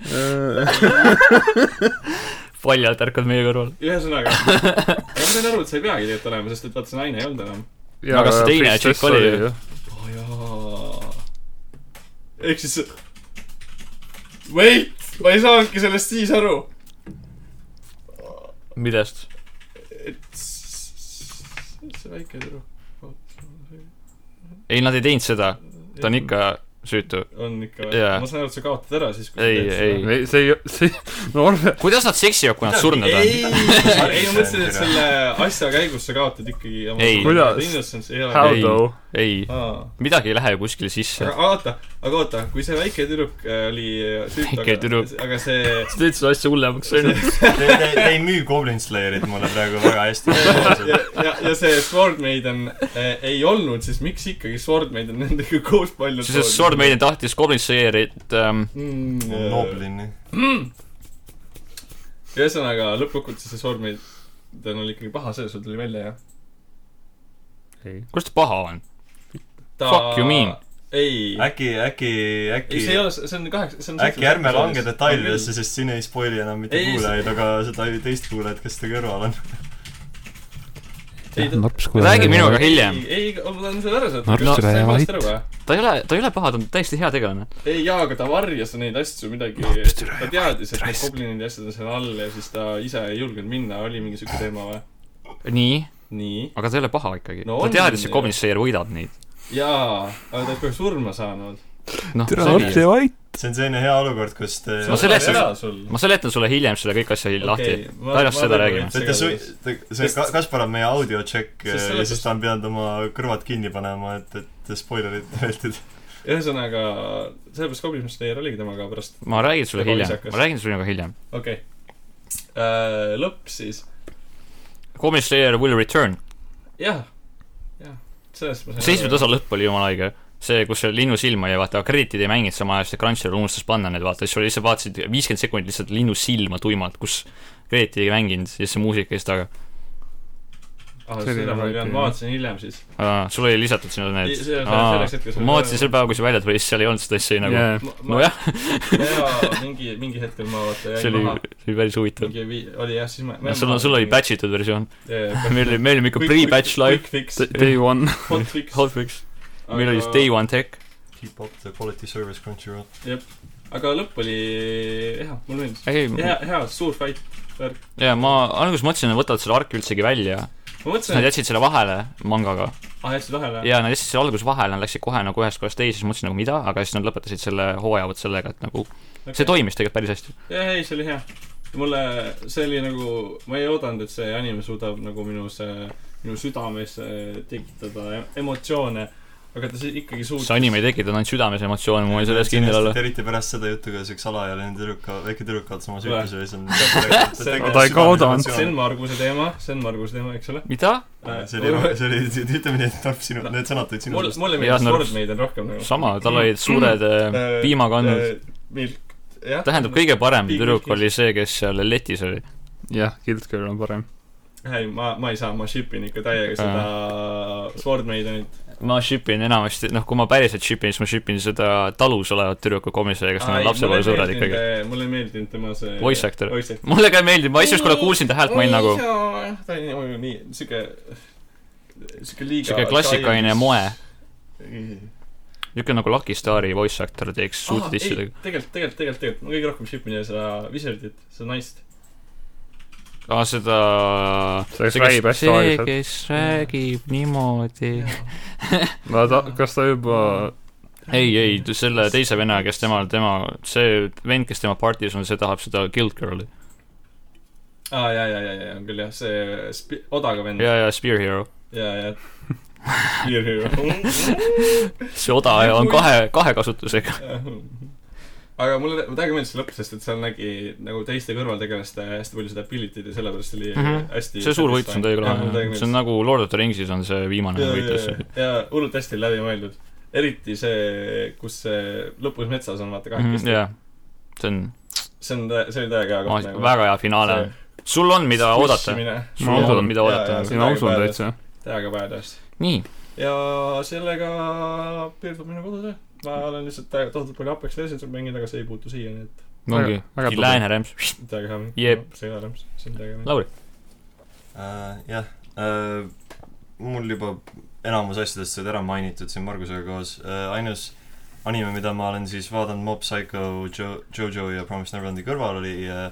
Speaker 1: Äh,
Speaker 2: paljalt ärkad meie kõrval .
Speaker 5: ühesõnaga , ma sain aru , et sa ei peagi tegelikult olema , sest et vaata , see naine ei olnud enam .
Speaker 2: aga see teine tšikk oli ju. .
Speaker 5: oh jaa . ehk siis . Wait , ma ei saanudki sellest siis aru .
Speaker 2: millest ?
Speaker 5: et s- see väike tüdruk .
Speaker 2: ei , nad ei teinud seda , ta on . ikka süütu .
Speaker 5: on ikka
Speaker 2: Jaa.
Speaker 5: või ? ma saan aru , et sa kaotad ära siis , kui
Speaker 2: Ei, ei.
Speaker 5: seda .
Speaker 4: ei , see ei , see , no arve ,
Speaker 2: kuidas nad seksivad , kui nad surnud on ?
Speaker 5: ei , ma mõtlesin , et selle asja käigus sa kaotad ikkagi .
Speaker 2: Ei.
Speaker 4: Kuidas?
Speaker 5: Innocence ei
Speaker 4: how
Speaker 5: ole .
Speaker 2: Ei.
Speaker 4: though ?
Speaker 2: ei ,
Speaker 5: aga
Speaker 2: midagi ei lähe ju kuskile sisse .
Speaker 5: aga oota , aga oota , kui see väike tüdruk äh, oli äh, süütu ,
Speaker 2: Väike
Speaker 5: aga
Speaker 2: tüdruk. ,
Speaker 5: aga see
Speaker 2: sa teed seda asja hullemaks ,
Speaker 1: Te, te, te ei müü Goblin Slayerit mulle praegu väga hästi .
Speaker 5: ja , ja , ja see Sword Maiden eh, ei olnud , siis miks ikkagi Sword Maiden nendega koos palju
Speaker 2: sest Sword Maiden tahtis Goblin Slayerit ähm,
Speaker 5: mm, .
Speaker 1: Noblini .
Speaker 5: ühesõnaga , lõppkokkuvõttes see Sword Maiden oli ikkagi paha , see sul tuli välja , jah ?
Speaker 2: kuidas ta paha on ? Fuck you mean. ?
Speaker 5: ei ,
Speaker 1: äkki , äkki ,
Speaker 5: ei
Speaker 1: äkki
Speaker 5: see ei ole , see on kaheksa , see on
Speaker 1: äkki ärme lange detailidesse , sest siin ei spoili enam mitte
Speaker 5: Ei, see-
Speaker 1: kuulajaid , aga seda teist kuulajat , kes ta kõrval on .
Speaker 5: Ei, ta-
Speaker 2: räägi minuga hiljem .
Speaker 5: ei , ei , ma tahan selle ära saada .
Speaker 2: Narts
Speaker 5: sa ei vasta ära või ?
Speaker 2: ta ei ole , ta ei ole paha , ta on täiesti hea tegelane .
Speaker 5: ei jaa , aga ta varjas neid asju midagi , ta teadis , et need goblinid ja asjad on seal all ja siis ta ise ei julgenud minna , oli mingi siuke teema või ?
Speaker 2: nii ,
Speaker 5: nii .
Speaker 2: aga ta ei ole paha ikkagi
Speaker 5: No
Speaker 2: no, . ta
Speaker 5: on,
Speaker 2: teadis , et
Speaker 5: jah.
Speaker 2: Goblin Slayer võidab neid .
Speaker 5: jaa , aga ta ei peaks surma saanud .
Speaker 2: noh ,
Speaker 3: tere , laps ja vait .
Speaker 1: see on selline hea olukord , kus te
Speaker 2: Ma
Speaker 1: see,
Speaker 2: selle- sellest-
Speaker 5: sul .
Speaker 2: ma seletan sulle hiljem selle kõik asja okay, lahti . pärast seda räägime.
Speaker 1: te, te su- , te , see
Speaker 5: Sest-
Speaker 1: Ka- Kaspar on meie audio check
Speaker 5: Sest
Speaker 1: ja
Speaker 5: selles-
Speaker 1: siis ta on pidanud oma kõrvad kinni panema , et , et spoilerit vältida .
Speaker 5: ühesõnaga , sellepärast Goblin Slayer oligi temaga pärast ,
Speaker 2: ma räägin sulle
Speaker 5: Väga
Speaker 2: hiljem ,
Speaker 5: viisakas.
Speaker 2: ma räägin sulle nagu hiljem .
Speaker 5: okei okay. . lõpp siis ,
Speaker 2: Goblin Slayer will return .
Speaker 5: jah , jah , sellest ma
Speaker 2: seitsmenda osa lõpp oli jumala õige . see , kus see linnu silma jäi , vaata , krediitid ei mänginud sama ajal , sest Crunchyroll unustas panna need , vaata , siis oli lihtsalt vaatasid viiskümmend sekundit lihtsalt linnu silma tuimalt , kus krediitid ei mänginud ja siis see muusika käis taga .
Speaker 5: ah, . seda ma ei teadnud , ma vaatasin hiljem siis .
Speaker 2: sul oli lisatud sinna
Speaker 5: Ei, see on
Speaker 2: need .
Speaker 5: selleks hetkeks-
Speaker 2: ma vaatasin sel päeval , kui see välja tuli , siis seal ei olnud seda asja nagu yeah. . nojah ,
Speaker 5: jaa , mingi , mingi hetkel ma vaata
Speaker 2: see
Speaker 5: jäin
Speaker 2: oli
Speaker 5: maha ,,
Speaker 2: see oli päris huvitav .
Speaker 5: mingi vii- , oli jah , siis ma .
Speaker 2: sul on , sul oli batch itud versioon . meil oli , meil oli ikka
Speaker 5: Quick-
Speaker 2: pre-batch live ,
Speaker 5: Quick fix ,
Speaker 4: Day one .
Speaker 5: hot fix .
Speaker 2: hot fix . meil oli siis day one tech .
Speaker 1: Keep up the quality service Crunchyroll .
Speaker 5: aga lõpp oli hea , mulle meeldis .
Speaker 2: ei ,
Speaker 5: hea , hea , suur fight .
Speaker 2: ja ma alguses mõtlesin , et nad võtavad selle arki üldsegi välja ,
Speaker 5: ma
Speaker 2: siis nad
Speaker 5: mõtlesin , et ,
Speaker 2: jätsid selle vahele mangaga
Speaker 5: ah , jätsid vahele ?
Speaker 2: ja nad jätsid selle alguses vahele , nad läksid kohe nagu ühest kohast teise , siis mõtlesin nagu mida , aga siis nad lõpetasid selle hooaja vot sellega , et nagu see toimis tegelikult päris hästi .
Speaker 5: jah , ei , see oli hea . mulle , see oli nagu , ma ei oodanud , et see anime suudab nagu minu see , minu südames äh, tekitada em- emotsioone . aga ta siis ikkagi suutis
Speaker 2: see anime tekitab ainult südames emotsioone , ma võin selles kindel olla .
Speaker 1: eriti pärast seda juttu , kuidas üks alaealine tüdruk , väike tüdruk kaotas oma
Speaker 5: Või.
Speaker 1: süütuse ja siis on
Speaker 5: See- Oh
Speaker 1: no
Speaker 5: No ta ei
Speaker 4: kaotanud.
Speaker 5: Sen Marguse teema , Sen Marguse teema , eks ole .
Speaker 2: mida ?
Speaker 1: see oli , see oli , ütleme nii , et Tarp , sinu , need sõnad tulid sinu
Speaker 5: mulle ,
Speaker 1: suust .
Speaker 5: mulle
Speaker 2: Jaa,
Speaker 5: meeldis
Speaker 2: no-
Speaker 5: Ford Maiden rohkem nagu .
Speaker 2: sama , tal olid suured äh, piimakandmed .
Speaker 5: Milk , jah .
Speaker 2: tähendab , kõige parem
Speaker 5: Big
Speaker 2: tüdruk
Speaker 5: Milk.
Speaker 2: oli see , kes seal letis oli .
Speaker 4: jah , Guild Girl on parem .
Speaker 5: ei , ma , ma ei saa , ma ship in ikka täiega seda Sword Maidenit .
Speaker 2: ma ship in enamasti , noh , kui ma päriselt ship in , siis ma ship in seda talus olevat tüdruku komisjoni , kes on lapsepõlvesõbrad ikkagi .
Speaker 5: äh, mulle ei meeldinud tema see
Speaker 2: Voice actor.
Speaker 5: voice actor .
Speaker 2: mulle ka meeldib , ma esimest korda kuulsin ta häält , ma olin nagu
Speaker 5: ta oli nagu nii , siuke , siuke liiga .
Speaker 2: siuke klassikaline . moe .
Speaker 5: suht
Speaker 2: niisugune nagu Lucky Star'i voice actor teeks suht
Speaker 5: issi .
Speaker 2: issi .
Speaker 5: tegelikult , tegelikult , tegelikult , tegelikult ma kõige rohkem ship in seda Wizardit , seda naist .
Speaker 2: aa , ah, seda
Speaker 4: See, kes räägib hästi
Speaker 2: see ,
Speaker 4: aeglaselt.
Speaker 2: kes räägib niimoodi .
Speaker 4: no ta , kas ta juba ,
Speaker 2: ei , ei , selle teise venna , kes temal , tema , see vend , kes tema partis on , see tahab seda Guild Girl'i .
Speaker 5: aa , ja , ja , ja , ja on küll jah , see spi- , odaga vend .
Speaker 2: ja , ja Spear Hero .
Speaker 5: ja , ja . Spear Hero .
Speaker 2: see oda on kahe , kahe kasutusega .
Speaker 5: aga mulle täiega meeldis see lõpp , sest et seal nägi nagu teiste kõrvaltegelaste hästi palju seda ability'd ja sellepärast oli mm
Speaker 2: Mhm.
Speaker 5: -hmm. hästi
Speaker 2: see suur võitlus on täiega lahe , see on
Speaker 5: nagu
Speaker 2: nagu Lord of the Ringsis on see viimane võitlus .
Speaker 5: ja hullult hästi läbimõeldud eriti see , kus see lõpus metsas on vaata kahekesti mm ,
Speaker 2: jah , Mhm, see on
Speaker 5: -hmm. see on , see oli täiega hea nagu.
Speaker 2: ma- väga hea finaale . sul on , mida oodata . sul
Speaker 4: Ma
Speaker 2: on ,
Speaker 4: usun.
Speaker 2: mida
Speaker 5: Jaa, jaa.
Speaker 2: oodata .
Speaker 4: mina usun täitsa .
Speaker 5: täiega badass
Speaker 2: nii ,
Speaker 5: ja sellega piirdub minu kodutöö ma olen lihtsalt täiega tohutult palju Apex Legendsit mänginud , aga see ei puutu siia , nii et
Speaker 2: ongi
Speaker 4: Väga- väga , tubli.
Speaker 2: Lääne rämps .
Speaker 5: täiega hea mäng
Speaker 2: Jep.
Speaker 5: see ei ole rämps , see on täiega hea mäng
Speaker 2: Lauri ,
Speaker 1: Äh, jah , mul juba enamus asjadest said ära mainitud siin Margusega koos , ainus anime , mida ma olen siis vaadanud Mob Psycho jo , Jojo ja Promise Neverlandi kõrval oli äh,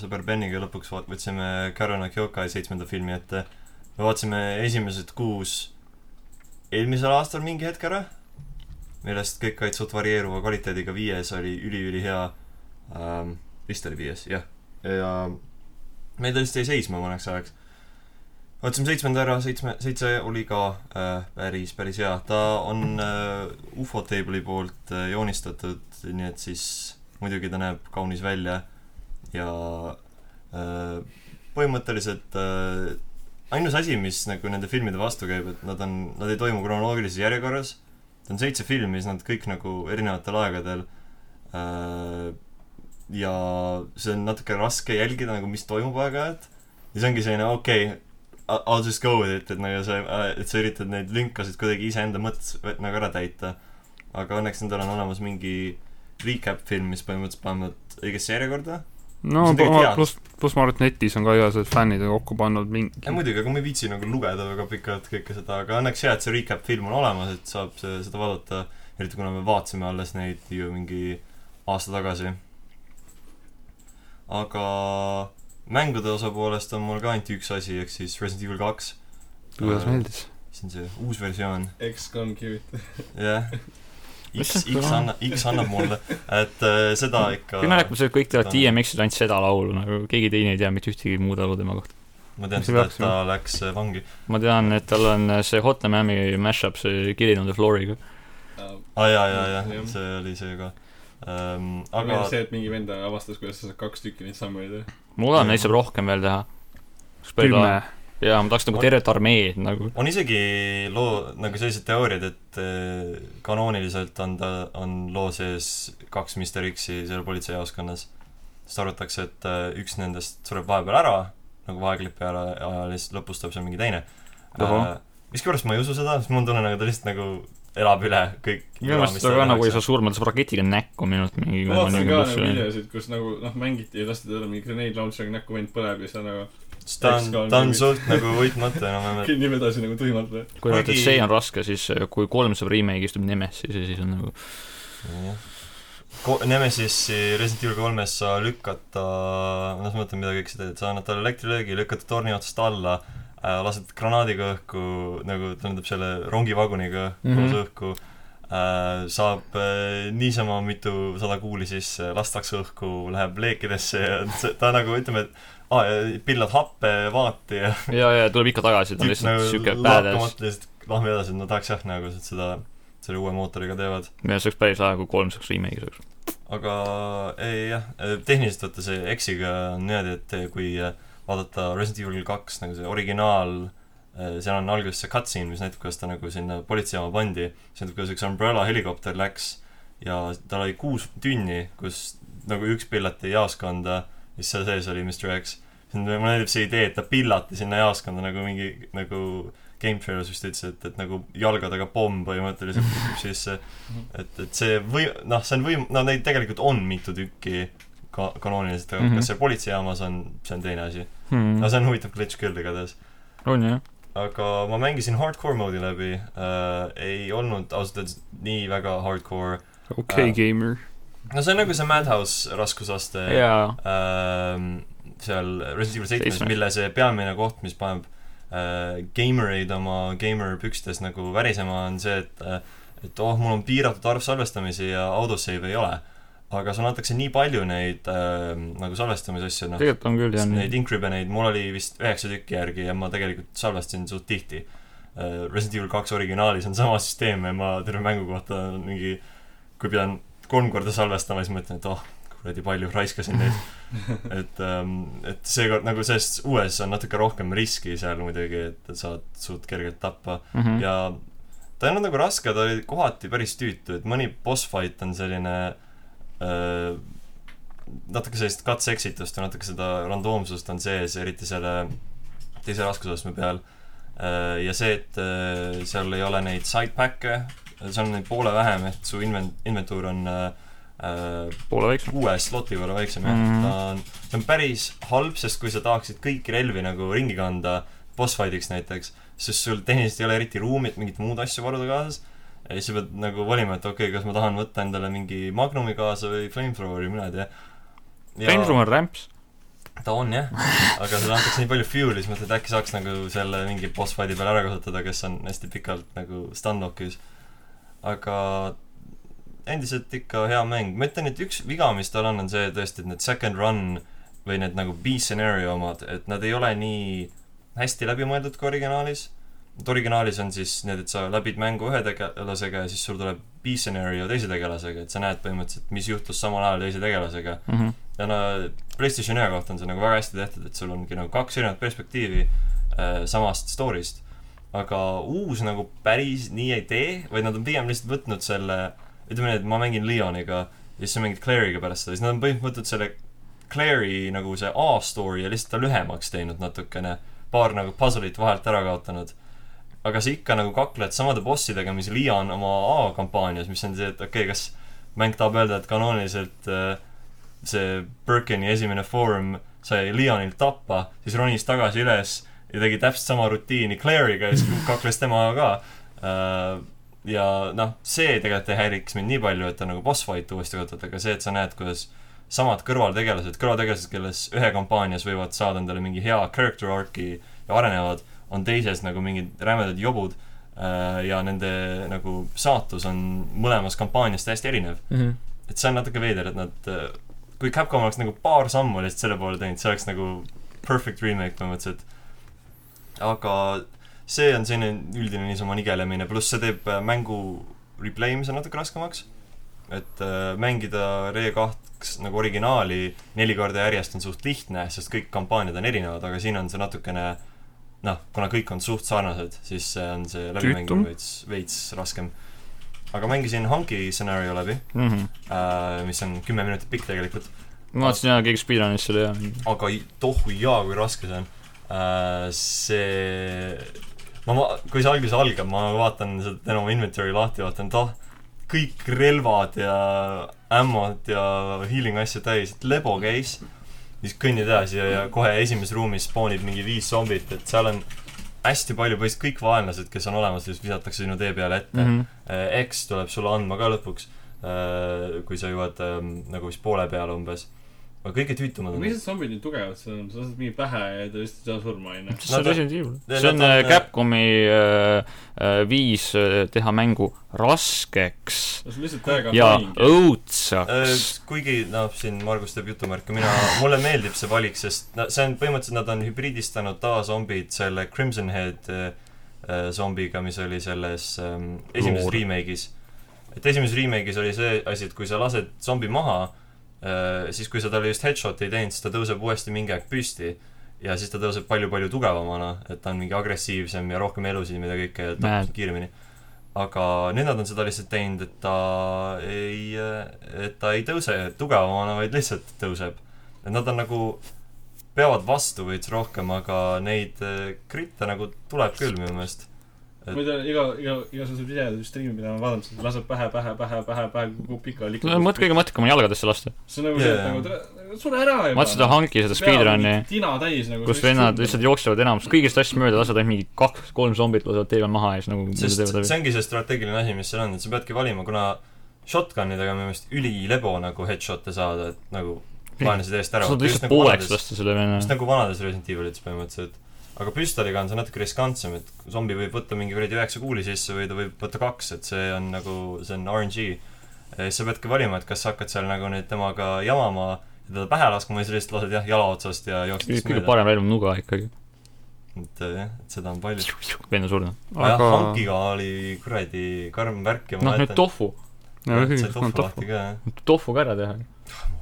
Speaker 1: sõber Beniga lõpuks vaat- , võtsime Karuna Kyokai seitsmenda filmi ette . me vaatasime esimesed kuus eelmisel aastal mingi hetk ära , millest kõik olid suht varieeruva kvaliteediga , viies oli üliülihea ähm, , vist oli viies , jah . ja meil ta vist jäi seisma mõneks ajaks . vaatasime seitsmenda ära , seitsme , seitse oli ka äh, päris , päris hea . ta on äh, ufo table'i poolt äh, joonistatud , nii et siis muidugi ta näeb kaunis välja ja äh, põhimõtteliselt äh, ainus asi , mis nagu nende filmide vastu käib , et nad on , nad ei toimu kronoloogilises järjekorras . ta on seitse filmi , siis nad kõik nagu erinevatel aegadel äh, ja see on natuke raske jälgida nagu , mis toimub aeg-ajalt . ja see ongi selline okei okay, , I'll just go with it , et nagu sa , et sa üritad neid lünkasid kuidagi iseenda mõttes vä- nagu ära täita . aga õnneks nendel on olemas mingi recap film , mis põhimõtteliselt paneb nad õigesse järjekorda .
Speaker 4: no
Speaker 1: See on tegelikult hea.
Speaker 4: pluss , pluss ma arvan , et netis on ka igasugused fännid kokku pannud
Speaker 1: ja
Speaker 4: mingi .
Speaker 1: muidugi , aga ma ei viitsi nagu lugeda väga pikalt kõike seda , aga õnneks hea , et see recap film on olemas , et saab see, seda vaadata . eriti kuna me vaatasime alles neid ju mingi aasta tagasi . aga mängude osa poolest on mul ka ainult üks asi , ehk siis Resident Evil kaks .
Speaker 4: kuidas meeldis ?
Speaker 1: see on see uus versioon ,
Speaker 5: X-Con Q-it .
Speaker 1: jah . X , X annab , X annab mulle , et äh, seda ikka
Speaker 2: kui me räägime sellest , kõik teavad
Speaker 1: Ta-
Speaker 2: DMX-is ainult seda laulu , nagu keegi teine ei tea mitte ühtegi muud laulu tema kohta .
Speaker 1: ma tean
Speaker 4: mis
Speaker 1: seda ,
Speaker 4: peaks
Speaker 1: et ta läks äh, vangi .
Speaker 2: ma tean , et tal on see Hotline Miami mash-up , see Killing on the Floor'iga .
Speaker 1: aa Ah, jaa , jaa , jaa
Speaker 5: Jah. ,
Speaker 1: see oli see ka ähm, .
Speaker 5: aga
Speaker 1: aga
Speaker 5: see , et mingi vend avastas , kuidas sa saad kaks tükki neid samme teha .
Speaker 2: ma loodan , et neid saab rohkem veel teha .
Speaker 4: kümme .
Speaker 2: jaa , ma tahaks nagu tervet armeed nagu .
Speaker 1: on isegi loo , nagu sellised teooriad , et äh, kanooniliselt on ta , on loo sees kaks Mr X-i seal politseijaoskonnas . sest arvatakse , et äh, üks nendest sureb vahepeal ära , nagu vaegklippi ära ajal ja siis lõpus tuleb seal mingi teine
Speaker 4: Ahah.
Speaker 1: äh, . miskipärast ma ei usu seda , sest mul on tunne , nagu ta lihtsalt nagu elab üle kõik .
Speaker 2: minu meelest ta ka nagu ei saa surma , ta saab raketiga näkku minu arust mingi .
Speaker 5: ma vaatasin ka nagu videosid , kus nagu noh , mängiti ja lasti talle mingi grenade launcher'iga näkku vend põleb ja siis ta nagu
Speaker 1: sest ta on , ta on suht nagu võitmatu enam-vähem , et
Speaker 5: kõnnib edasi nagu tuimalt .
Speaker 2: kui te ütlete ,
Speaker 1: kuigi-
Speaker 2: et see on raske , siis äh, kui kolm saab remake'i , istub Nemesis ja siis on nagu
Speaker 1: jah . Ko- , Nemesis'i Resident Evil kolmes sa lükkad ta , noh , ma mõtlen , mida kõik sa teed , sa annad talle elektrilöögi , lükkad ta torni otsast alla äh, , lased granaadiga õhku , nagu tähendab selle rongivaguniga koos mm
Speaker 2: Mhm.
Speaker 1: -hmm. õhku äh, , saab äh, niisama mitusada kuuli sisse , lastakse õhku , läheb leekidesse ja see, ta nagu ütleme , et aa , pillad happe , vaati ja
Speaker 2: ja , ja tuleb ikka tagasi , ta on
Speaker 1: tüüp
Speaker 2: lihtsalt
Speaker 1: nagu
Speaker 2: siuke badass .
Speaker 1: lakkamatu lihtsalt lahme edasi , et ma tahaks jah nagu , et seda , selle uue mootoriga teevad .
Speaker 2: minu arust oleks päris hea , kui kolm saaks remake'i saaks .
Speaker 1: aga ei jah , tehniliselt vaata see X-iga on niimoodi , et eh, kui vaadata Resident Evil kaks nagu see originaal , seal on alguses see cutscene , mis näitab , kuidas ta nagu sinna politseijaama pandi , see näitab , kuidas üks umbrella helikopter läks ja tal oli kuus tünni , kus nagu üks pillati jaoskonda , mis seal sees oli , Mr X . siis mulle meeldib see idee , et ta pillati sinna jaoskonda nagu mingi nagu Game Traileris vist ütles , et , et nagu jalgadega pomm põhimõtteliselt kukub sisse . et , et see või noh , see on võim- , no neid tegelikult on mitu tükki ka- , kanooniliselt , aga mm
Speaker 2: Mhm.
Speaker 1: -hmm. kas see politseijaamas on , see on teine asi . no
Speaker 2: on
Speaker 1: see on huvitav glitch küll igatahes .
Speaker 2: Hmm. jah .
Speaker 1: aga ma mängisin hardcore moodi läbi äh, , ei olnud ausalt öeldes nii väga hardcore .
Speaker 4: okei
Speaker 1: Äh. ,
Speaker 4: gamer .
Speaker 1: no see on nagu see Madhouse raskusaste
Speaker 2: jaa .
Speaker 1: ähm, seal Resident Evil seitsmes ,
Speaker 2: Seitsmes.
Speaker 1: mille see peamine koht , mis paneb äh, gamereid oma gamer pükstes nagu värisema , on see , et äh, et oh , mul on piiratud arv salvestamisi ja autosave ei ole . aga sulle antakse nii palju neid äh, nagu salvestamisasju , noh ,
Speaker 2: tegelikult on küll jah .
Speaker 1: neid inkribeneid , mul oli vist üheksa tükki järgi ja ma tegelikult salvestasin suht tihti . Resident Evil kaks originaalis on sama süsteem ja ma terve mängu kohta mingi , kui pean kolm korda salvestama , siis mõtlen , et oh , kuradi palju raiskasin neid . et , et seekord nagu selles uues on natuke rohkem riski seal muidugi , et saad suht kergelt tappa
Speaker 2: ja .
Speaker 1: ja ta ei olnud nagu raske , ta oli kohati päris tüütu , et mõni boss fight on selline öö, natuke sellist katse-eksitust või natuke seda randoomsust on sees , eriti selle teise raskusastme peal . ja see , et öö, seal ei ole neid sidepack'e , seal on neid poole vähem , ehk su invent- , inventuur on äh, öö, öö,
Speaker 2: poole väiksem .
Speaker 1: kuue sloti võrra väiksem jah
Speaker 2: Mhm.
Speaker 1: mm. , ta on , see on päris halb , sest kui sa tahaksid kõiki relvi nagu ringi kanda boss fight'iks näiteks , siis sul tehniliselt ei ole eriti ruumi , et mingit muud asju varuda kaasas . ja siis sa pead nagu valima , et okei okay, , kas ma tahan võtta endale mingi Magnumi kaasa või Flamethroweri , mina ei tea .
Speaker 2: Rainroom on rämps .
Speaker 1: ta on jah , aga sulle antakse nii palju fuel'i , siis mõtled , äkki saaks nagu selle mingi boss fight'i peal ära kasutada , kes on hästi pikalt nagu stunlock'is . aga endiselt ikka hea mäng , ma ütlen , et üks viga , mis tal on , on see tõesti , et need second run või need nagu B-scenario omad , et nad ei ole nii hästi läbimõeldud kui originaalis . et originaalis on siis need , et sa läbid mängu ühe tegelasega ja siis sul tuleb B-scenario teise tegelasega , et sa näed põhimõtteliselt , mis juhtus samal ajal teise tegelasega
Speaker 2: Mhm.
Speaker 1: ja no PlayStation ühe kohta on see nagu väga hästi tehtud , et sul ongi nagu kaks erinevat perspektiivi äh, samast story'st . aga uus nagu päris nii ei tee , vaid nad on pigem lihtsalt võtnud selle , ütleme nii , et ma mängin Leoniga ja siis sa mängid Claire'iga pärast seda , siis nad on põhimõtteliselt võtnud selle Claire'i nagu see A-story ja lihtsalt ta lühemaks teinud natukene . paar nagu puzzle'it vahelt ära kaotanud . aga sa ikka nagu kakled samade bossidega , mis Leon oma A-kampaanias , mis on see , et okei okay, , kas mäng tahab öelda , et kanooniliselt äh, see Birkini esimene foorum sai Leonilt tappa , siis ronis tagasi üles ja tegi täpselt sama rutiini Claire'iga ja siis kakles temaga ka . ja noh , see tegelikult ei häiriks mind nii palju , et ta nagu boss fight uuesti võtad , aga see , et sa näed , kuidas samad kõrvaltegelased , kõrvaltegelased , kelles ühe kampaanias võivad saada endale mingi hea character arc'i ja arenevad , on teises nagu mingid rämedad jobud äh, ja nende nagu saatus on mõlemas kampaanias täiesti erinev . et see on natuke veider , et nad , kui Capcom oleks nagu paar sammu lihtsalt selle poole teinud , see oleks nagu perfect remake põhimõtteliselt . aga see on selline üldine niisama nigelemine , pluss see teeb äh, mängu replay imise natuke raskemaks . et äh, mängida Re2 nagu originaali neli korda järjest on suht lihtne , sest kõik kampaaniad on erinevad , aga siin on see natukene noh , kuna kõik on suht sarnased , siis see on see
Speaker 4: Tüütum.
Speaker 1: läbimängimine veits , veits raskem . aga mängisin Hunki stsenaariumi läbi
Speaker 2: Mhm.
Speaker 1: äh, mis on kümme minutit pikk tegelikult ,
Speaker 2: ma vaatasin jaa , keegi speedrunis selle ja .
Speaker 1: aga i- tohu jaa , kui raske see on äh, . see , ma , ma , kui see alguses algab , ma vaatan seda , teen oma inventory lahti , vaatan , et ah , kõik relvad ja ammod ja healing asju täis , et lebo käis . siis kõnnid edasi ja, ja kohe esimeses ruumis spoonib mingi viis zombit , et seal on hästi palju põhimõtteliselt kõik vaenlased , kes on olemas , siis visatakse sinu tee peale ette
Speaker 2: Mhm.
Speaker 1: mm . -hmm Äh, X tuleb sulle andma ka lõpuks , kui sa jõuad ähm, nagu vist poole peale umbes . aga kõige tüütumad on
Speaker 5: miks need zombid nii tugevad seal on , sa lased mingi pähe ja ta lihtsalt ei saa surma , onju .
Speaker 2: see on
Speaker 1: Nad on-
Speaker 2: Resident Evil .
Speaker 1: Nad
Speaker 2: see on
Speaker 1: on,
Speaker 2: äh,
Speaker 1: äh,
Speaker 2: Capcomi äh, äh, viis äh, teha mängu raskeks
Speaker 5: no see on lihtsalt täiega
Speaker 2: ja
Speaker 5: haing .
Speaker 1: Äh,
Speaker 2: õudsaks .
Speaker 1: kuigi noh , siin Margus teeb jutumärke , mina , mulle meeldib see valik , sest no see on põhimõtteliselt nad on hübriidistanud tavazombid selle Crimson Head äh, äh, zombiga , mis oli selles ähm, esimeses
Speaker 4: Lord.
Speaker 1: remake'is . et esimeses remake'is oli see asi , et kui sa lased zombi maha äh, , siis kui sa talle just headshot'i ei teinud , siis ta tõuseb uuesti mingi aeg püsti . ja siis ta tõuseb palju-palju tugevamana , et ta on mingi agressiivsem ja rohkem elusid , mida kõike ja
Speaker 2: Näed.
Speaker 1: tapab kiiremini . aga nüüd nad on seda lihtsalt teinud , et ta ei , et ta ei tõuse tugevamana , vaid lihtsalt tõuseb . et nad on nagu , peavad vastu veits rohkem , aga neid äh, kritte nagu tuleb küll minu meelest .
Speaker 5: ma ei tea , iga , iga , igasugused videod või striimid , mida ma vaatan , siis laseb pähe , pähe , pähe , pähe , pähe , kukub pika
Speaker 2: no mõtle , kõige mõttekam on jalgadesse lasta .
Speaker 5: see on nagu see ,
Speaker 1: Jaa.
Speaker 5: et nagu tere , sure ära juba .
Speaker 2: ma vaatasin seda hanki , seda speedrun'i ,
Speaker 5: tina täis nagu .
Speaker 2: kus vennad lihtsalt jooksevad enamus kõigist asjast mööda , lasevad ainult mingi kaks-kolm zombit , lasevad tee peal maha ja siis nagu
Speaker 1: sest
Speaker 2: teevad läbi .
Speaker 1: see ongi see strateegiline asi , mis seal on , et sa peadki valima , kuna shotgunidega on minu meelest ülilebo nagu headshot'e saada , et nagu vaenlased eest ära
Speaker 2: sa saad
Speaker 1: võtta, just
Speaker 2: lihtsalt
Speaker 1: nagu
Speaker 2: pooleks
Speaker 1: vanades-
Speaker 2: lasta selle
Speaker 1: just
Speaker 2: venna .
Speaker 1: nagu vanades Resident Evilites põhimõtteliselt . aga püstoliga on see natuke riskantsem , et zombi võib võtta mingi kuradi üheksa kuuli sisse või ta võib võtta kaks , et see on nagu , see on RNG . siis sa peadki valima , et kas sa hakkad seal nagu nüüd temaga jamama ja teda pähe laskma või sa lihtsalt lased jah , jala otsast ja jooksed siis
Speaker 2: kõige
Speaker 1: mööda .
Speaker 2: parem relv on nuga ikkagi .
Speaker 1: et äh, jah , et seda on palju .
Speaker 2: venna surnud .
Speaker 1: aga jah ,
Speaker 4: aga .
Speaker 1: Hankiga oli kuradi karm värk ja
Speaker 2: noh , nüüd tofu ,
Speaker 1: sai tofu lahti ka jah ,
Speaker 2: tofu ka ära teha .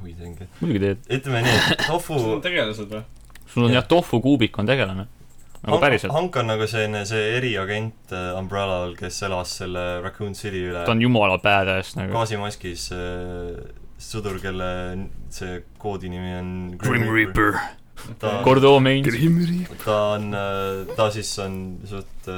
Speaker 1: huvitav .
Speaker 2: muidugi teed .
Speaker 1: ütleme nii , et tofu
Speaker 5: sul on tegelased või ?
Speaker 2: sul on
Speaker 1: Jah.
Speaker 2: jah , tofu kuubik on tegelane . nagu päriselt .
Speaker 1: Hank on nagu selline , see eriagent äh, Umbrella all , kes elas selle Raccoon City üle .
Speaker 2: ta on jumala badass nagu .
Speaker 1: gaasimaskis äh, sõdur , kelle n- see koodi nimi on
Speaker 4: Grim Reaper .
Speaker 1: ta ,
Speaker 2: Gordo Main .
Speaker 4: Grim Reaper .
Speaker 1: ta on , ta siis on suht ,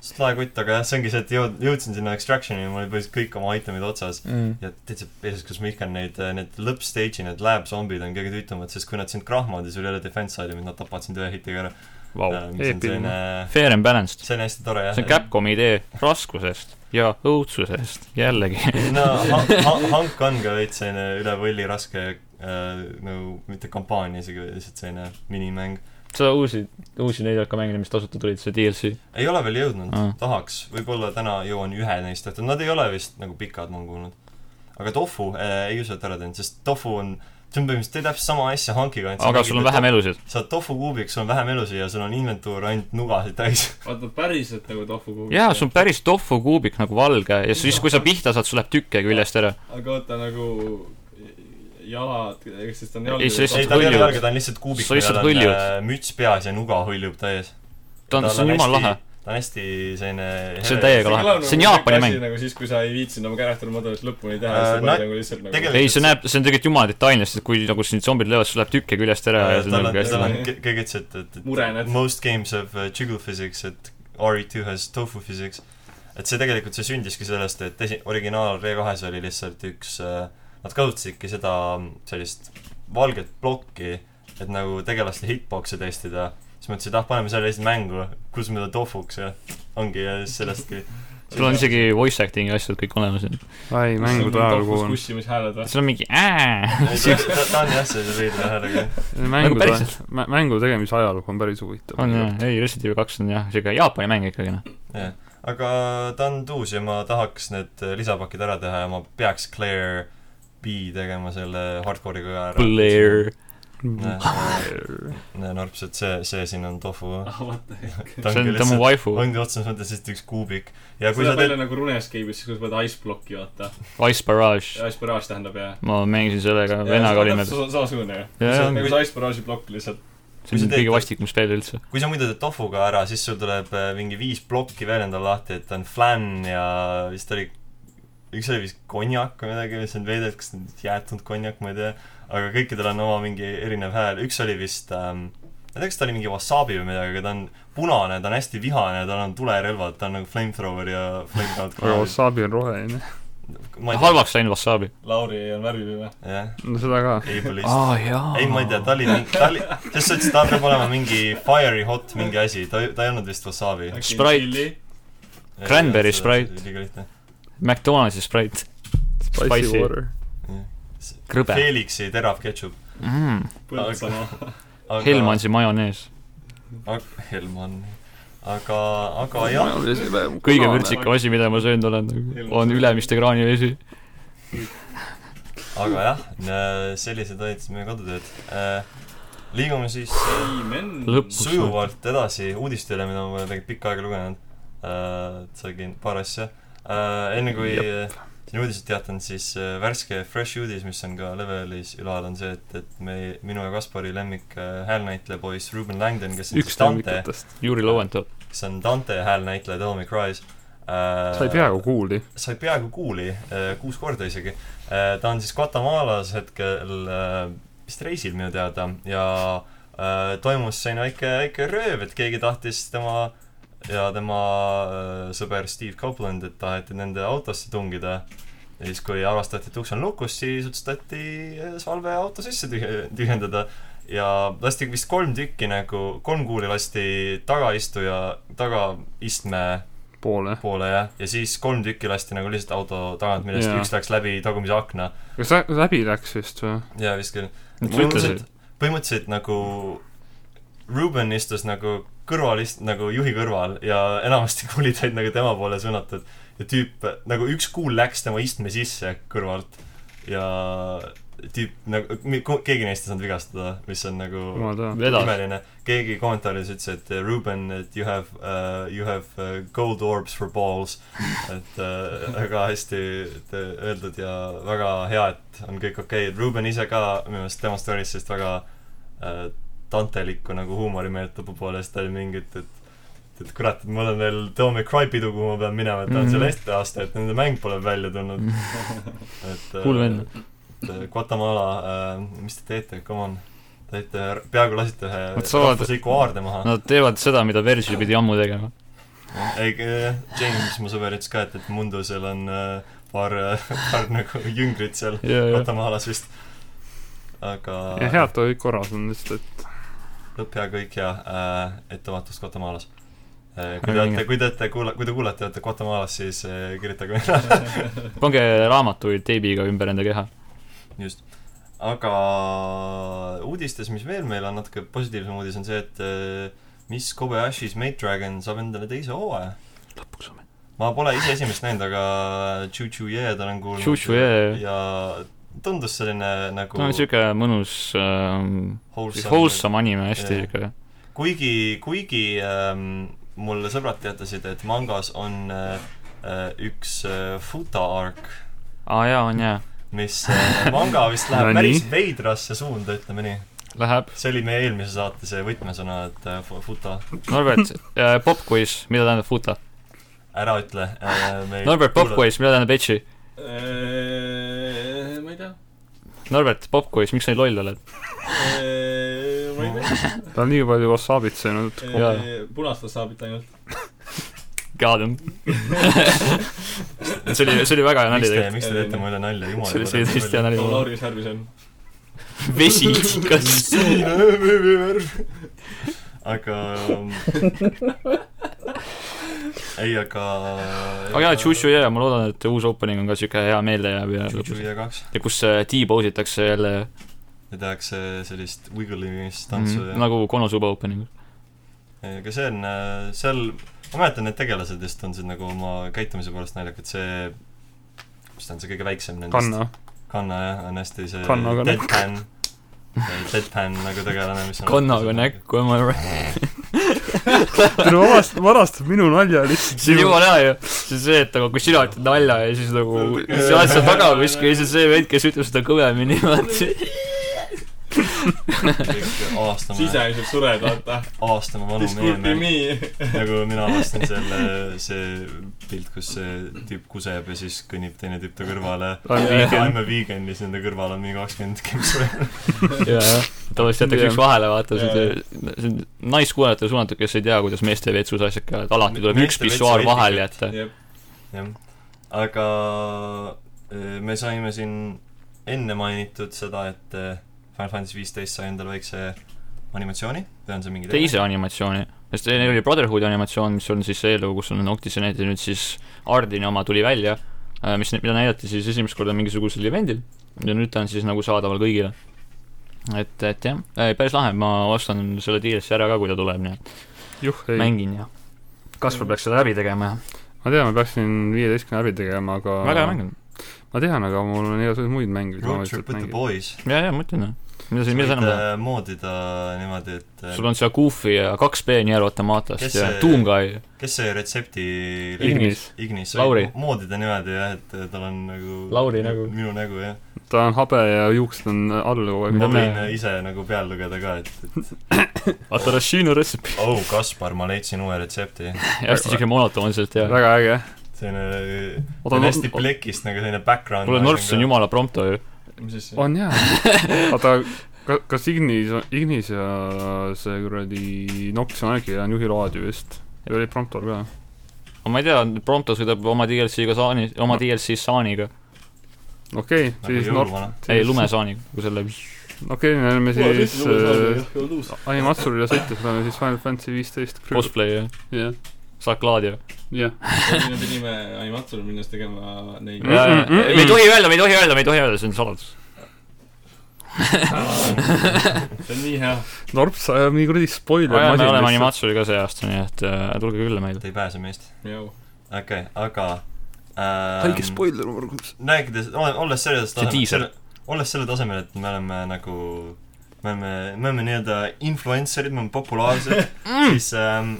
Speaker 1: suht laekutt , aga jah , see ongi see , et jõud- , jõudsin sinna Extractioni ja mul olid põhimõtteliselt kõik oma itemid otsas . ja täitsa perses , kus ma ihkan neid , need lõppstage'i , need lab zombid on kõige tüütumad , sest kui nad sind krahmavad ja sul ei ole defense itemid , nad tapavad sind ühe hitiga ära .
Speaker 2: Vau .
Speaker 1: mis on
Speaker 4: eepiline.
Speaker 1: selline ,
Speaker 2: Fair and balanced .
Speaker 1: see on hästi tore jah .
Speaker 2: see on Capcomi idee raskusest ja õudsusest , jällegi .
Speaker 1: no Han- Han- Hank on ka veits selline üle võlli raske äh, nagu mitte kampaania isegi , lihtsalt selline minimäng .
Speaker 2: sa uusi , uusi neid ei hakka mängima , mis tasuta tulid , see DLC .
Speaker 1: ei ole veel jõudnud
Speaker 2: Aa.
Speaker 1: mm. , tahaks , võib-olla täna jõuan ühe neist tehtud , nad ei ole vist nagu pikad , ma olen kuulnud . aga tofu äh, ei usu , et ära teinud , sest tofu on , see on põhimõtteliselt teed täpselt sama asja Hankiga .
Speaker 2: aga sul on vähem elusid .
Speaker 1: sa oled tofu kuubiks , sul on vähem elusid ja sul on inventuur ainult nugasid täis .
Speaker 5: vaata päriselt nagu tofu kuhugi .
Speaker 2: jaa , sul on päris tofu kuubik nagu valge ja siis , kui sa pihta saad , sul läheb tükke küljest ära .
Speaker 5: aga vaata nagu jalad , ehk siis ta on
Speaker 2: Ei, see
Speaker 1: ei ,
Speaker 2: lihtsalt
Speaker 1: tal ei ole
Speaker 2: hõljud.
Speaker 1: jalga , ta on lihtsalt kuubik ,
Speaker 2: Sa lihtsalt
Speaker 1: on
Speaker 2: hõljud.
Speaker 1: äh, müts peas ja nuga hõljub täies .
Speaker 2: ta on , see on jumala lahe ..
Speaker 1: ta on hästi selline
Speaker 2: See on täiega lahe. see on Jaapani mäng.
Speaker 5: nagu siis , kui sa ei viitsinud oma karakter modelit lõpuni teha
Speaker 1: Äh, ,
Speaker 5: siis sa
Speaker 1: no-
Speaker 5: panid nagu lihtsalt nagu
Speaker 1: tegelikult-
Speaker 2: ei , see näeb , see on tegelikult jumala detailne , sest kui nagu sind zombid löövad , sul läheb tükke küljest ära ja see on
Speaker 1: tal on ,
Speaker 2: nagu hästi
Speaker 1: tal on
Speaker 2: lahe .
Speaker 1: ke- keegi ütles , et , et , et
Speaker 5: Murened.
Speaker 1: most games have uh, jiggle physics , et RE2 has tofu physics . et see tegelikult , see sündiski sellest , et esi- , originaal Re2-s oli lihtsalt üks uh, , nad kasutasidki seda mm, sellist valget plokki , et nagu tegelaste hitbox'e testida . siis mõtlesid , ah , paneme selle lihtsalt mängu , kutsume ta tofuks ja ongi ja siis sellestki .
Speaker 2: sul on isegi voice acting'i asjad kõik olemas .
Speaker 4: ai , mängude ajalugu on .
Speaker 5: kussimishääled või ?
Speaker 2: sul on mingi ää .
Speaker 1: ta ta on jah , see veidra häälega .
Speaker 2: Nagu
Speaker 4: mängude
Speaker 2: päriselt. ,
Speaker 4: mängu tegemise ajalugu on päris huvitav .
Speaker 2: on jah , ei Resident Evil kaks on jah , siuke Jaapani mäng ikkagi noh .
Speaker 1: jah , aga ta on tuus ja ma tahaks need lisapakid ära teha ja ma peaks Claire B tegema selle hardcore'iga ka ära .
Speaker 2: Blair .
Speaker 1: näe , narps , et see , see siin on tofu .
Speaker 5: ah , vaata .
Speaker 1: ta
Speaker 2: see
Speaker 1: ongi
Speaker 2: on ta mu
Speaker 1: lihtsalt ,
Speaker 2: waifu ,
Speaker 1: ongi otseses mõttes lihtsalt üks kuubik . ja kui
Speaker 5: seda
Speaker 1: sa
Speaker 5: palju
Speaker 1: teed ,
Speaker 5: nagu Runescape'is , kus sa paned Ice Blocki , vaata .
Speaker 2: Ice Barrage .
Speaker 5: Ice Barrage tähendab ja .
Speaker 2: ma mängisin sellega , vennaga olime .
Speaker 5: samasugune ju .
Speaker 2: jaa ,
Speaker 5: nagu see Ice Barrage'i plokk lihtsalt .
Speaker 2: see on kõige vastikum spell üldse .
Speaker 1: kui sa muidu teed tofuga ära , siis sul tuleb äh, mingi viis plokki veel endal lahti , et on flan ja vist oli , üks oli vist konjak või midagi , see on veider , kas see on jäätunud konjak , ma ei tea . aga kõikidel on oma mingi erinev hääl , üks oli vist ähm, ma ei tea , kas ta oli mingi wasabi või midagi , aga ta on punane , ta on hästi vihane , tal on tulerelvad , ta on nagu flamethrower ja
Speaker 4: aga
Speaker 1: flamethrowed .
Speaker 4: wasabi on roheline .
Speaker 2: halvaks läinud Wasabi .
Speaker 5: Lauri on värviline .
Speaker 1: jah ,
Speaker 4: no seda ka .
Speaker 1: ableist .
Speaker 2: aa jaa
Speaker 1: ei , ma ei tea , ta oli , ta oli , sest sa ütlesid , ta peab olema mingi fiery hot mingi asi , ta , ta ei olnud vist wasabi .
Speaker 2: Sprite. . Cranberry Sprite.
Speaker 1: liiga lihtne .
Speaker 2: McDonaldsi Sprite .
Speaker 4: Spicy
Speaker 2: Spicy.
Speaker 4: water .
Speaker 2: Krõbe.
Speaker 1: Felixi terav ketšup .
Speaker 2: mm, .
Speaker 5: Põltsamaa .
Speaker 1: aga...
Speaker 2: Helmansi majonees .
Speaker 1: aga... . Helman . aga , aga jah ,
Speaker 2: kõige vürtsikam asi , mida ma söönud olen , on Ülemiste kraanivesi .
Speaker 1: aga jah , sellised olid siis meie kodutööd . Äh, liigume siis
Speaker 5: Amen .
Speaker 3: lõpuks .
Speaker 1: sujuvalt edasi uudistele , mida ma pole tegelikult pikka aega lugenud uh, . sain paar asja uh, . enne kui äh, siin uudiseid teatan , siis uh, värske fresh uudis , mis on ka levelis ülal , on see , et , et me , minu ja Kaspari lemmik uh, häälnäitleja poiss Ruben Langdon , kes on
Speaker 4: üks
Speaker 1: siis Dante ,
Speaker 4: lemmikutest .
Speaker 2: Juri Lowenthal .
Speaker 1: kes on Dante häälnäitleja Tommy Cry's uh,
Speaker 4: sai peaaegu kuuldi .
Speaker 1: sai peaaegu kuuli , kuus korda isegi . ta on siis Guatemalas hetkel äh, vist reisil minu teada ja äh, toimus selline väike , väike rööv , et keegi tahtis tema ja tema äh, sõber Steve Copeland , et taheti nende autosse tungida . ja siis , kui avastati , et uks on lukus , siis otsustati äh, salve auto sisse tüh- tühjendada ja lasti vist kolm tükki nagu , kolm kuuli lasti tagaistuja , tagaistme
Speaker 4: poole .
Speaker 1: poole jah , ja siis kolm tükki lasti nagu lihtsalt auto tagant , millest
Speaker 4: Jaa.
Speaker 1: üks läks läbi tagumise akna
Speaker 4: kas lä- läbi läks vist või ?
Speaker 1: ja vist küll .
Speaker 2: Nad ütlesid ,
Speaker 1: põhimõtteliselt , põhimõtteliselt nagu Ruben istus nagu kõrval , nagu juhi kõrval ja enamasti kuulid olid nagu tema poole suunatud ja tüüp , nagu üks kuul läks tema istme sisse kõrvalt ja tüüp nagu , keegi neist ei saanud vigastada , mis on nagu
Speaker 4: jumal teab .
Speaker 2: vedas .
Speaker 1: imeline , keegi kommentaaris ütles , et eh, Ruben , et you have uh, , you have uh, gold orbs for balls . et uh, väga hästi et, eh, öeldud ja väga hea , et on kõik okei okay. , et Ruben ise ka minu meelest tema story's sellist väga uh, tantelikku nagu huumorimeelt tõepoolest oli mingit , et et kurat , et mul on veel Tommy Cry pidu , kuhu ma pean minema , et ta on
Speaker 2: Mhm.
Speaker 1: seal Eesti aasta , et nende mäng pole välja tulnud , et eh,
Speaker 2: Kuul vend .
Speaker 1: et, eh, Guatemala äh, , mis te teete , come on . Te olite , peaaegu lasite ühe
Speaker 2: Nad saavad-
Speaker 1: rahvusliku aarde maha no. .
Speaker 2: Nad teevad seda , mida Verge pidi ammu tegema .
Speaker 1: ei , James , mu sõber , ütles ka , et , et Mundusel on äh, paar äh, , paar nagu jüngrit seal
Speaker 2: ja , ja .
Speaker 1: Guatemalas vist . aga
Speaker 4: ja head ta kõik korras on lihtsalt , et
Speaker 1: lõpp hea , kõik hea äh, , ettevaatust Guatemalas . kui te
Speaker 2: Väga
Speaker 1: olete
Speaker 2: vinge. ,
Speaker 1: kui te olete kuula- , kui te kuulate , olete Guatemalas , siis äh, kirjutage meile .
Speaker 2: pange raamatuid teibiga ümber enda keha .
Speaker 1: just . aga uudistes , mis veel meil on , natuke positiivsem uudis on see , et äh, Miss Kobayashi's Maid Dragon saab endale teise hooaja .
Speaker 2: lõpuks ometi .
Speaker 1: ma pole ise esimest näinud , aga Chu-Chu Yee'd olen kuulnud .
Speaker 2: Chu-Chu Ye.
Speaker 1: ja tundus selline nagu
Speaker 2: ta on siuke mõnus ähm, , wholesome anime , hästi
Speaker 1: Jaa.
Speaker 2: siuke .
Speaker 1: kuigi , kuigi ähm, mulle sõbrad teatasid , et mangas on äh, äh, üks äh, futa arc ,
Speaker 2: aa jaa , on jaa . mis
Speaker 1: mis äh, manga vist läheb
Speaker 4: No
Speaker 1: päris
Speaker 4: nii.
Speaker 1: veidrasse suunda , ütleme nii .
Speaker 2: läheb ,
Speaker 1: see oli meie eelmise saate see võtmesõna , et äh, fu- futa ,
Speaker 2: Norbert äh, , popquiz , mida tähendab futa ?
Speaker 1: ära ütle äh, .
Speaker 2: Norbert , popquiz , mida tähendab etši ?
Speaker 5: Äh, ma ei tea .
Speaker 2: Norbert , popquiz , miks sa nii loll oled ?
Speaker 5: Äh, ma ei tea . Äh,
Speaker 4: ta on nii palju wasabi't söönud .
Speaker 2: Jaa.
Speaker 5: punast wasaabit ainult .
Speaker 2: God damn . see oli , see oli väga hea nali
Speaker 1: miks te ,
Speaker 2: tegelikult .
Speaker 1: miks te teete mulle nalja , jumal .
Speaker 2: see oli , see oli tõesti hea . nali .
Speaker 5: Lauri särvis on .
Speaker 2: vesi tikas .
Speaker 1: aga ähm, ei , aga
Speaker 2: aga jaa , Chushu jaa , ma loodan , et uus opening on ka siuke hea meeldejääv ja lõbus .
Speaker 1: Jujuja kaks
Speaker 2: ja kus äh, T-pose itakse jälle
Speaker 1: ja tehakse sellist wigglemistantsu mm,
Speaker 2: mm,
Speaker 1: ja nagu...
Speaker 2: nagu Konosuba opening .
Speaker 1: aga see on äh, seal , ma mäletan , need tegelased vist on siin nagu oma käitumise poolest naljakad , see mis ta on , see kõige väiksem nendest
Speaker 4: kanna .
Speaker 1: kanna jah , on hästi see
Speaker 4: Kannaga näkku.
Speaker 1: deadpan , deadpan nagu tegelane , mis on nagu
Speaker 2: kannaga . näkku , am I right ?
Speaker 4: ta varastab , varastab minu nalja lihtsalt .
Speaker 2: see on jumala hea ju . see on see , et nagu kui sina ütled nalja ja siis nagu sa oled seal taga kuskil ja siis on see vend , kes ütleb seda kõvemini , vaata .
Speaker 1: aastame ,
Speaker 5: sisemiselt sured , vaata .
Speaker 1: aastame vanu
Speaker 5: This could be
Speaker 1: meemeid .
Speaker 5: me .
Speaker 1: nagu mina avastan selle , see pilt , kus see tüüp kuseb ja siis kõnnib teine tüüp ta kõrvale .
Speaker 4: I m vegan.
Speaker 1: I m a vegan ja siis nende kõrval on mingi kakskümmend kempsu .
Speaker 2: jaa , tavaliselt jätakse üks
Speaker 4: Jah.
Speaker 2: vahele , vaata , see
Speaker 5: Jaa.
Speaker 2: on , see on naiskuulajatele suunatud , kes ei tea , kuidas meeste vetsus asjad käivad , alati tuleb üks
Speaker 1: Meeste vetsu
Speaker 2: pissuaar vahele
Speaker 1: etiket.
Speaker 2: jätta .
Speaker 5: jah ,
Speaker 1: jah , aga äh, me saime siin enne mainitud seda , et äh, Final Fantasy viisteist sai endale väikse animatsiooni või on see mingi
Speaker 2: teise animatsiooni , sest neil oli Brotherhoodi animatsioon , mis on siis see eelnõu , kus on Octiseneti nüüd siis Ardini oma tuli välja , mis , mida näidati siis esimest korda mingisugusel event'il ja nüüd ta on siis nagu saadaval kõigile . et , et jah , päris lahe , ma ostan selle DLC ära ka , kui ta tuleb , nii et
Speaker 4: juh , ei .
Speaker 2: mängin ja Kaspar peaks selle läbi tegema ja
Speaker 4: ma tean , ma peaksin viieteistkümne läbi tegema , aga
Speaker 2: väga hea mäng on .
Speaker 4: ma tean , aga mul on igasuguseid muid mänge , mida ma
Speaker 1: Road Trip
Speaker 4: lihtsalt
Speaker 1: with the
Speaker 4: mängin .
Speaker 1: boys .
Speaker 2: ja , ja ma ütlen , mida
Speaker 1: sa
Speaker 2: siin , mida sa
Speaker 1: võid
Speaker 2: enam tahad ?
Speaker 1: äh, moodida niimoodi , et äh,
Speaker 2: sul on seal Goofy ja kaks peenjääruautomaatast
Speaker 1: Kes
Speaker 2: ja
Speaker 1: see-
Speaker 2: Doom Guy ,
Speaker 1: kes see retsepti
Speaker 4: Ignis ,
Speaker 1: Ignis ,
Speaker 2: Lauri.
Speaker 1: moodida niimoodi jah , et äh, tal on nagu
Speaker 5: Lauri nägu.
Speaker 1: minu nägu jah .
Speaker 4: ta on habe ja juuksed on all kogu
Speaker 1: ma
Speaker 2: Mida
Speaker 4: aeg .
Speaker 2: me-
Speaker 1: võin äh, ise nagu peal lugeda ka , et , et
Speaker 2: Atarashino recipe .
Speaker 1: oh , Kaspar , ma leidsin uue retsepti .
Speaker 2: hästi siuke monotoonselt ja .
Speaker 4: väga äge .
Speaker 1: selline ,
Speaker 4: Oota,
Speaker 1: see on hästi
Speaker 4: no- o-
Speaker 1: plekist nagu selline background .
Speaker 2: kuule , Norfs on . jumala prompto ju .
Speaker 5: mis siis see
Speaker 4: on jaa . oota , kas Ignis , Ignis ja see kuradi Nox on äkki , on juhiload ju vist . ja oli Promptor ka .
Speaker 2: aga ma ei tea , prompto sõidab oma DLC-ga saani , oma DLC saaniga .
Speaker 4: okei ,
Speaker 1: Nagu
Speaker 4: siis Nor- ,
Speaker 2: ei , lumesaaniga , kui selle .
Speaker 4: okei , me oleme siis äh,
Speaker 5: siis
Speaker 4: Animatsurile sõites oleme siis Final Fantasy viisteist .
Speaker 2: cosplay ja
Speaker 4: jah ,
Speaker 2: saklaadia .
Speaker 4: jah .
Speaker 5: me pidime animaatorile minnes tegema neid
Speaker 4: Mm, mm, mm,
Speaker 2: me ei
Speaker 4: mm.
Speaker 2: tohi öelda , me ei tohi öelda , me ei tohi öelda , see on saladus .
Speaker 5: see on nii hea
Speaker 4: Norps ajab nii kuradi spoiler
Speaker 2: me oleme . animatsuri ka see aasta , nii et äh, tulge külla meile .
Speaker 1: Te ei pääse meist .
Speaker 5: mjau
Speaker 1: okei okay, , aga ähm,
Speaker 3: haige . spoiler oma kodus .
Speaker 1: rääkides , olles selles
Speaker 2: See diisel.
Speaker 1: tasemel , olles sellel tasemel , et me oleme nagu , me oleme , me oleme nii-öelda influencer'id , me oleme populaarsed ,
Speaker 2: Mm.
Speaker 1: siis ähm,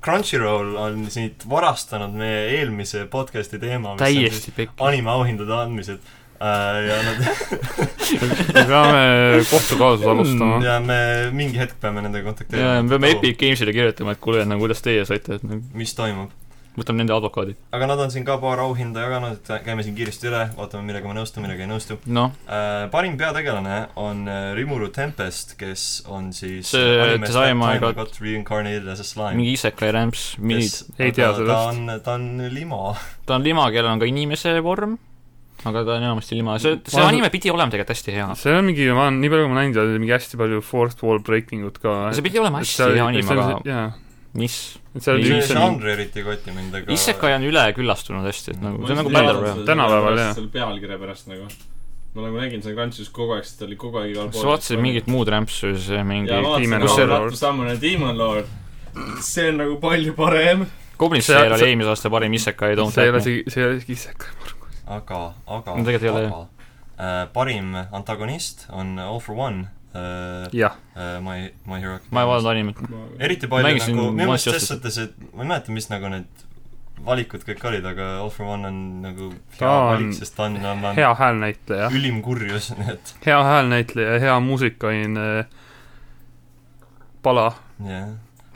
Speaker 1: Crunchyroll on siit varastanud meie eelmise podcast'i teema , mis on siis
Speaker 2: täiesti pikk .
Speaker 1: animeauhindade andmised äh, ja nad
Speaker 4: me peame kohtukaasust alustama .
Speaker 1: ja me mingi hetk peame nendega kontakteerima .
Speaker 2: ja Mm. me peame Epic Gamesile kirjutama , et kuule , nagu kuidas teie saite , et nagu
Speaker 1: mis toimub .
Speaker 2: võtame nende advokaadi .
Speaker 1: aga nad on siin ka paar auhinda jaganud , et käime siin kiiresti üle , vaatame , millega me nõustume , millega ei nõustu .
Speaker 2: noh ,
Speaker 1: Äh, parim peategelane on äh, Rimuru Tempest , kes on siis
Speaker 2: See
Speaker 1: animest That
Speaker 2: Design My
Speaker 1: Time I
Speaker 2: God-
Speaker 1: Got Reincarnated as a Slime .
Speaker 2: mingi isekai rämps , minid
Speaker 1: kes ,
Speaker 4: Ei tea
Speaker 1: ta, ta on , ta on limo .
Speaker 2: ta on lima , kellel on ka inimese vorm , aga ta on enamasti lima , see , see
Speaker 4: Ma-
Speaker 2: anime pidi olema tegelikult hästi hea .
Speaker 4: see on mingi , ma olen , nii palju kui ma näinud , seal oli mingi hästi palju fourth wall breaking ut ka .
Speaker 2: see pidi olema hästi hea anime , aga
Speaker 4: jaa ,
Speaker 2: mis ,
Speaker 4: et seal
Speaker 1: see
Speaker 4: oli
Speaker 2: Ei,
Speaker 4: üks
Speaker 2: see on-
Speaker 1: žanr eriti ei koti mind , aga
Speaker 2: isekai on üle küllastunud hästi , et nagu ,
Speaker 5: Ma
Speaker 2: see on
Speaker 5: just
Speaker 2: nagu
Speaker 5: ei
Speaker 2: Battle
Speaker 5: vaadanud
Speaker 2: Royale .
Speaker 5: seda
Speaker 4: Tänapäeval,
Speaker 5: sellepärast,
Speaker 4: jah.
Speaker 5: selle pealkirja pärast nagu . ma nagu nägin seda Crunchis kogu aeg , sest ta oli kogu aeg igal pool .
Speaker 2: sa vaatasid mingit muud rämpsu , see mingi
Speaker 5: ja vaatasin
Speaker 4: Demon
Speaker 5: Demon
Speaker 4: Lord.
Speaker 5: Lord . Sammune Demon Lord . see on nagu palju parem .
Speaker 2: Goblin
Speaker 4: see-
Speaker 2: Slayer oli
Speaker 4: see-
Speaker 2: eelmise aasta parim isekai , Don't
Speaker 4: see ei
Speaker 2: Tell
Speaker 4: ole
Speaker 2: Me .
Speaker 4: isegi , see ei ole isegi isekai , ma arvan .
Speaker 1: aga , aga
Speaker 2: No tegelikult ei ole,
Speaker 1: aga, äh, parim antagonist on All for One äh, ,
Speaker 4: jah ,
Speaker 1: äh, My , My Hero .
Speaker 2: ma ei vaadanud animet .
Speaker 1: eriti palju
Speaker 2: Mängisin
Speaker 1: nagu , minu meelest
Speaker 2: Monster
Speaker 1: ses suhtes , et ma ei mäleta , mis nagu need valikud kõik olid , aga All for One on nagu hea
Speaker 4: Ta on
Speaker 1: valik , sest ta on , on , on
Speaker 4: hea häälnäitleja ,
Speaker 1: ülim kurjus , nii et
Speaker 4: hea häälnäitleja , hea muusikaline eh, pala .
Speaker 1: jah .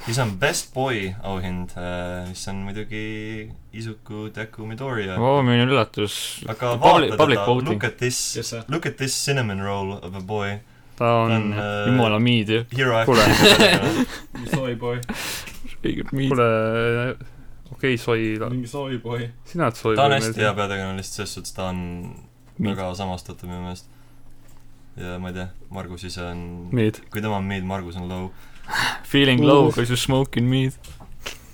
Speaker 1: siis on Best Boy auhind , mis on muidugi Izuku Deku Midoriya .
Speaker 2: oo , milline üllatus .
Speaker 1: aga
Speaker 2: Oh, Public-
Speaker 1: vaata
Speaker 2: public
Speaker 1: teda ,
Speaker 2: voting.
Speaker 1: look at this ,
Speaker 5: kes see ?
Speaker 1: look at this cinnamon roll of a boy .
Speaker 4: ta on ,
Speaker 1: äh,
Speaker 2: jumala miid ju .
Speaker 1: hero
Speaker 4: Kuule.
Speaker 1: actor .
Speaker 5: Soy boy ,
Speaker 4: kuule , okei , soi ,
Speaker 5: mingi soy boy .
Speaker 4: sina oled soi .
Speaker 1: ta on hästi hea peategelane lihtsalt selles suhtes , ta on väga samastatav minu meelest . ja ma ei tea , Margus ise on ,
Speaker 4: Meid .
Speaker 1: kui tema on mid , Margus on low .
Speaker 2: Feeling low cause you smoking mead .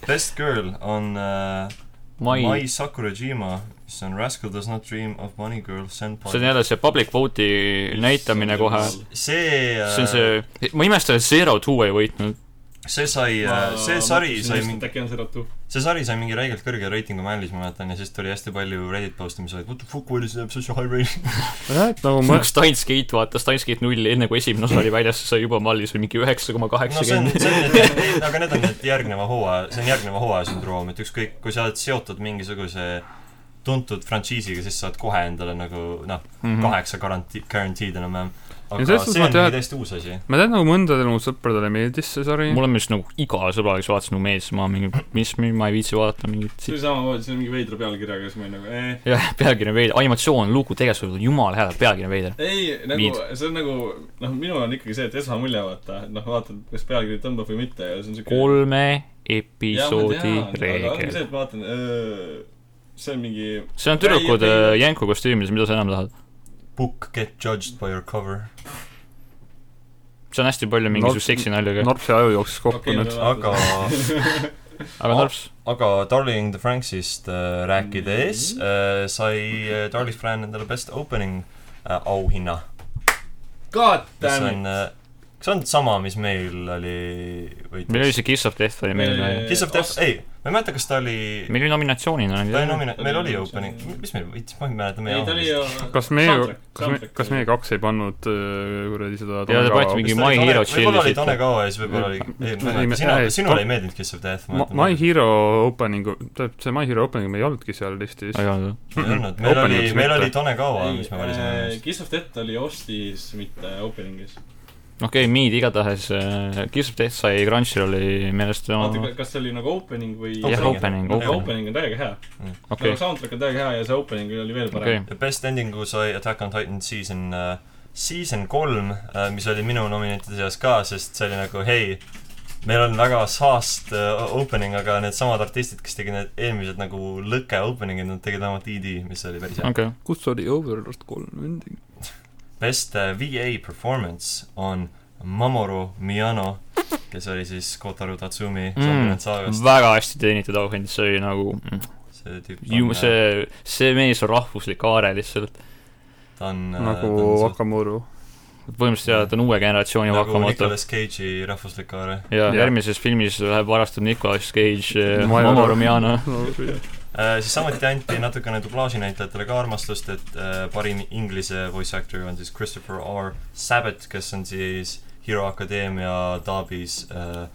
Speaker 1: Best girl on äh,
Speaker 2: Mai .
Speaker 1: Mai Sakurajima , mis on Rascal does not dream of money girl senpai .
Speaker 2: see on jälle see public vote'i näitamine kohe .
Speaker 1: see äh,
Speaker 2: see on see , ma imestan , et Zero Two ei võitnud .
Speaker 1: see sai , see sari sai mingi ,
Speaker 5: äkki on see ratu .
Speaker 1: see sari sai mingi räigelt kõrge reitingu männis , ma mäletan , ja siis tuli hästi palju Reddit post'e , mis olid what the fuck , why does it have such a high rating .
Speaker 4: jah , et nagu ma
Speaker 2: kui , Steins Gate vaatas Steins Gate nulli , enne kui esimene osa oli väljas , see sai juba mallis või mingi üheksa
Speaker 1: no
Speaker 2: koma
Speaker 1: see on ,
Speaker 2: kaheksakümmend .
Speaker 1: see on need , aga need on need järgneva hooaja , see on järgneva hooaja sündroom , et ükskõik , kui sa oled seotud mingisuguse tuntud frantsiisiga , siis sa oled kohe endale nagu noh ,
Speaker 2: Mhm.
Speaker 1: kaheksa garanti- , guaranteed enam-vähem .
Speaker 4: Mhm. Ja
Speaker 1: aga
Speaker 4: selles suhtes
Speaker 1: see
Speaker 4: ma
Speaker 1: on
Speaker 4: tean-
Speaker 1: mingi täiesti uus asi .
Speaker 4: ma tean , nagu mõndadele mu sõpradele meeldis see sari .
Speaker 2: mul on vist nagu iga sõbra , kes vaatas nagu mees , ma mingi , mis , ma ei viitsi vaadata mingit
Speaker 5: see
Speaker 2: siit-
Speaker 5: oli samamoodi , see oli mingi veidra pealkirjaga , siis ma olin nagu eh.
Speaker 2: jah , pealkiri on veider , animatsioon , lugu , tegevused , jumala hea , pealkiri on veider .
Speaker 5: ei , nagu
Speaker 2: Viid.
Speaker 5: Viid. see on nagu , noh , minul on ikkagi see , et esmamulje vaata , noh , vaatad , kas pealkiri tõmbab või mitte ja see on siuke .
Speaker 2: kolme
Speaker 5: Jah, ma tean,
Speaker 2: episoodi
Speaker 5: aga ongi see ,
Speaker 2: reegel .
Speaker 5: et vaatan , äh, see on mingi ,
Speaker 2: see on tüdrukud
Speaker 5: Täie-
Speaker 2: äh, jänku kostüümides , mida sa enam tahad ?
Speaker 1: Book get judged by your cover .
Speaker 2: see on hästi palju
Speaker 4: Nor-
Speaker 2: mingisuguseid seksinalju ka ,
Speaker 4: Norpsi aju jooksis kokku
Speaker 5: Okei,
Speaker 4: nüüd .
Speaker 5: no-
Speaker 1: aga ,
Speaker 2: aga Norps ,
Speaker 1: aga Darling the Franksist äh, rääkides
Speaker 5: Mhm.
Speaker 1: äh, sai äh, Darling Fran endale best opening äh, auhinna
Speaker 5: god
Speaker 1: mis
Speaker 5: damn it
Speaker 1: on , äh, kas see on sama , mis meil oli või
Speaker 2: meil oli see Kiss of Death oli meil
Speaker 5: Meil-
Speaker 2: või ?
Speaker 1: Kiss of Death , ei , ma ei mäleta , kas ta oli
Speaker 2: meil oli nominatsioonina
Speaker 1: ta oli
Speaker 2: oli .
Speaker 1: nomina- , meil oli opening , mis meil , ma ei mäleta , meie
Speaker 5: ei , ta oli
Speaker 1: omaga.
Speaker 5: ju
Speaker 4: kas meie , kas me , kas meie kaks ei pannud äh, kuradi seda
Speaker 2: Ja te panite mingi
Speaker 1: Kas ta oli
Speaker 2: My
Speaker 1: Tone- võib-olla
Speaker 2: Hero
Speaker 1: oli
Speaker 2: Chillisite.
Speaker 1: Tone Kao ees , võib-olla oli , ei , ma ei
Speaker 4: Ei, me-
Speaker 1: mäleta , sina
Speaker 4: ei, ,
Speaker 1: sinule
Speaker 4: Tone-
Speaker 1: ei meeldinud Kiss of Death ,
Speaker 4: Ma- My . Hero opening'u , tähendab see My Hero opening meil ei olnudki seal listis .
Speaker 2: ei olnud või ?
Speaker 1: ei olnud , meil oli
Speaker 4: Opening'uks ,
Speaker 1: meil
Speaker 4: mitte.
Speaker 1: oli Tone Kao , mis me valisime .
Speaker 5: äh, Kiss of Death oli Ostis , mitte opening'is .
Speaker 2: okei okay, , Mead igatahes , Kiss of Death sai Crunchyrolli meelest
Speaker 5: oota
Speaker 2: oma ,,
Speaker 5: kas see oli nagu opening või ?
Speaker 2: jah , opening ,
Speaker 5: opening .
Speaker 2: opening ,
Speaker 5: opening on täiega hea okay. .
Speaker 2: okei
Speaker 5: nagu , soundtrack on täiega hea ja see opening oli veel parem
Speaker 2: okei
Speaker 5: okay. ..
Speaker 1: ja best ending'u sai Attack on Titan season , season kolm , mis oli minu nominentide seas ka , sest see oli nagu hei , meil on väga saast äh, opening , aga needsamad artistid , kes tegid need eelmised nagu lõke opening'id , nad tegid vähemalt ED , mis oli päris hea .
Speaker 2: okei ,
Speaker 4: kus oli Overlord kolm ending ?
Speaker 1: Best äh, VA performance on Mamoru Miyano , kes oli siis Kotaru Tatsumi
Speaker 2: Mm.
Speaker 1: mm. saagast .
Speaker 2: väga hästi teenitud auhind , see oli nagu ,
Speaker 1: see tüüp on , äh, see...
Speaker 2: see , see mees on rahvuslik aare lihtsalt .
Speaker 1: ta on äh,
Speaker 4: nagu
Speaker 1: ta on suht-
Speaker 4: Akamuru .
Speaker 2: põhimõtteliselt jaa , ta on uue generatsiooni
Speaker 1: nagu
Speaker 2: Wakamoto .
Speaker 1: Nicolas Cage'i rahvuslik aare .
Speaker 2: ja
Speaker 4: Jah.
Speaker 2: järgmises filmis läheb , varastab Nicolas Cage eh,
Speaker 4: Ma ei
Speaker 2: Momo
Speaker 4: arva-
Speaker 2: Romano .
Speaker 1: Äh, siis samuti anti natukene dublaažinäitlejatele ka armastust , et äh, parim inglise voice actor on siis Christopher R. Sabat , kes on siis Hero Academia daabis äh,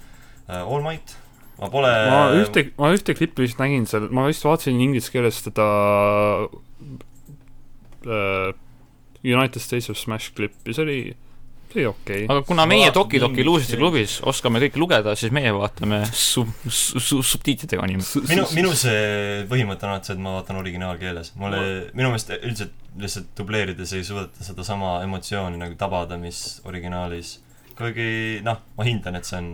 Speaker 1: äh, All Might . ma pole
Speaker 4: ma ühte , ma ühte klippi vist nägin seal , ma vist vaatasin inglise keeles teda äh, United States of Smash klippi , see oli , see oli okei okay. .
Speaker 2: aga kuna meie
Speaker 5: Ma-
Speaker 2: Toki Toki
Speaker 5: mingi-
Speaker 2: Luusite klubis oskame kõik lugeda , siis meie vaatame sub- , sub- , subtiitritega anime .
Speaker 1: minu , minu see põhimõte on alati see , et ma vaatan originaalkeeles . mulle , minu meelest üldiselt lihtsalt dubleerides ei suudeta sedasama emotsiooni nagu tabada , mis originaalis . kuigi noh , ma hindan , et see on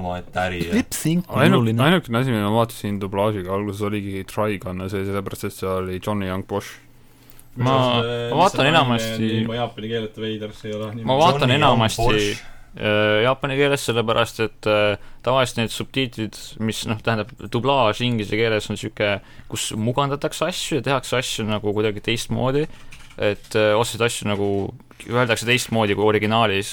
Speaker 1: omaette äri ja
Speaker 2: lipsing
Speaker 4: ainuke , ainukene asi , mida ma vaatasin dublaažiga alguses oligi Trigun ja see sellepärast , et seal oli Johnny Young Bosch .
Speaker 2: Ma-
Speaker 5: äh,
Speaker 2: ma vaatan enamasti-
Speaker 5: juba jaapani keelelt veider , see ei ole
Speaker 2: ma vaatan
Speaker 1: Johnny Young
Speaker 2: enamasti-
Speaker 1: Bosch.
Speaker 2: Äh, jaapani keeles , sellepärast et äh, tavaliselt need subtiitrid , mis noh , tähendab dublaaž inglise keeles on niisugune , kus mugandatakse asju ja tehakse asju nagu kuidagi teistmoodi , et äh, otseselt asju nagu öeldakse teistmoodi kui originaaliis .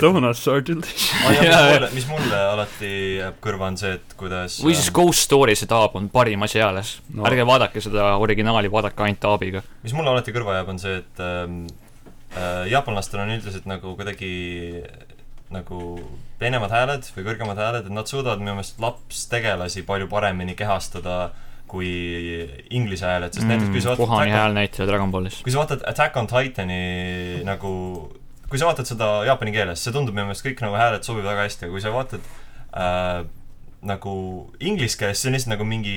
Speaker 4: donuts are delicious .
Speaker 1: ma ei
Speaker 2: Jaa,
Speaker 1: tea
Speaker 2: jaa. ,
Speaker 1: mis mulle alati jääb kõrva , on see , et kuidas ähm,
Speaker 2: või siis Ghost Story see taab on parim asi eales no.
Speaker 4: No. .
Speaker 2: ärge vaadake seda originaali , vaadake ainult taabiga .
Speaker 1: mis mulle alati kõrva jääb , on see , et ähm, äh, jaapanlastel on üldiselt nagu kuidagi nagu peenemad hääled või kõrgemad hääled , et nad suudavad minu meelest lapstegelasi palju paremini kehastada kui inglise hääled , sest mm, näiteks kui sa
Speaker 2: kohani
Speaker 1: vaatad ,
Speaker 2: hääl näitleja Dragon Ballis .
Speaker 1: kui sa vaatad Attack on Titani nagu , kui sa vaatad seda jaapani keeles , see tundub minu meelest kõik nagu hääled sobivad väga hästi , aga kui sa vaatad äh, nagu inglise keeles , see on lihtsalt nagu mingi ,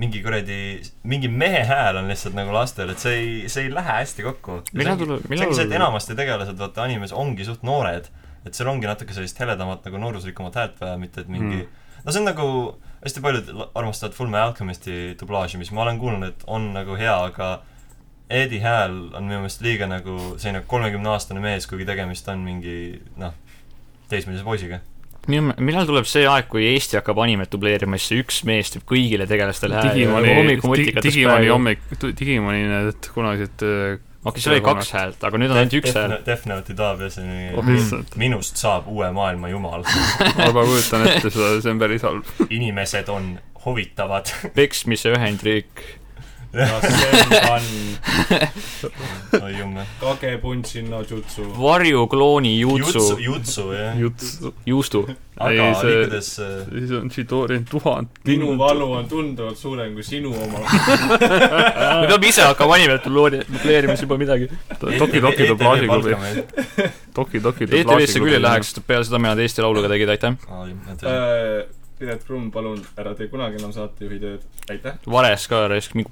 Speaker 1: mingi kuradi , mingi mehe hääl on lihtsalt nagu lastel , et see ei , see ei lähe hästi kokku . see
Speaker 2: millal
Speaker 1: ongi
Speaker 2: tuleb ,
Speaker 1: see ongi see , et
Speaker 2: millal ,
Speaker 1: enamasti tegelased vaata animes ongi suht noored , et seal ongi natuke sellist heledamat nagu nooruslikumat häält vaja , mitte et mingi mm.
Speaker 2: Hmm.
Speaker 1: no see on nagu , hästi paljud la- armastavad Full Metal Alchemisti dublaaži , mis ma olen kuulnud , et on nagu hea , aga Eddie hääl on minu meelest liiga nagu selline kolmekümneaastane mees , kuigi tegemist on mingi noh , teismelise poisiga .
Speaker 2: millal tuleb see aeg , kui Eesti hakkab animet dubleerima , siis see üks mees teeb kõigile tegelastele hääli . Nagu
Speaker 1: nagu
Speaker 4: Digimoni , Digimoni . hommik , Digimoni need kunagised äh,
Speaker 2: okei , seal oli kaks häält , aga nüüd on ainult üks hääl .
Speaker 1: Death Note'i taabjas on
Speaker 4: oh,
Speaker 1: nii ,
Speaker 4: lihtsalt ,
Speaker 1: minust saab uue maailma jumal ,
Speaker 4: ma juba kujutan ette seda , see on päris halb .
Speaker 1: inimesed on huvitavad .
Speaker 2: peksmise ühendriik .
Speaker 5: see on
Speaker 1: oi jumme .
Speaker 5: Kage Punchin no Jutsu .
Speaker 2: varjuklooni
Speaker 1: jutsu ,
Speaker 2: juutsu ,
Speaker 1: jutsu jah .
Speaker 4: juts ,
Speaker 2: juustu .
Speaker 1: aga
Speaker 4: Ei, see-
Speaker 1: liikudes äh,
Speaker 4: siis on Chidori tuhat .
Speaker 5: minu valu on tunduvalt suurem kui sinu oma .
Speaker 2: me peame ise hakkama animet dubleeri- dubleerima siis juba midagi .
Speaker 4: Toki Toki
Speaker 1: ETV
Speaker 4: dublaažiklubi ,
Speaker 1: palkame.
Speaker 4: Toki Toki
Speaker 2: ETV-sse küll ei läheks , sest peale seda mida nad Eesti Lauluga tegid , aitäh .
Speaker 1: Aa, jah, nad-
Speaker 5: Äh, Piret Krumm , palun ära tee kunagi enam saatejuhi tööd , aitäh .
Speaker 2: Vares ka raisk , mingi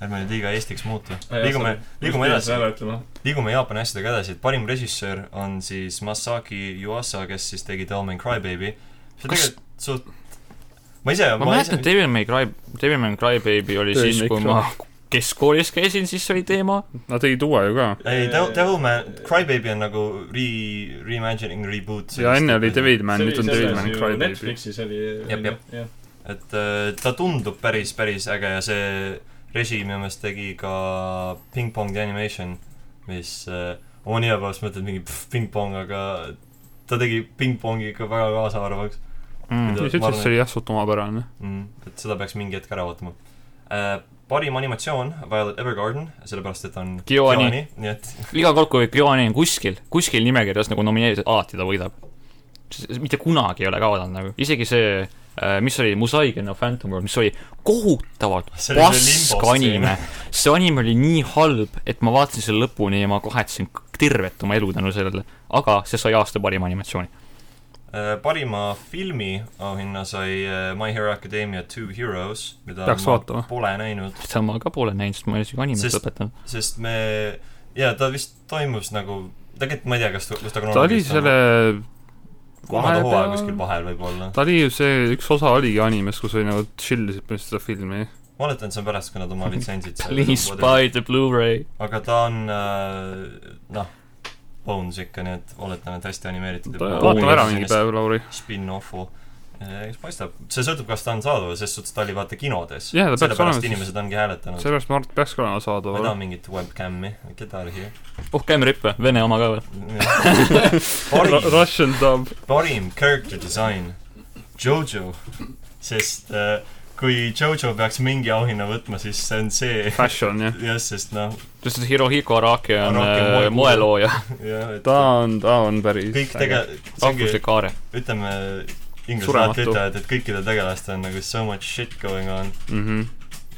Speaker 1: ärme nüüd liiga Eestiks muutu . liigume , liigume edasi ,
Speaker 5: Äh, ära ütlema .
Speaker 1: liigume Jaapani asjadega edasi , et parim režissöör on siis Masaki Yuasa , kes siis tegi Tell Me and Cry Baby . see on
Speaker 2: Kas-
Speaker 1: tegelikult suht , ma ise ,
Speaker 2: ma
Speaker 1: ma
Speaker 2: mäletan ,
Speaker 1: ise ,
Speaker 2: Devil May Cry , Devil May Cry Baby oli
Speaker 4: Devil
Speaker 2: siis
Speaker 4: May ,
Speaker 2: kui
Speaker 4: Cry.
Speaker 2: ma keskkoolis käisin , siis oli teema .
Speaker 4: Nad tegid uue ju ka .
Speaker 1: ei , Tell , Tell Me , Cry Baby on nagu re , reimagining , reboot .
Speaker 4: ja enne oli . Devilman , nüüd on Devilman Crybaby .
Speaker 5: Netflixis oli ,
Speaker 1: Jep, jep.
Speaker 5: jah .
Speaker 1: et äh, ta tundub päris , päris äge ja see reži minu meelest tegi ka Ping Pong The Animation , mis äh, Oni pärast mõtled mingi pff, pingpong , aga ta tegi pingpongi ikka väga kaasaarvaks
Speaker 2: mm. .
Speaker 4: mis ütles , see oli jah , suht omapärane .
Speaker 1: mm, . et seda peaks mingi hetk ära vaatama äh, . parim animatsioon , Violet Evergarden , sellepärast et ta on
Speaker 2: Kioni.
Speaker 1: nii et
Speaker 2: iga kord , kui Krioni on kuskil , kuskil nimekirjas nagu nomineeritud , alati ta võidab . mitte kunagi ei ole kaotanud nagu , isegi see , mis oli Musaigen of Phantom World , mis oli kohutavalt
Speaker 1: See oli see
Speaker 2: pask
Speaker 1: limbo
Speaker 2: anime . see anime oli nii halb , et ma vaatasin selle lõpuni ja ma kahetsesin k- tervet oma elu tänu sellele , aga see sai aasta parima animatsiooni .
Speaker 1: äh, parima filmi auhinna sai äh, My Hero Academia Two Heroes , mida
Speaker 4: Peaks
Speaker 1: ma
Speaker 4: vaatama.
Speaker 1: pole näinud ,
Speaker 2: seda ma ka pole näinud , sest ma ei ole isegi animet
Speaker 1: Sest-
Speaker 2: sest... lõpetanud .
Speaker 1: sest me , jaa , ta vist toimus nagu , tegelikult ma ei tea , kas ta , kus ta
Speaker 4: ta oli selle ,
Speaker 1: kolmanda hooaja
Speaker 4: vahepeal-
Speaker 1: kuskil vahel võib-olla .
Speaker 4: ta oli ju see , üks osa oligi animes , kus oli nagu tšillisid põhimõtteliselt seda filmi .
Speaker 1: ma oletan , et see on pärast , kui nad oma litsentsid
Speaker 2: Please buy the Blu-ray .
Speaker 1: aga ta on äh, noh , Bones ikka , nii et oletan , et hästi animeeritud .
Speaker 4: vaatame ära mingi päev , Lauri .
Speaker 1: Spin-offu . eks paistab , see sõltub , kas ta on saadaval , ses suhtes ta oli vaata kinodes .
Speaker 4: Jah, ta peaks olema,
Speaker 1: sellepärast
Speaker 4: sest-
Speaker 1: inimesed ongi hääletanud .
Speaker 4: sellepärast ma arvan , et peaks ka olema
Speaker 1: ma ei taha
Speaker 4: saadaval .
Speaker 1: mingit webcam'i , get out of here .
Speaker 2: oh , käime rippe , vene oma ka veel .
Speaker 1: parim ,
Speaker 4: Russian dub .
Speaker 1: parim character design , Jojo , sest äh, kui Jojo peaks mingi auhinna võtma , siis see on see ,
Speaker 4: Fashion , jah .
Speaker 1: jah , sest noh ,
Speaker 2: sest Hirohiko Araki on
Speaker 1: Araki on
Speaker 2: äh,
Speaker 1: moe-
Speaker 2: moelooja ,
Speaker 1: jah , et
Speaker 4: ta on , ta on päris
Speaker 1: kõik
Speaker 4: äge.
Speaker 1: tegelikult ,
Speaker 2: rahvuslik aare .
Speaker 1: ütleme , inglased
Speaker 4: Surematu.
Speaker 1: alati ütlevad , et kõikidel tegelastel on nagu so much shit going on .
Speaker 4: Mhm.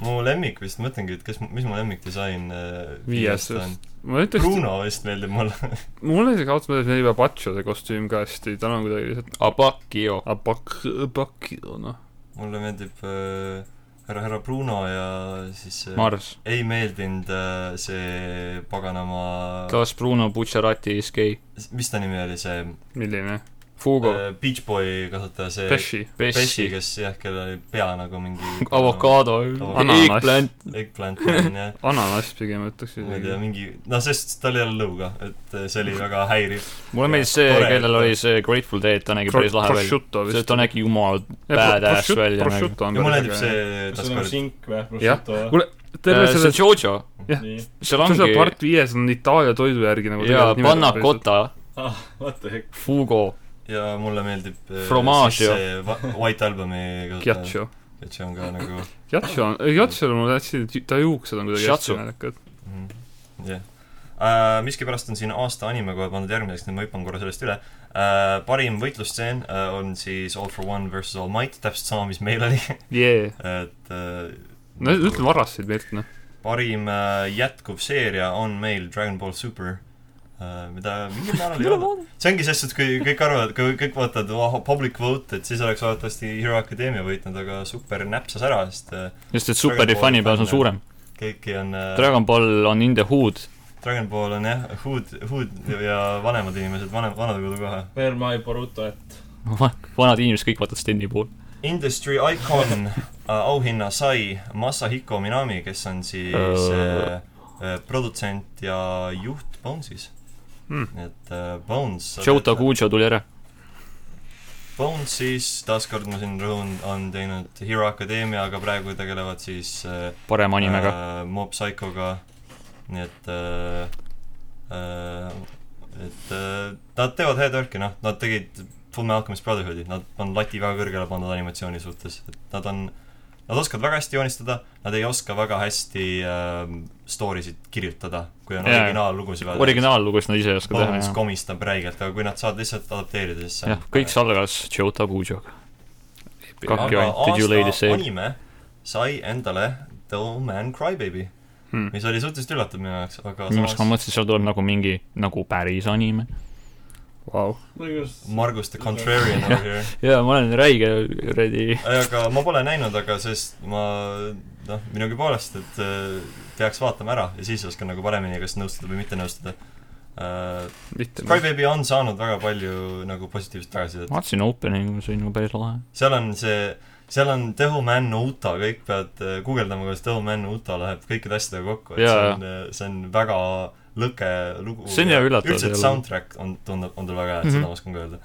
Speaker 1: mu lemmik vist , mõtlengi , et kes , mis mu lemmikdisain äh,
Speaker 4: Viies
Speaker 1: viiest on .
Speaker 4: ma ütleks ,
Speaker 1: Bruno vist meeldib mulle .
Speaker 4: mulle isegi ausalt öeldes meeldib Apache see kostüüm ka hästi , tal on kuidagi lihtsalt
Speaker 2: Abakio .
Speaker 4: Apak- , Apakio , noh .
Speaker 1: mulle meeldib äh, härra , härra Bruno ja siis äh,
Speaker 2: Mars .
Speaker 1: ei meeldinud äh, see paganama ,
Speaker 2: kas Bruno Bucciarati is gay ?
Speaker 1: mis ta nimi oli , see
Speaker 4: milline ?
Speaker 2: Fugo
Speaker 1: äh, Beach Boy kasutaja , see
Speaker 4: Pesci .
Speaker 1: Pesci ,
Speaker 2: Pesci ,
Speaker 1: kes jah , kellel oli pea nagu mingi
Speaker 2: avokaado ,
Speaker 1: Ananas.
Speaker 2: eggplant ,
Speaker 1: eggplant on jah ,
Speaker 4: ananass pigem ütleks
Speaker 1: ma ei tea ,
Speaker 4: isegi .
Speaker 1: mingi , noh , sest tal ei ole lõuga , et äh, see oli väga häiriv .
Speaker 2: mulle meeldis see ,
Speaker 1: Tore.
Speaker 2: kellel oli see Grateful Dead , ta nägi päris lahe välja .
Speaker 4: Prosciutto
Speaker 2: see ,
Speaker 4: vist .
Speaker 2: ta nägi jumal badass välja nagu.
Speaker 4: Prosciutto on
Speaker 1: ja mulle
Speaker 4: päris
Speaker 1: meeldib see
Speaker 4: äge .
Speaker 5: kas see on
Speaker 1: taaskord ,
Speaker 5: sink või
Speaker 4: Jah.
Speaker 5: prosciutto või ?
Speaker 4: kuule , terve
Speaker 2: Äh, see on
Speaker 4: selle ,
Speaker 2: Jojo ,
Speaker 4: jah.
Speaker 5: nii ,
Speaker 2: seal
Speaker 4: see on see
Speaker 2: ongi
Speaker 4: part viies on Itaalia toidu järgi nagu
Speaker 2: jaa , panna . kota ,
Speaker 5: ah , what the heck ,
Speaker 2: Fugo ,
Speaker 1: ja mulle meeldib äh,
Speaker 2: Fromage,
Speaker 1: siis see Va- White Albumi kasutaja ,
Speaker 4: Giaccio .
Speaker 1: et see on ka nagu
Speaker 4: Giaccio on , Giaccio on mulle hästi , ta juuksed on kuidagi
Speaker 2: Shiatsu.
Speaker 4: hästi naljakad .
Speaker 1: Mhm. jah Äh, miskipärast on siin aasta anime kohe pandud järgmiseks , nüüd ma hüppan korra sellest üle äh, . parim võitlusstseen äh, on siis All for One versus All Might , täpselt sama , mis meil oli ,
Speaker 4: jee .
Speaker 1: et äh,
Speaker 4: no ütle varastasid meilt , noh .
Speaker 1: parim äh, jätkuv seeria on meil Dragon Ball Super äh, , mida mingil määral ei ole . see ongi selles suhtes , kui kõik arvavad , kui kõik vaatavad oh, public vote , et siis oleks loodetavasti Hero Academia võitnud , aga Super näpsas ära , sest äh,
Speaker 2: just et superi
Speaker 1: Dragon Balli
Speaker 2: fännibaas on
Speaker 1: fänne.
Speaker 2: suurem .
Speaker 1: kõiki on äh,
Speaker 2: Dragon Ball on in the hood ,
Speaker 1: Dragon Ball on jah , hood , hood ja vanemad inimesed , vanem , vanadekodu kohe
Speaker 5: where my Boruto at ?
Speaker 2: vanad inimesed kõik vaatavad Steni poole .
Speaker 1: Industry Icon äh, auhinna sai Masahiko Minami , kes on siis äh, äh, produtsent ja juht Bonesis
Speaker 4: Hmm.
Speaker 1: hmm. . et äh, Bones
Speaker 2: Shota Kujo tuli ära .
Speaker 1: Bonesis , taaskord ma siin rõhun , on teinud Hero Academia , aga praegu tegelevad siis äh,
Speaker 2: parema nimega .
Speaker 1: äh, Mob Psychoga , nii et äh, , äh, et äh, nad teevad head work'i , noh , nad tegid Fullme Alchemist Brotherhoodi , nad on lati väga kõrgele pannud animatsiooni suhtes , et nad on , nad oskavad väga hästi joonistada , nad ei oska väga hästi äh, story sid kirjutada , kui on
Speaker 2: Jaa.
Speaker 1: originaallugusid vaja .
Speaker 2: originaallugus nad ise ei oska teha ,
Speaker 1: Bones
Speaker 2: jah .
Speaker 1: komistab räigelt , aga kui nad saavad lihtsalt adapteerida , siis see äh,
Speaker 2: jah , kõik algas Shota Kujoga . Kakki
Speaker 1: aga
Speaker 2: ainult , did you lady
Speaker 1: aasta
Speaker 2: say ?
Speaker 1: anime sai endale The Old Man Crybaby
Speaker 4: Hmm.
Speaker 1: mis oli suhteliselt üllatav minu jaoks , aga
Speaker 2: minu
Speaker 1: samas
Speaker 2: arust ma mõtlesin , seal tuleb nagu mingi nagu päris anime .
Speaker 4: Vau .
Speaker 5: mul oli just ,
Speaker 1: Margus the Contrarian over here .
Speaker 2: jaa , ma olen räige kuradi
Speaker 1: aga ma pole näinud , aga sest ma noh , minugi poolest , et äh, peaks vaatama ära ja siis oskan nagu paremini kas nõustuda või mitte nõustuda uh, .
Speaker 4: mitte .
Speaker 1: Skybaby on saanud väga palju nagu positiivset tagasisidet .
Speaker 2: ma vaatasin opening'u , see oli nagu päris lahe .
Speaker 1: seal on see , seal on Tehu Man Uta , kõik peavad äh, guugeldama , kuidas Tehu Man Uta läheb kõikide asjadega kokku , et
Speaker 2: Jaa,
Speaker 1: see on , see on väga lõke lugu .
Speaker 2: See on hea üllatav
Speaker 1: üldse
Speaker 2: jälle.
Speaker 1: soundtrack on , tundub , on tal väga hea , et
Speaker 2: Mhm.
Speaker 1: seda ma oskan ka öelda .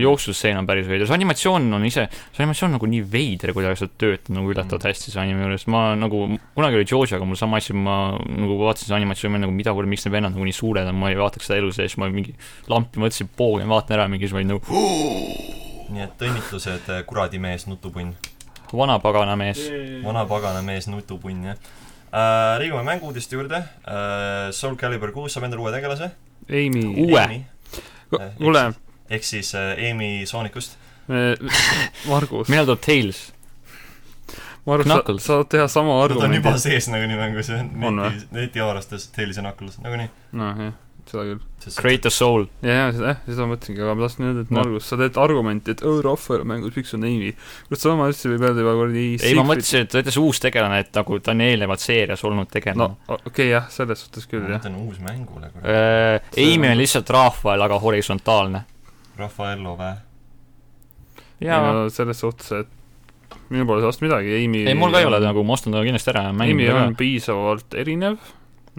Speaker 2: jooksusseen on päris veider , see animatsioon on ise , see animatsioon on nagu nii veider , kuidas see töötab nagu üllatavalt hästi , see anime juures , ma nagu , kunagi oli Georgiaga mul sama asi , ma nagu vaatasin seda animatsiooni , ma olin nagu mida kuradi , miks need vennad nagu nii suured on , ma ei vaataks seda elu sees , ma mingi lampi mõtlesin , poogen , vaatan ära mingi , siis ma olin nagu
Speaker 1: nii et õnnitlused , kuradi mees , nutupunn .
Speaker 2: vana pagana mees .
Speaker 1: vana pagana mees , nutupunn , jah äh, . liigume mängu-uudiste juurde äh, . Soul Calibur kuus saab endale uue tegelase .
Speaker 4: Amy ,
Speaker 2: Uue. ?
Speaker 4: kuule ,
Speaker 1: ehk siis äh, Amy Soonikust .
Speaker 4: Margus ,
Speaker 2: millal tuleb Tales ?
Speaker 4: Margus , sa
Speaker 2: Knuckles.
Speaker 4: saad teha sama
Speaker 1: ta on juba
Speaker 4: argumendi .
Speaker 1: sees nagunii mängus , jah .
Speaker 4: On või?
Speaker 1: neti , netiavarastes , Talise nakulus , nagunii .
Speaker 4: noh , jah , seda küll .
Speaker 2: Create a soul .
Speaker 4: ja , ja seda , seda ma mõtlesingi , aga ma tahtsin öelda , et
Speaker 2: Noh.
Speaker 4: Margus , sa teed argumenti , et Euro Offer mängus , miks on Amy . kuule , sama asja võib öelda juba kuradi
Speaker 2: ei , ma . mõtlesin , et ta ütles uus tegelane , et nagu ta on eelnevalt seerias olnud
Speaker 4: no
Speaker 2: tegelane no. .
Speaker 4: okei okay, , jah , selles suhtes küll ,
Speaker 1: ma
Speaker 4: jah .
Speaker 1: mõtlen uus mängule , kurat .
Speaker 2: Amy
Speaker 4: See on-
Speaker 2: Äh, on lihtsalt rahval , aga horisontaalne .
Speaker 1: Raffaello vä ?
Speaker 4: ei
Speaker 2: jaa .
Speaker 4: no selles suhtes , et minu pole sellest midagi , Amy
Speaker 2: ei , mul ka ei ole nagu , ma ostan ta kindlasti ära ja mängin
Speaker 4: Amy
Speaker 2: teda
Speaker 4: on piisavalt erinev ,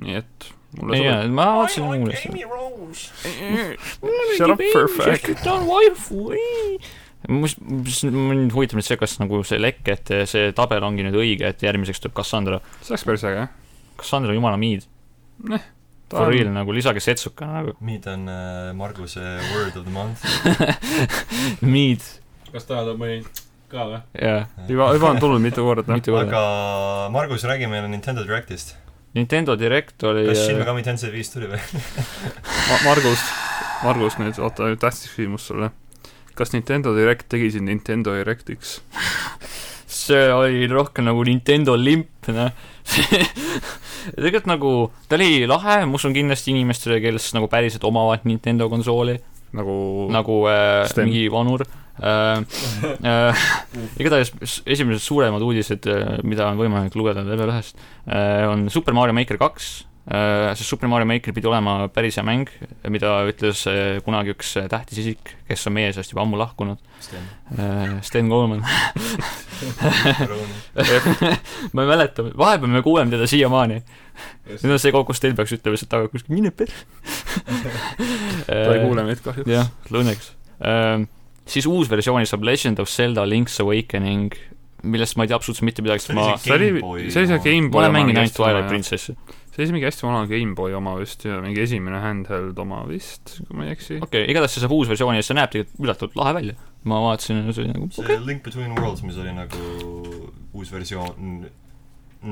Speaker 4: nii et mulle
Speaker 2: ka . jaa , ma vaatasin mulle
Speaker 1: Rose .
Speaker 4: Shut up, perfect.
Speaker 2: ta on waifu , ei . mis , mis mind huvitab nüüd see , kas nagu see lekk , et see tabel ongi nüüd õige , et järgmiseks tuleb Cassandra .
Speaker 4: sobib , see oleks päris äge .
Speaker 2: Cassandra , jumala miid , for real nagu , lisage Setsuka nagu ,
Speaker 1: Meid on äh, Marguse word of the month .
Speaker 2: miid ,
Speaker 5: kas tahad mõni ka või ?
Speaker 2: jaa ,
Speaker 4: juba , juba on tulnud mitu korda .
Speaker 2: mitu korda .
Speaker 1: aga Margus , räägi meile Nintendo Directist .
Speaker 2: Nintendo Direct oli
Speaker 1: kas Shin Megami Tensei viis tuli või ?
Speaker 4: Margus , Margus nüüd , oota , nüüd tähtis küsimus sulle . kas Nintendo Direct tegi sind Nintendo Directiks ?
Speaker 2: see oli rohkem nagu Nintendo limp , noh . tegelikult nagu , ta oli lahe , ma usun kindlasti inimestele , kes nagu päriselt omavad Nintendo konsooli ,
Speaker 4: nagu,
Speaker 2: nagu äh,
Speaker 4: Stem.
Speaker 2: mingi vanur äh, . Äh, igatahes s- esimesed suuremad uudised , mida on võimalik lugeda level ühest äh, , on Super Mario Maker kaks äh, , sest Super Mario Maker pidi olema päris hea mäng , mida ütles äh, kunagi üks äh, tähtis isik , kes on meie seast juba ammu lahkunud
Speaker 1: Sten
Speaker 2: äh, , Sten Koolman .
Speaker 1: Rooni .
Speaker 2: ma ei mäleta , vahepeal me kuuleme teda siiamaani . nüüd on see koht , kus teil peaks ütlema lihtsalt taga kuskil , mine per- .
Speaker 4: ta ei kuule meid kahjuks .
Speaker 2: äh, jah , õnneks . siis uus versioon saab Legend of Zelda Link's Awakening , millest ma ei tea absoluutselt mitte midagi , sest
Speaker 1: See oli
Speaker 2: ma ,
Speaker 1: isegi-
Speaker 4: see oli
Speaker 1: Gameboy ,
Speaker 4: see oli see
Speaker 1: oma.
Speaker 4: Gameboy
Speaker 2: ma olen mänginud ainult Twilight . Princessi .
Speaker 4: see oli mingi hästi vana Gameboy oma vist ja mingi esimene handheld oma vist , kui ma ei eksi .
Speaker 2: okei okay, , igatahes see saab uus versioon ja see näeb tegelikult üllatavalt lahe välja . ma vaatasin ja see oli nagu
Speaker 1: see
Speaker 2: okei okay. ,
Speaker 1: okay. Link Between Worlds , mis oli nagu uus versioon ,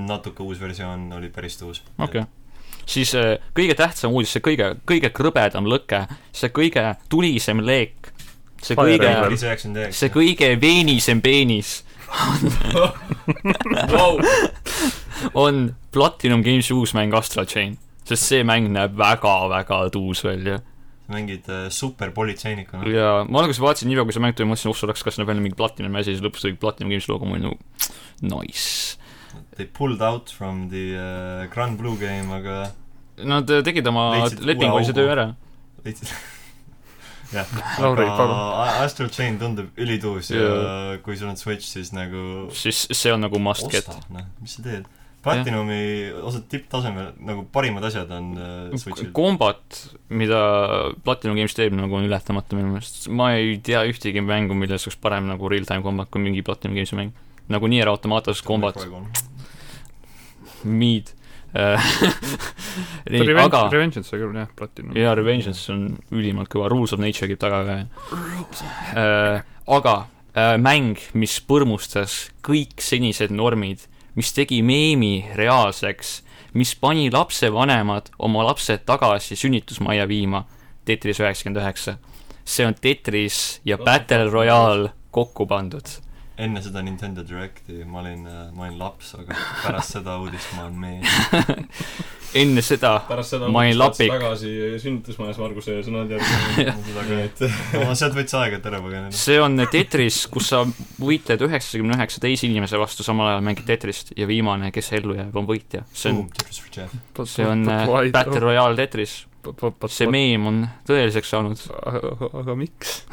Speaker 1: natuke uus versioon , oli päris uus .
Speaker 2: okei okay. siis äh, kõige tähtsam uudis , see kõige , kõige krõbedam lõke , see kõige tulisem leek , see
Speaker 4: Fire
Speaker 2: kõige ,
Speaker 4: Emblem.
Speaker 1: see üheksakümmend üheksa .
Speaker 2: see kõige veenisem peenis
Speaker 5: Vau ,
Speaker 2: on Platinum Gamesi uus mäng Astral Chain , sest see mäng näeb väga-väga tuus välja .
Speaker 1: mängid äh, superpolitseinikuna .
Speaker 2: ja ma alguses vaatasin niipea , kui see mäng tuli , mõtlesin , oh sul oleks , kas näeb välja mingi Platinumi asi , siis lõpuks tuli Platinum Games logo , ma olin nagu nice .
Speaker 1: They pulled out from the uh, Grand Blue game , aga
Speaker 2: Nad äh, tegid oma
Speaker 1: Leidsid uue
Speaker 2: lepingulise
Speaker 1: augu.
Speaker 2: töö ära .
Speaker 1: lihtsalt jah ,
Speaker 4: Lauri,
Speaker 1: aga
Speaker 4: palun.
Speaker 1: A- Astral Chain tundub ülituus ja
Speaker 2: Jaa.
Speaker 1: kui sul on Switch , siis nagu
Speaker 2: siis see on nagu must get
Speaker 1: osta ., noh , mis sa teed . Platinumi osad tipptasemel , nagu parimad asjad on uh, Switchil .
Speaker 2: kombat , mida Platinum Games teeb , nagu on ületamatu minu meelest . ma ei tea ühtegi mängu , milles oleks parem nagu real-time kombat kui mingi Platinum Gamesi mäng . nagu Nier Automatas kombat , mid . nii , aga
Speaker 4: Revenge on see küll jah , platinum .
Speaker 2: jaa , Revengeance on ülimalt kõva , Rules of Nature käib taga ka äh, . aga äh, mäng , mis põrmustas kõik senised normid , mis tegi meemi reaalseks , mis pani lapsevanemad oma lapsed tagasi sünnitusmajja viima , Tetris üheksakümmend üheksa . see on Tetris ja Battle Royale kokku pandud .
Speaker 1: enne seda Nintendo Directi ma olin , ma olin laps , aga pärast seda uudist ma olen mees .
Speaker 2: enne seda
Speaker 5: pärast seda
Speaker 2: Ma olin lapik.
Speaker 5: tagasi sünnitusmajas Marguse sõnad järgi .
Speaker 1: aga et no, sealt võttis aega , et ära põgeneda .
Speaker 2: see on Tetris , kus sa võitled üheksakümne üheksa teise inimese vastu , samal ajal mängid Tetrist ja viimane , kes ellu jääb , on võitja .
Speaker 1: Oh.
Speaker 2: see on ,
Speaker 1: Tetris for Jeff .
Speaker 2: see on äh, Battle Royale Tetris . see
Speaker 4: Royale .
Speaker 2: meem on tõeliseks saanud .
Speaker 4: aga miks ?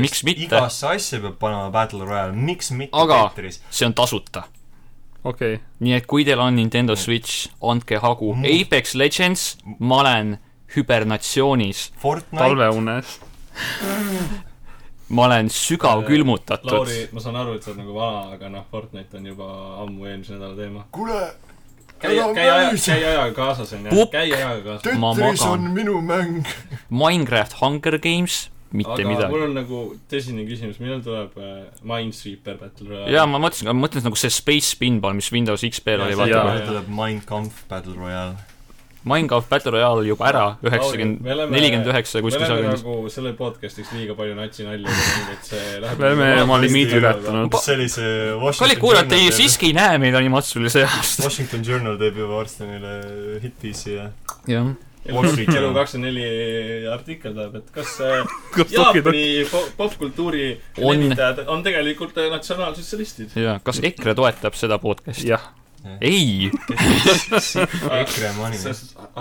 Speaker 2: Miks mitte?
Speaker 1: igasse asja peab panema Battle Royale , miks mitte
Speaker 2: Aga-
Speaker 1: Tetris ?
Speaker 2: see on tasuta .
Speaker 4: okei okay. ,
Speaker 2: nii et kui teil on Nintendo Switch , andke hagu .
Speaker 5: Mm.
Speaker 2: Apex Legends , ma olen hübernatsioonis .
Speaker 1: Fortnite ,
Speaker 4: talveunes .
Speaker 2: ma olen sügavkülmutatud .
Speaker 5: Lauri , ma saan aru , et sa oled nagu vana , aga noh , Fortnite on juba ammu eelmise nädala teema .
Speaker 6: kuule ,
Speaker 5: käi ,
Speaker 6: Ära
Speaker 5: käi aja ,
Speaker 6: mõisa!
Speaker 5: käi ajaga kaasas , onju .
Speaker 2: Pukk!
Speaker 5: käi ajaga kaasas .
Speaker 2: Ma
Speaker 6: Tetris
Speaker 2: magan.
Speaker 6: on minu mäng .
Speaker 2: Minecraft Hunger Games , mitte
Speaker 5: aga
Speaker 2: midagi .
Speaker 5: mul on nagu tõsine küsimus , millal tuleb äh, Minesweeper Battle Royale ?
Speaker 2: jaa , ma mõtlesin , ma mõtlesin nagu see Space Spinball , mis Windows XP-l oli ,
Speaker 5: Jaa,
Speaker 2: vaata
Speaker 4: jaa. .
Speaker 1: kohe tuleb Minecraft Battle Royale .
Speaker 2: Minecraft Battle Royale juba ära , üheksakümmend ,
Speaker 5: me oleme-
Speaker 2: nelikümmend üheksa
Speaker 5: me
Speaker 2: kuskil
Speaker 5: oleme
Speaker 2: sagedus .
Speaker 5: nagu selle podcast'iks liiga palju natsinalja teinud , et see läheb nagu-
Speaker 4: me oleme oma limiidi ületanud .
Speaker 1: see oli see Washington
Speaker 2: kallid kuulajad , te
Speaker 1: Journal
Speaker 2: ju
Speaker 1: teeb-
Speaker 2: siiski ei näe meid animatsioonile see aasta .
Speaker 1: Washington Journal teeb juba varsti meile hit-piece'i ja
Speaker 2: jah ,
Speaker 1: Wall Street
Speaker 5: elu
Speaker 1: Journal .
Speaker 5: kakskümmend neli artikkel tuleb , et kas äh,
Speaker 4: kas dokki , dokki ,
Speaker 5: Jaapani po- popkultuuri
Speaker 2: On-
Speaker 5: levitajad on tegelikult äh, natsionaalsotsialistid ?
Speaker 2: jaa , kas EKRE toetab seda podcast'i ?
Speaker 4: jah .
Speaker 2: ei , Ah.
Speaker 1: EKRE money .
Speaker 5: Äh,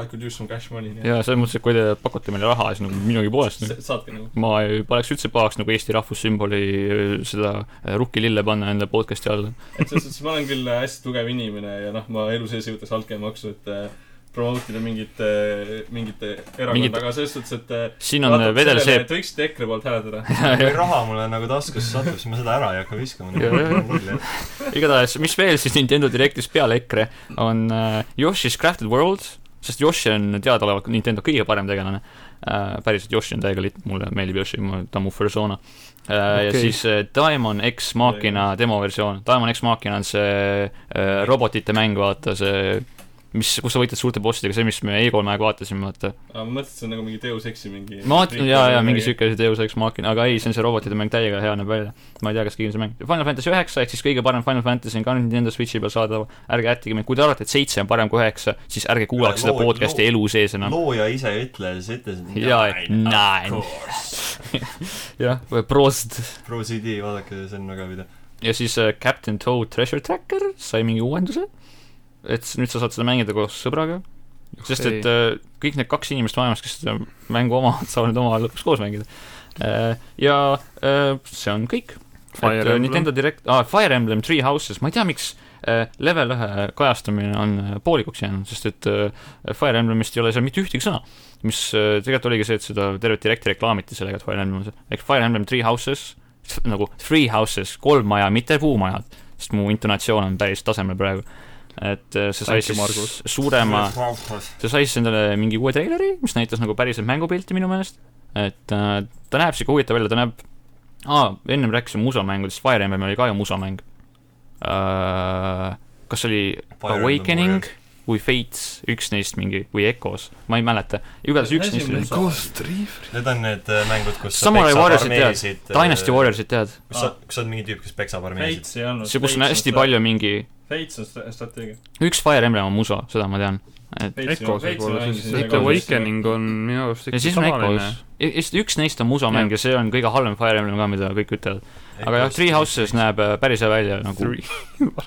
Speaker 5: I could use some cash money .
Speaker 2: jaa , selles mõttes , et kui te pakute meile raha , siis nagu minugi poolest nagu. .
Speaker 5: saatke nagu .
Speaker 2: ma ei paneks üldse pahaks nagu Eesti rahvussümboli öö, seda äh, rukkilille panna enda podcast'i alla .
Speaker 5: et selles suhtes ma olen küll äh, hästi tugev inimene ja noh , ma elu sees ei võtaks altkäemaksu , et äh, promotida mingit , mingit
Speaker 2: Mingit-
Speaker 5: erakonda , aga selles suhtes , et äh,
Speaker 2: siin on
Speaker 5: vaatamata
Speaker 2: vedel
Speaker 5: sellele,
Speaker 2: seep
Speaker 5: et . võiksite EKRE poolt hääletada .
Speaker 1: kui raha mulle nagu taskusse satub , siis ma seda ära ei hakka
Speaker 2: Jaa, jaa,
Speaker 1: viskama .
Speaker 2: igatahes , mis veel siis Nintendo Directis peale EKRE on äh, Yoshi's Crafted World , sest Yoshi on teadaolevalt Nintendo kõige parem tegelane äh, . päriselt Yoshi on täiega lihtne , mulle meeldib Yoshi , ta on mu persona äh, okay. . ja
Speaker 4: Okei.
Speaker 2: siis äh, Diamond X Machina demoversioon , Diamond X Machina on see äh, robotite mäng , vaata see , mis , kus sa võitled suurte bossidega , see , mis me Egon aeg vaatasime , vaata .
Speaker 5: ma mõtlesin , et see on nagu mingi Deus Exi mingi .
Speaker 2: ma vaatasin , jaa , jaa , mingi siuke Deus Ex Machina , aga ei , see on see robotide mäng , täiega hea näeb välja . ma ei tea , kas keegi see mäng , Final Fantasy üheksa ehk siis kõige parem Final Fantasy on ka Nintendo Switchi peal saadav , ärge ättige mind , kui te arvate , et seitse on parem kui üheksa , siis ärge kuulake seda
Speaker 1: Loo-
Speaker 2: podcast'i
Speaker 1: loo-
Speaker 2: elu sees enam .
Speaker 1: looja ise ei ütle , siis ütles .
Speaker 2: jaa , nine . jah , või Prost .
Speaker 1: ah, Pro CD , vaadake , see on väga video .
Speaker 2: ja siis äh, Captain Toad Treasure Tracker sai mingi uuenduse , et s- nüüd sa saad seda mängida koos sõbraga , sest et äh, kõik need kaks inimest maailmas , kes seda mängu omavad , saavad nüüd omavahel lõpuks koos mängida . Ja äh, see on kõik .
Speaker 4: Fire
Speaker 2: et äh,
Speaker 4: Emblem.
Speaker 2: Nintendo Direct ah, , Fire Emblem Three Houses , ma ei tea , miks äh, level ühe kajastamine on äh, poolikuks jäänud , sest et äh, Fire Emblemist ei ole seal mitte ühtegi sõna . mis äh, tegelikult oligi see , et seda tervet Directi reklaamiti sellega , et Fire Emblem on see , ehk Fire Emblem Three Houses , nagu Three Houses , kolm maja , mitte puumajad , sest mu intonatsioon on päris tasemel praegu . et äh, see sai
Speaker 4: Thank you,
Speaker 2: siis
Speaker 4: Margus.
Speaker 2: suurema see sai siis endale mingi uue treileri , mis näitas nagu päriselt mängupilti minu meelest , et äh, ta näeb sihuke huvitav välja , ta näeb , aa , ennem rääkisime musomängudest , Fire Emblem oli ka ju musomäng uh, . kas see oli
Speaker 1: Fire
Speaker 2: Awakening
Speaker 1: Emblem
Speaker 2: või Fates , üks neist mingi , või Echoes , ma ei mäleta , igatahes üks neist oli .
Speaker 3: Ghost Reaver .
Speaker 1: Need on need äh, mängud , kus sa
Speaker 2: Samurai
Speaker 1: peksad
Speaker 2: Warriorsit tead?
Speaker 1: armeesid, äh,
Speaker 2: Dynasty Warriorsit tead ,
Speaker 1: kus sa , kus sa oled mingi tüüp , kes peksab armeesid .
Speaker 5: Fates ei olnud .
Speaker 2: see , kus on hästi . palju mingi ,
Speaker 5: Fates on stra- strateegia .
Speaker 2: üks Fire Emblem on muso , seda ma tean . et
Speaker 4: Echoes võib-olla siis , et Awakening on minu arust
Speaker 2: ja
Speaker 4: ikka
Speaker 2: siis on
Speaker 4: tavaline
Speaker 2: Echoes ., üks neist on musomäng ja see on kõige halvem Fire Emblem ka , mida kõik ütlevad . aga jah , Three Houses näeb äh, päris hea välja nagu .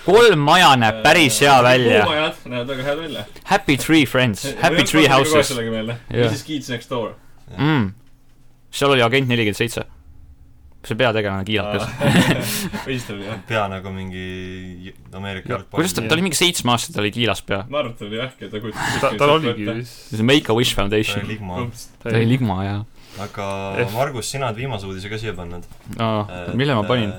Speaker 2: kolm maja näeb päris hea välja .
Speaker 5: Äh, kuumajad näevad väga head välja .
Speaker 2: Happy Three Friends , Happy Three Houses .
Speaker 5: sellega meelde .
Speaker 2: Jah.
Speaker 5: This is Kids Next Door .
Speaker 2: mm. . seal oli Agent nelikümmend seitse . see peategelane kiilakas .
Speaker 5: või siis ta oli jah .
Speaker 1: pea nagu mingi Ameerika
Speaker 2: kuidas ta , ta oli mingi seitsme aastane , tal oli kiilas pea .
Speaker 5: ma arvan , et ta oli vähk ja ta kujutas
Speaker 4: ta , tal oligi . vist .
Speaker 2: see on Make a Wish
Speaker 1: ta oli
Speaker 2: Foundation .
Speaker 1: ligma ,
Speaker 2: ta oli ligma ja
Speaker 1: aga
Speaker 4: F.
Speaker 1: Margus , sina oled viimase uudise ka siia pannud .
Speaker 2: no, . mille ma panin ??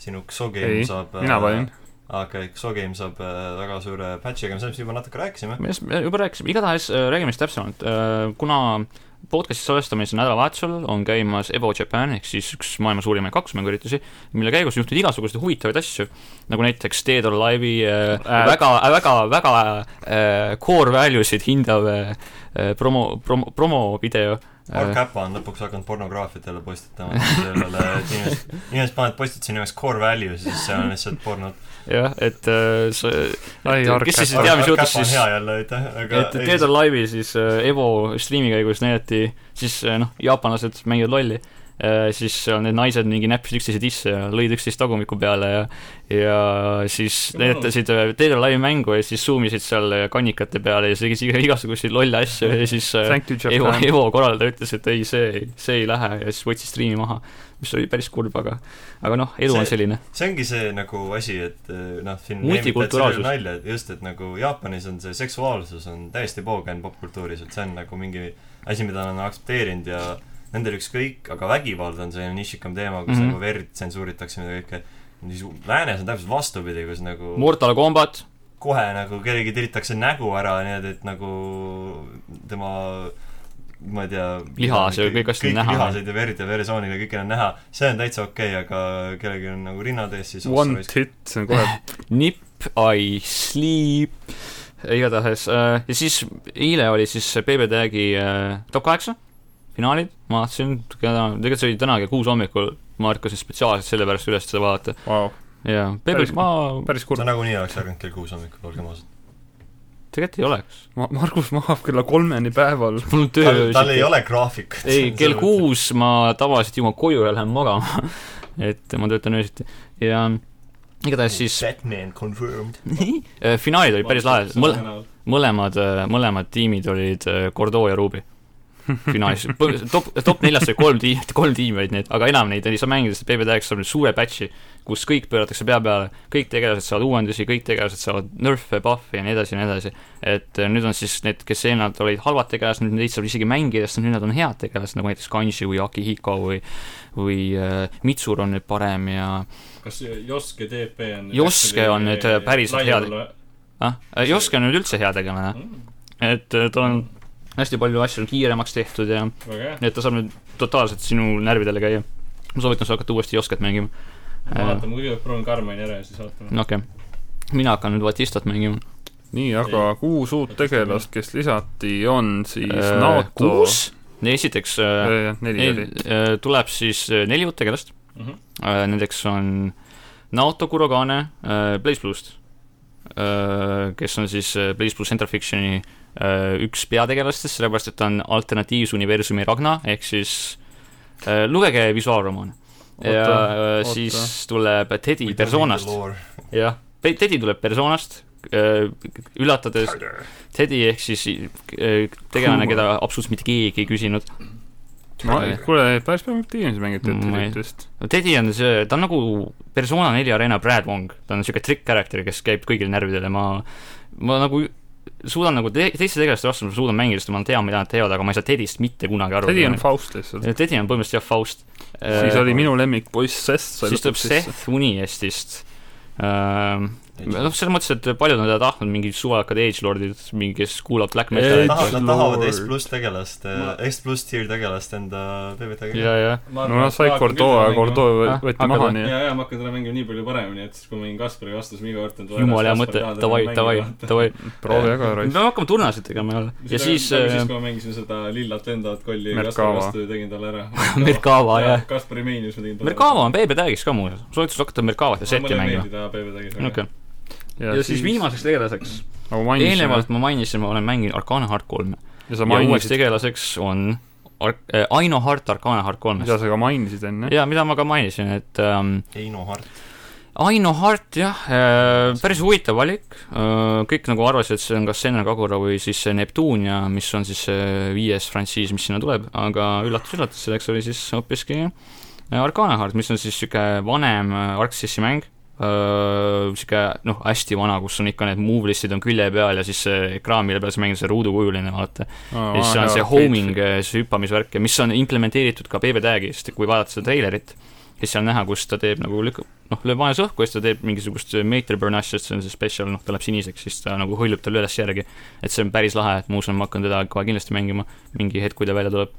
Speaker 1: sinu Xogame
Speaker 4: ei
Speaker 1: saab ,. äh,
Speaker 4: mina panin ..
Speaker 1: okei , Xogame saab äh, väga suure patch'i , aga me sellest juba natuke rääkisime .
Speaker 2: millest me juba rääkisime , igatahes äh, räägime siis täpsemalt , kuna podcast'i salvestamise nädalavahetusel on käimas Evo Japan ehk siis üks maailma suurimaid kaklusmänguüritusi , mille käigus juhtub igasuguseid huvitavaid asju , nagu näiteks Dead or Alive'i äh,
Speaker 4: Äh.
Speaker 2: väga , väga , väga äh, core value sid hindav äh, promo , promo , Äh, promovideo
Speaker 1: Mark Käpa on lõpuks hakanud pornograafiat jälle postitama , sellele , et inimesed , inimesed panevad postitsi nimeks Core Value , siis see on lihtsalt pornod .
Speaker 2: jah , et äh, see ,
Speaker 4: Ai, Ark
Speaker 2: kes siis
Speaker 4: Käpa.
Speaker 2: ei tea , mis juhtus
Speaker 1: on
Speaker 2: siis
Speaker 1: hea jälle , aitäh , aga
Speaker 2: et Dead or Alive'i siis äh, Evo striimi käigus näidati , siis äh, noh , jaapanlased mängivad lolli äh, , siis seal need naised mingi näppisid üksteise sisse ja lõid üksteist tagumiku peale ja ja siis
Speaker 5: Jumala.
Speaker 2: näitasid äh, Dead or Alive'i mängu ja siis suumisid seal äh, kannikate peale ja siis tegid igasuguseid lolle asju ja siis äh,
Speaker 4: Thank you ,
Speaker 2: Evo ,
Speaker 4: Japan .
Speaker 2: Evo korraldaja ütles , et ei , see ei , see ei lähe ja siis võttis striimi maha , mis oli päris kurb , aga aga noh , elu on
Speaker 1: See-
Speaker 2: selline .
Speaker 1: see ongi see nagu asi , et eh, noh , siin meemid teevad
Speaker 2: Multikulturaalsus.
Speaker 1: selle nalja , et just , et nagu Jaapanis on see seksuaalsus on täiesti poogen popkultuuris , et see on nagu mingi asi , mida nad on aktsepteerinud ja nendel ükskõik , aga vägivald on selline nišikam teema , kus mm
Speaker 2: Mhm.
Speaker 1: -hmm. nagu verd tsensuuritakse ja mida kõike . siis läänes on täpselt vastupidi , kus nagu
Speaker 2: Mortal Combat ,
Speaker 1: kohe nagu kellegi tiritakse nägu ära , nii et , et nagu tema ma ei tea
Speaker 2: Lihas ja kõik asjad on
Speaker 1: kõik
Speaker 2: näha.
Speaker 1: lihased ja verd ja veresoonid ja kõik on näha , see on täitsa okei okay, , aga kellelgi on nagu rinnad ees , siis
Speaker 4: One hit , see on kohe
Speaker 2: Nip I Sleep , igatahes äh, ja siis eile oli siis see BB Tagi äh, top kaheksa finaalid , ma vaatasin , tegelikult see oli tänagi kuus hommikul , ma ärkasin spetsiaalselt selle pärast üles seda vaadata
Speaker 4: wow,
Speaker 2: ja BB
Speaker 4: Päris- ,
Speaker 2: ma
Speaker 4: päris kurb
Speaker 1: sa . nagunii oleks ärganud kell kuus hommikul , olgem ausad .
Speaker 2: tegelikult ei oleks ,
Speaker 4: Ma- , Margus magab kella kolmeni päeval .
Speaker 2: mul on
Speaker 1: tal
Speaker 2: töö ,
Speaker 1: tal ei ole graafikut .
Speaker 2: ei , kell . kuus ma tavaliselt jõuan koju ja lähen magama , et ma töötan öösiti ja igatahes siis
Speaker 1: Batman confirmed .
Speaker 2: eh, finaalid olid päris lahedad , mõle- , mõlemad , mõlemad tiimid olid eh, Gordo ja Ruby finaalis . top , top neljast oli kolm tiimi , kolm tiimi olid need , aga enam neid ei saa mängida , sest BB9 saab nüüd suure batch'i , kus kõik pööratakse pea peale , kõik tegelased saavad uuendusi , kõik tegelased saavad nörfe , buff'e ja nii edasi ja nii edasi . et eh, nüüd on siis need , kes eelnevalt olid halvad tegelased , nüüd neid saab isegi mängida , sest nüüd nad on head tegelased , nagu näiteks Kanshi või Akihiko või või eh, Mitsur on nüüd parem ja
Speaker 5: kas Joske DP on
Speaker 2: Joske
Speaker 5: actually
Speaker 2: on nüüd, äh, päriselt
Speaker 5: laial-
Speaker 2: ah, , Joske on nüüd üldse hea tegelane ,
Speaker 5: Mm,
Speaker 2: et eh, ta on hästi palju asju on kiiremaks tehtud ja
Speaker 5: väga hea ,
Speaker 2: nii et ta saab nüüd totaalselt sinu närvidele käia . ma soovitan sul hakata uuesti Joskat mängima . Äh.
Speaker 5: ma vaatan , ma kõigepealt proovin Karmani ära ja siis vaatame .
Speaker 2: no okei okay. . mina hakkan nüüd Batistat mängima .
Speaker 4: nii , aga kuus uut tegelast , kes lisati , on siis NATO .
Speaker 2: Äh, kuus ? esiteks äh,
Speaker 4: neli
Speaker 2: neil,
Speaker 4: oli .
Speaker 2: äh, tuleb siis äh, neli uut tegelast
Speaker 5: Mhm.
Speaker 2: äh, . Nendeks on Naoto Kurogane äh, Blaze Bluest äh, , kes on siis äh, Blaze Blue Central Fictioni äh, üks peategelastest , sellepärast et ta on alternatiivse universumi Ragna , ehk siis äh, lugege visuaalromaane . ja
Speaker 4: Oota,
Speaker 2: äh,
Speaker 4: oota.
Speaker 2: siis tuleb Teddy Personast , jah , Teddy tuleb Personast äh, , üllatades Teddy ehk siis äh, tegelane , keda absoluutselt mitte keegi ei küsinud .
Speaker 4: kuule , päris palju tiimisid mängiti , et
Speaker 2: Ma ei-
Speaker 4: eriti vist .
Speaker 2: no Teddy on see , ta on nagu Persona neli areena Brad Wong , ta on niisugune trikk character , kes käib kõigil närvidel ja ma , ma nagu suudan nagu te teiste tegelaste vastu , ma suudan mängida , sest ma tean , mida nad teevad , aga ma ei saa Teddyst mitte kunagi aru .
Speaker 4: Teddy on Faust lihtsalt .
Speaker 2: Teddy on põhimõtteliselt jah , Faust . Äh,
Speaker 4: siis oli minu lemmik poiss Seth sai
Speaker 2: siis tuleb
Speaker 4: lõpuks sisse.
Speaker 2: Seth Uniestist . noh , selles mõttes , et paljud on teda tahtnud , mingid suvalakad edgelordid , mingi , kes kuulab black
Speaker 4: Ei,
Speaker 2: metal'i
Speaker 1: tahavad , nad tahavad S
Speaker 4: Lord.
Speaker 1: pluss tegelast , S pluss tier tegelast enda PBT-ga .
Speaker 2: ja , ja ,
Speaker 4: no nad said Gordo ja . Gordo
Speaker 2: Ah,
Speaker 4: võeti
Speaker 2: hakkad
Speaker 4: maha ,
Speaker 2: või?
Speaker 4: nii et
Speaker 5: ja , ja ma hakkan teda mängima nii palju paremini , et siis kui ma mängin Kaspari vastu , siis ma iga kord teen .
Speaker 2: jumala hea mõte , davai , davai , davai .
Speaker 4: proovi väga
Speaker 2: me
Speaker 4: raisk .
Speaker 2: peame hakkama turnasid tegema jälle . ja siis
Speaker 5: siis
Speaker 2: äh, ,
Speaker 5: kui ma mängisin seda lillat lendavat kolli
Speaker 4: Merkava.
Speaker 5: Kaspari vastu ja tegin talle ära .
Speaker 2: Merkava , jah .
Speaker 5: Kaspari meinis ma tegin talle
Speaker 2: Merkava on BB tag'is ka muuseas , soovitus hakata Merkavat ja seti
Speaker 5: mulle ei
Speaker 2: mängima .
Speaker 5: meeldi ta PBT-ga .
Speaker 2: okei , ja siis viimaseks tegelaseks ,
Speaker 4: nagu mainisin ,
Speaker 2: eelnevalt ma mainisin , ma olen mänginud Arcana Heart kolme
Speaker 4: ja sa
Speaker 2: ja uueks
Speaker 4: mainisid ,
Speaker 2: tegelaseks on Ar- , äh, Aino Heart Arcana Heart
Speaker 4: mida
Speaker 2: kolmest .
Speaker 4: sa ka mainisid enne .
Speaker 2: ja mida ma ka mainisin , et ähm,
Speaker 1: Heino Hart .
Speaker 2: Aino Heart jah äh, , päris huvitav valik äh, , kõik nagu arvasid , et see on kas Senna Kagura või siis see Neptunia , mis on siis see viies frantsiis , mis sinna tuleb , aga üllatus-üllatus , selleks oli siis hoopiski äh, Arcana Heart , mis on siis niisugune vanem äh, Arxissi mäng , niisugune noh , hästi vana , kus on ikka need move list'id on külje peal ja siis see ekraan , mille peal sa mängid , see ruudukujuline , vaata . ja siis on see homing , see hüppamisvärk ja mis on implementeeritud ka BB tag'ist , kui vaadata seda treilerit , siis seal on näha , kus ta teeb nagu lükkab , noh , lööb vaenlase õhku ja siis ta teeb mingisugust eh, meter burn asja , see on see special , noh , ta läheb siniseks , siis ta nagu hõljub talle üles järgi . et see on päris lahe , et ma usun , ma hakkan teda kohe kindlasti mängima mingi hetk , kui ta välja tuleb .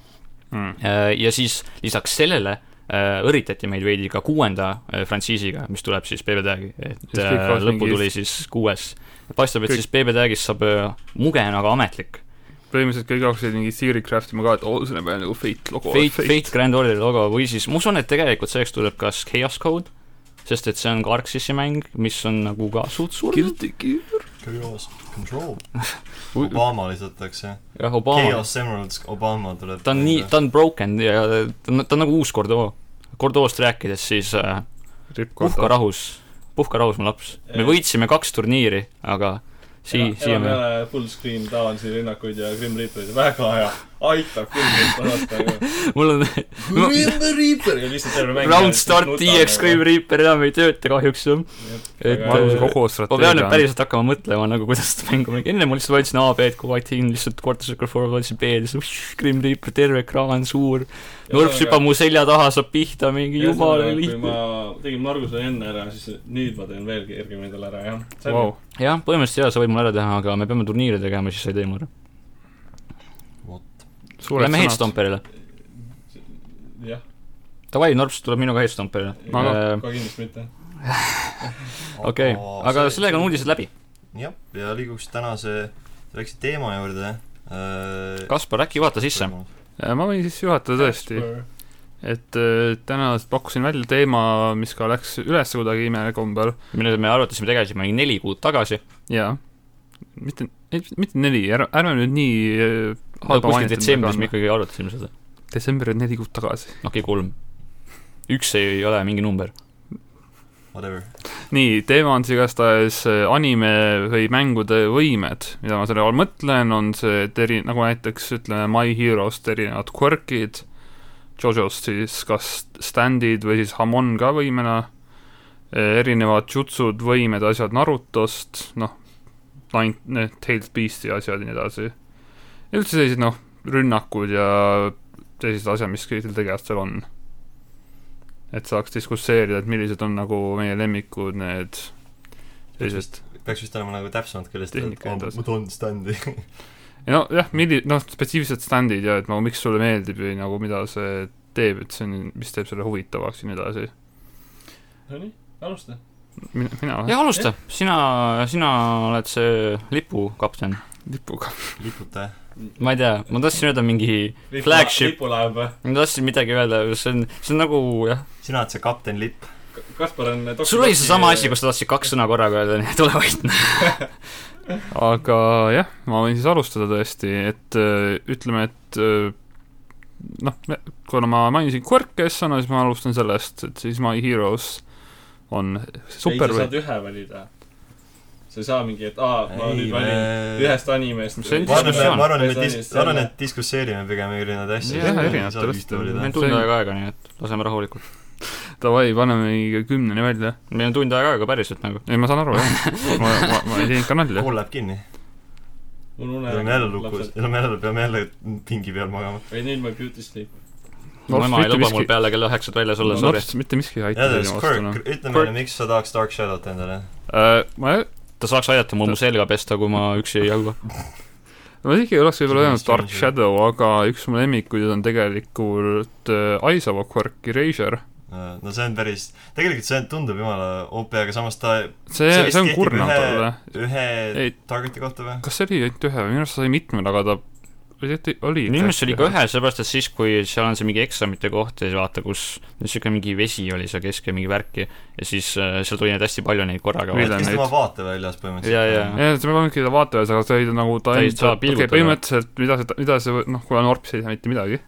Speaker 4: Mm.
Speaker 2: ja siis lisaks sellele äh, õrritati meid veidi ka kuuenda äh, frantsiisiga , mis tuleb siis BB tag'i , et
Speaker 4: Siis kõik
Speaker 2: äh,
Speaker 4: koos
Speaker 2: lõppu
Speaker 4: mingi-
Speaker 2: tuli siis kuues . paistab , et
Speaker 4: Kõik-
Speaker 2: siis BB tag'is saab äh, mugena ka ametlik .
Speaker 4: põhimõtteliselt kõik hakkasid mingit Siri craft ima ka , et oo , see näeb välja nagu Fate logo .
Speaker 2: Fate , Fate Grand Order logo või siis , ma usun , et tegelikult selleks tuleb kas Chaos Code , sest et see on ka Arxissi mäng , mis on nagu ka suht suur ,
Speaker 4: Guilty Gear .
Speaker 1: Chaos Control . Obama lisatakse .
Speaker 2: jah , Obama ,
Speaker 1: Chaos Emeralds Obama tuleb .
Speaker 2: ta on nii , ta on broken ja ta on , ta on nagu uus Gordo . Gordost rääkides , siis äh, puhka rahus , puhka rahus , mu laps . me
Speaker 5: Eh.
Speaker 2: võitsime kaks turniiri , aga sii- ,
Speaker 5: siia
Speaker 2: siiamaani .
Speaker 5: peale full screen tavalisi rünnakuid ja Grim Reaperid , väga hea , aitab küll mind parastada .
Speaker 2: mul on Ma-
Speaker 5: Grim Reaper ja lihtsalt terve mäng .
Speaker 2: round start EX Grim Reaper enam ei tööta kahjuks jah . et
Speaker 5: Aga
Speaker 4: ma arvan , see
Speaker 2: äh,
Speaker 4: kogu
Speaker 2: ma pean nüüd
Speaker 4: strateegia on
Speaker 2: päriselt hakkama mõtlema nagu , kuidas seda mängu mängida , enne ma lihtsalt valisin A-B-d , kui White Team lihtsalt Quarter Circle Four valisin B-d , siis uš, Grim Reaper , terve ekraan , suur , nurps hüppab mu selja taha , saab pihta , mingi jumala
Speaker 5: kui ma
Speaker 2: lihtne .
Speaker 5: tegin Marguse enne ära , siis nüüd ma teen veel kergemini talle ära , jah
Speaker 4: wow. .
Speaker 2: jah , põhimõtteliselt jaa , sa võid mul ära teha , aga me peame turniire tegema , siis sa ei tee mu ära . Lähme
Speaker 4: suured sõnad .
Speaker 2: Headstomperile .
Speaker 5: jah ,
Speaker 2: Davai , Norps tuleb minuga Headstomperile
Speaker 4: No, no. .
Speaker 2: Äh,
Speaker 5: ka kindlasti mitte .
Speaker 2: okei , aga sellega on uudised läbi .
Speaker 1: jah , ja liiguks tänase , läks teema juurde . eh, noh,
Speaker 2: Kaspar , äkki vaata sisse .
Speaker 4: ma võin siis juhatada tõesti , et äh, täna pakkusin välja teema , mis ka läks üles kuidagi imekombel
Speaker 2: mille me arutasime tegelikult mingi neli kuud tagasi .
Speaker 4: jaa , mitte , mitte neli , ära , ärme nüüd nii äh,
Speaker 2: kuskil detsembris me . ikkagi arutasime seda .
Speaker 4: detsember on neli kuud tagasi .
Speaker 2: okei , kolm . üks ei ole mingi number .
Speaker 1: Whatever .
Speaker 4: nii , teema on siis igastahes äh, anime või mängude võimed , mida ma selle all mõtlen , on see , et eri , nagu näiteks ütleme My Hero'st erinevad quirk'id , Jojo'st siis kas stand'id või siis Hamon ka võimena , erinevad jutsud , võimed , asjad Narutost , noh , Nine , Tailed Beast'i asjad ja nii edasi . ja üldse sellised noh , rünnakud ja sellised asjad , mis kõigil tegelastel on et saaks diskusseerida , et millised on nagu meie lemmikud need sellised ,
Speaker 1: peaks vist olema nagu täpsemalt küljest , et
Speaker 4: Tehnika
Speaker 1: oh,
Speaker 4: edasi.
Speaker 1: ma toon standi .
Speaker 4: nojah , milli- , noh , spetsiifilised stand'id ja et nagu miks sulle meeldib või nagu mida see teeb , et see on , mis teeb selle huvitavaks ja nii edasi .
Speaker 5: Nonii , alusta .
Speaker 4: mina , mina või ?
Speaker 2: jah , alusta , sina , sina oled see lipukapten .
Speaker 4: lipuga .
Speaker 1: liputa ,
Speaker 2: ma ei tea , ma tahtsin öelda mingi , Flagship.
Speaker 5: lipulaev või ?
Speaker 2: ma tahtsin midagi öelda , see on , see on nagu jah ,
Speaker 1: sina oled see kapten lipp .
Speaker 5: Kaspar on
Speaker 2: sul oli seesama asi , kus sa tahtsid kaks sõna korraga öelda , nii et ole vait .
Speaker 4: aga jah , ma võin siis alustada tõesti , et öö, ütleme , et öö, noh , kuna ma mainisin Quirke sõna , siis ma alustan sellest , et siis My Heroes on
Speaker 5: ei , sa
Speaker 4: super või
Speaker 5: saad ühe valida . sa ei saa mingi , et aa , ma
Speaker 1: Ei,
Speaker 5: nüüd
Speaker 1: me-
Speaker 5: valin ühest animest .
Speaker 2: See on
Speaker 1: ma arvan ,
Speaker 2: diskussioon.
Speaker 1: ma arvan , et me
Speaker 5: Personalist
Speaker 1: dis- ,
Speaker 5: selle-
Speaker 1: ma arvan , et diskusseerime pigem erinevaid asju .
Speaker 2: Jah,
Speaker 4: erinevate asjade-
Speaker 2: meil on
Speaker 4: See
Speaker 2: tund
Speaker 4: on-
Speaker 2: aega aega , nii et laseme rahulikult .
Speaker 4: davai , paneme mingi kümneni välja .
Speaker 2: meil on tund aega aega päriselt nagu .
Speaker 4: ei , ma saan aru , jah . ma , ma , ma ei teinud ka nalja .
Speaker 1: kool läheb kinni ,
Speaker 5: mul une
Speaker 1: me oleme jälle lukus , me oleme jälle , peame jälle pingi peal magama .
Speaker 5: ei , nüüd ma beauty sleep .
Speaker 2: mu ema ei
Speaker 4: mitte
Speaker 2: luba mul
Speaker 4: miski-
Speaker 2: peale kella üheksat väljas olla , sorry .
Speaker 4: Norst , mitte miski ei aita
Speaker 1: igatahes
Speaker 4: teile
Speaker 2: noh.
Speaker 4: vastuna .
Speaker 1: Quirk , ütle
Speaker 4: Quirk.
Speaker 1: meile , miks sa tahaks Dark Shadow't endale ?
Speaker 4: Äh, ma ,
Speaker 2: ta saaks aidata mul mu selga pesta , kui ma üksi ei jõua .
Speaker 4: ma isegi ei oleks võib-olla öelnud Dark
Speaker 1: Stranger.
Speaker 4: Shadow , aga üks mu lemmikuid on tegelikult äh, Aisawa Quirk Erasure .
Speaker 1: no see on päris , tegelikult see tundub jumala OP , aga samas ta
Speaker 4: see ,
Speaker 1: See
Speaker 4: see,
Speaker 1: vist
Speaker 4: see on
Speaker 1: kehtib
Speaker 4: kurnav
Speaker 1: ühe-
Speaker 4: talle .
Speaker 1: ühe
Speaker 4: Ei.
Speaker 1: targeti kohta või ?
Speaker 4: kas see oli ainult ühe või minu arust sai mitmel , aga ta , oli , oli
Speaker 2: minu meelest see oli ka . ühe , sellepärast et siis , kui seal on see mingi eksamite koht ja siis vaata , kus niisugune mingi vesi oli seal keskel , mingi värki , ja siis äh, seal tuli neid hästi palju neid korraga . ja ,
Speaker 4: Mille- Millal
Speaker 1: vist
Speaker 4: neid?
Speaker 1: tema vaateväljas põhimõtteliselt .
Speaker 2: ja ,
Speaker 4: jah , see peab ikka vaatajas , aga see oli nagu ta
Speaker 2: Ta ei
Speaker 4: ei
Speaker 2: saa
Speaker 4: okei ,
Speaker 2: pilgutada.
Speaker 4: põhimõtteliselt mida see , mida see , noh , kuna Norps ei tea mitte midagi .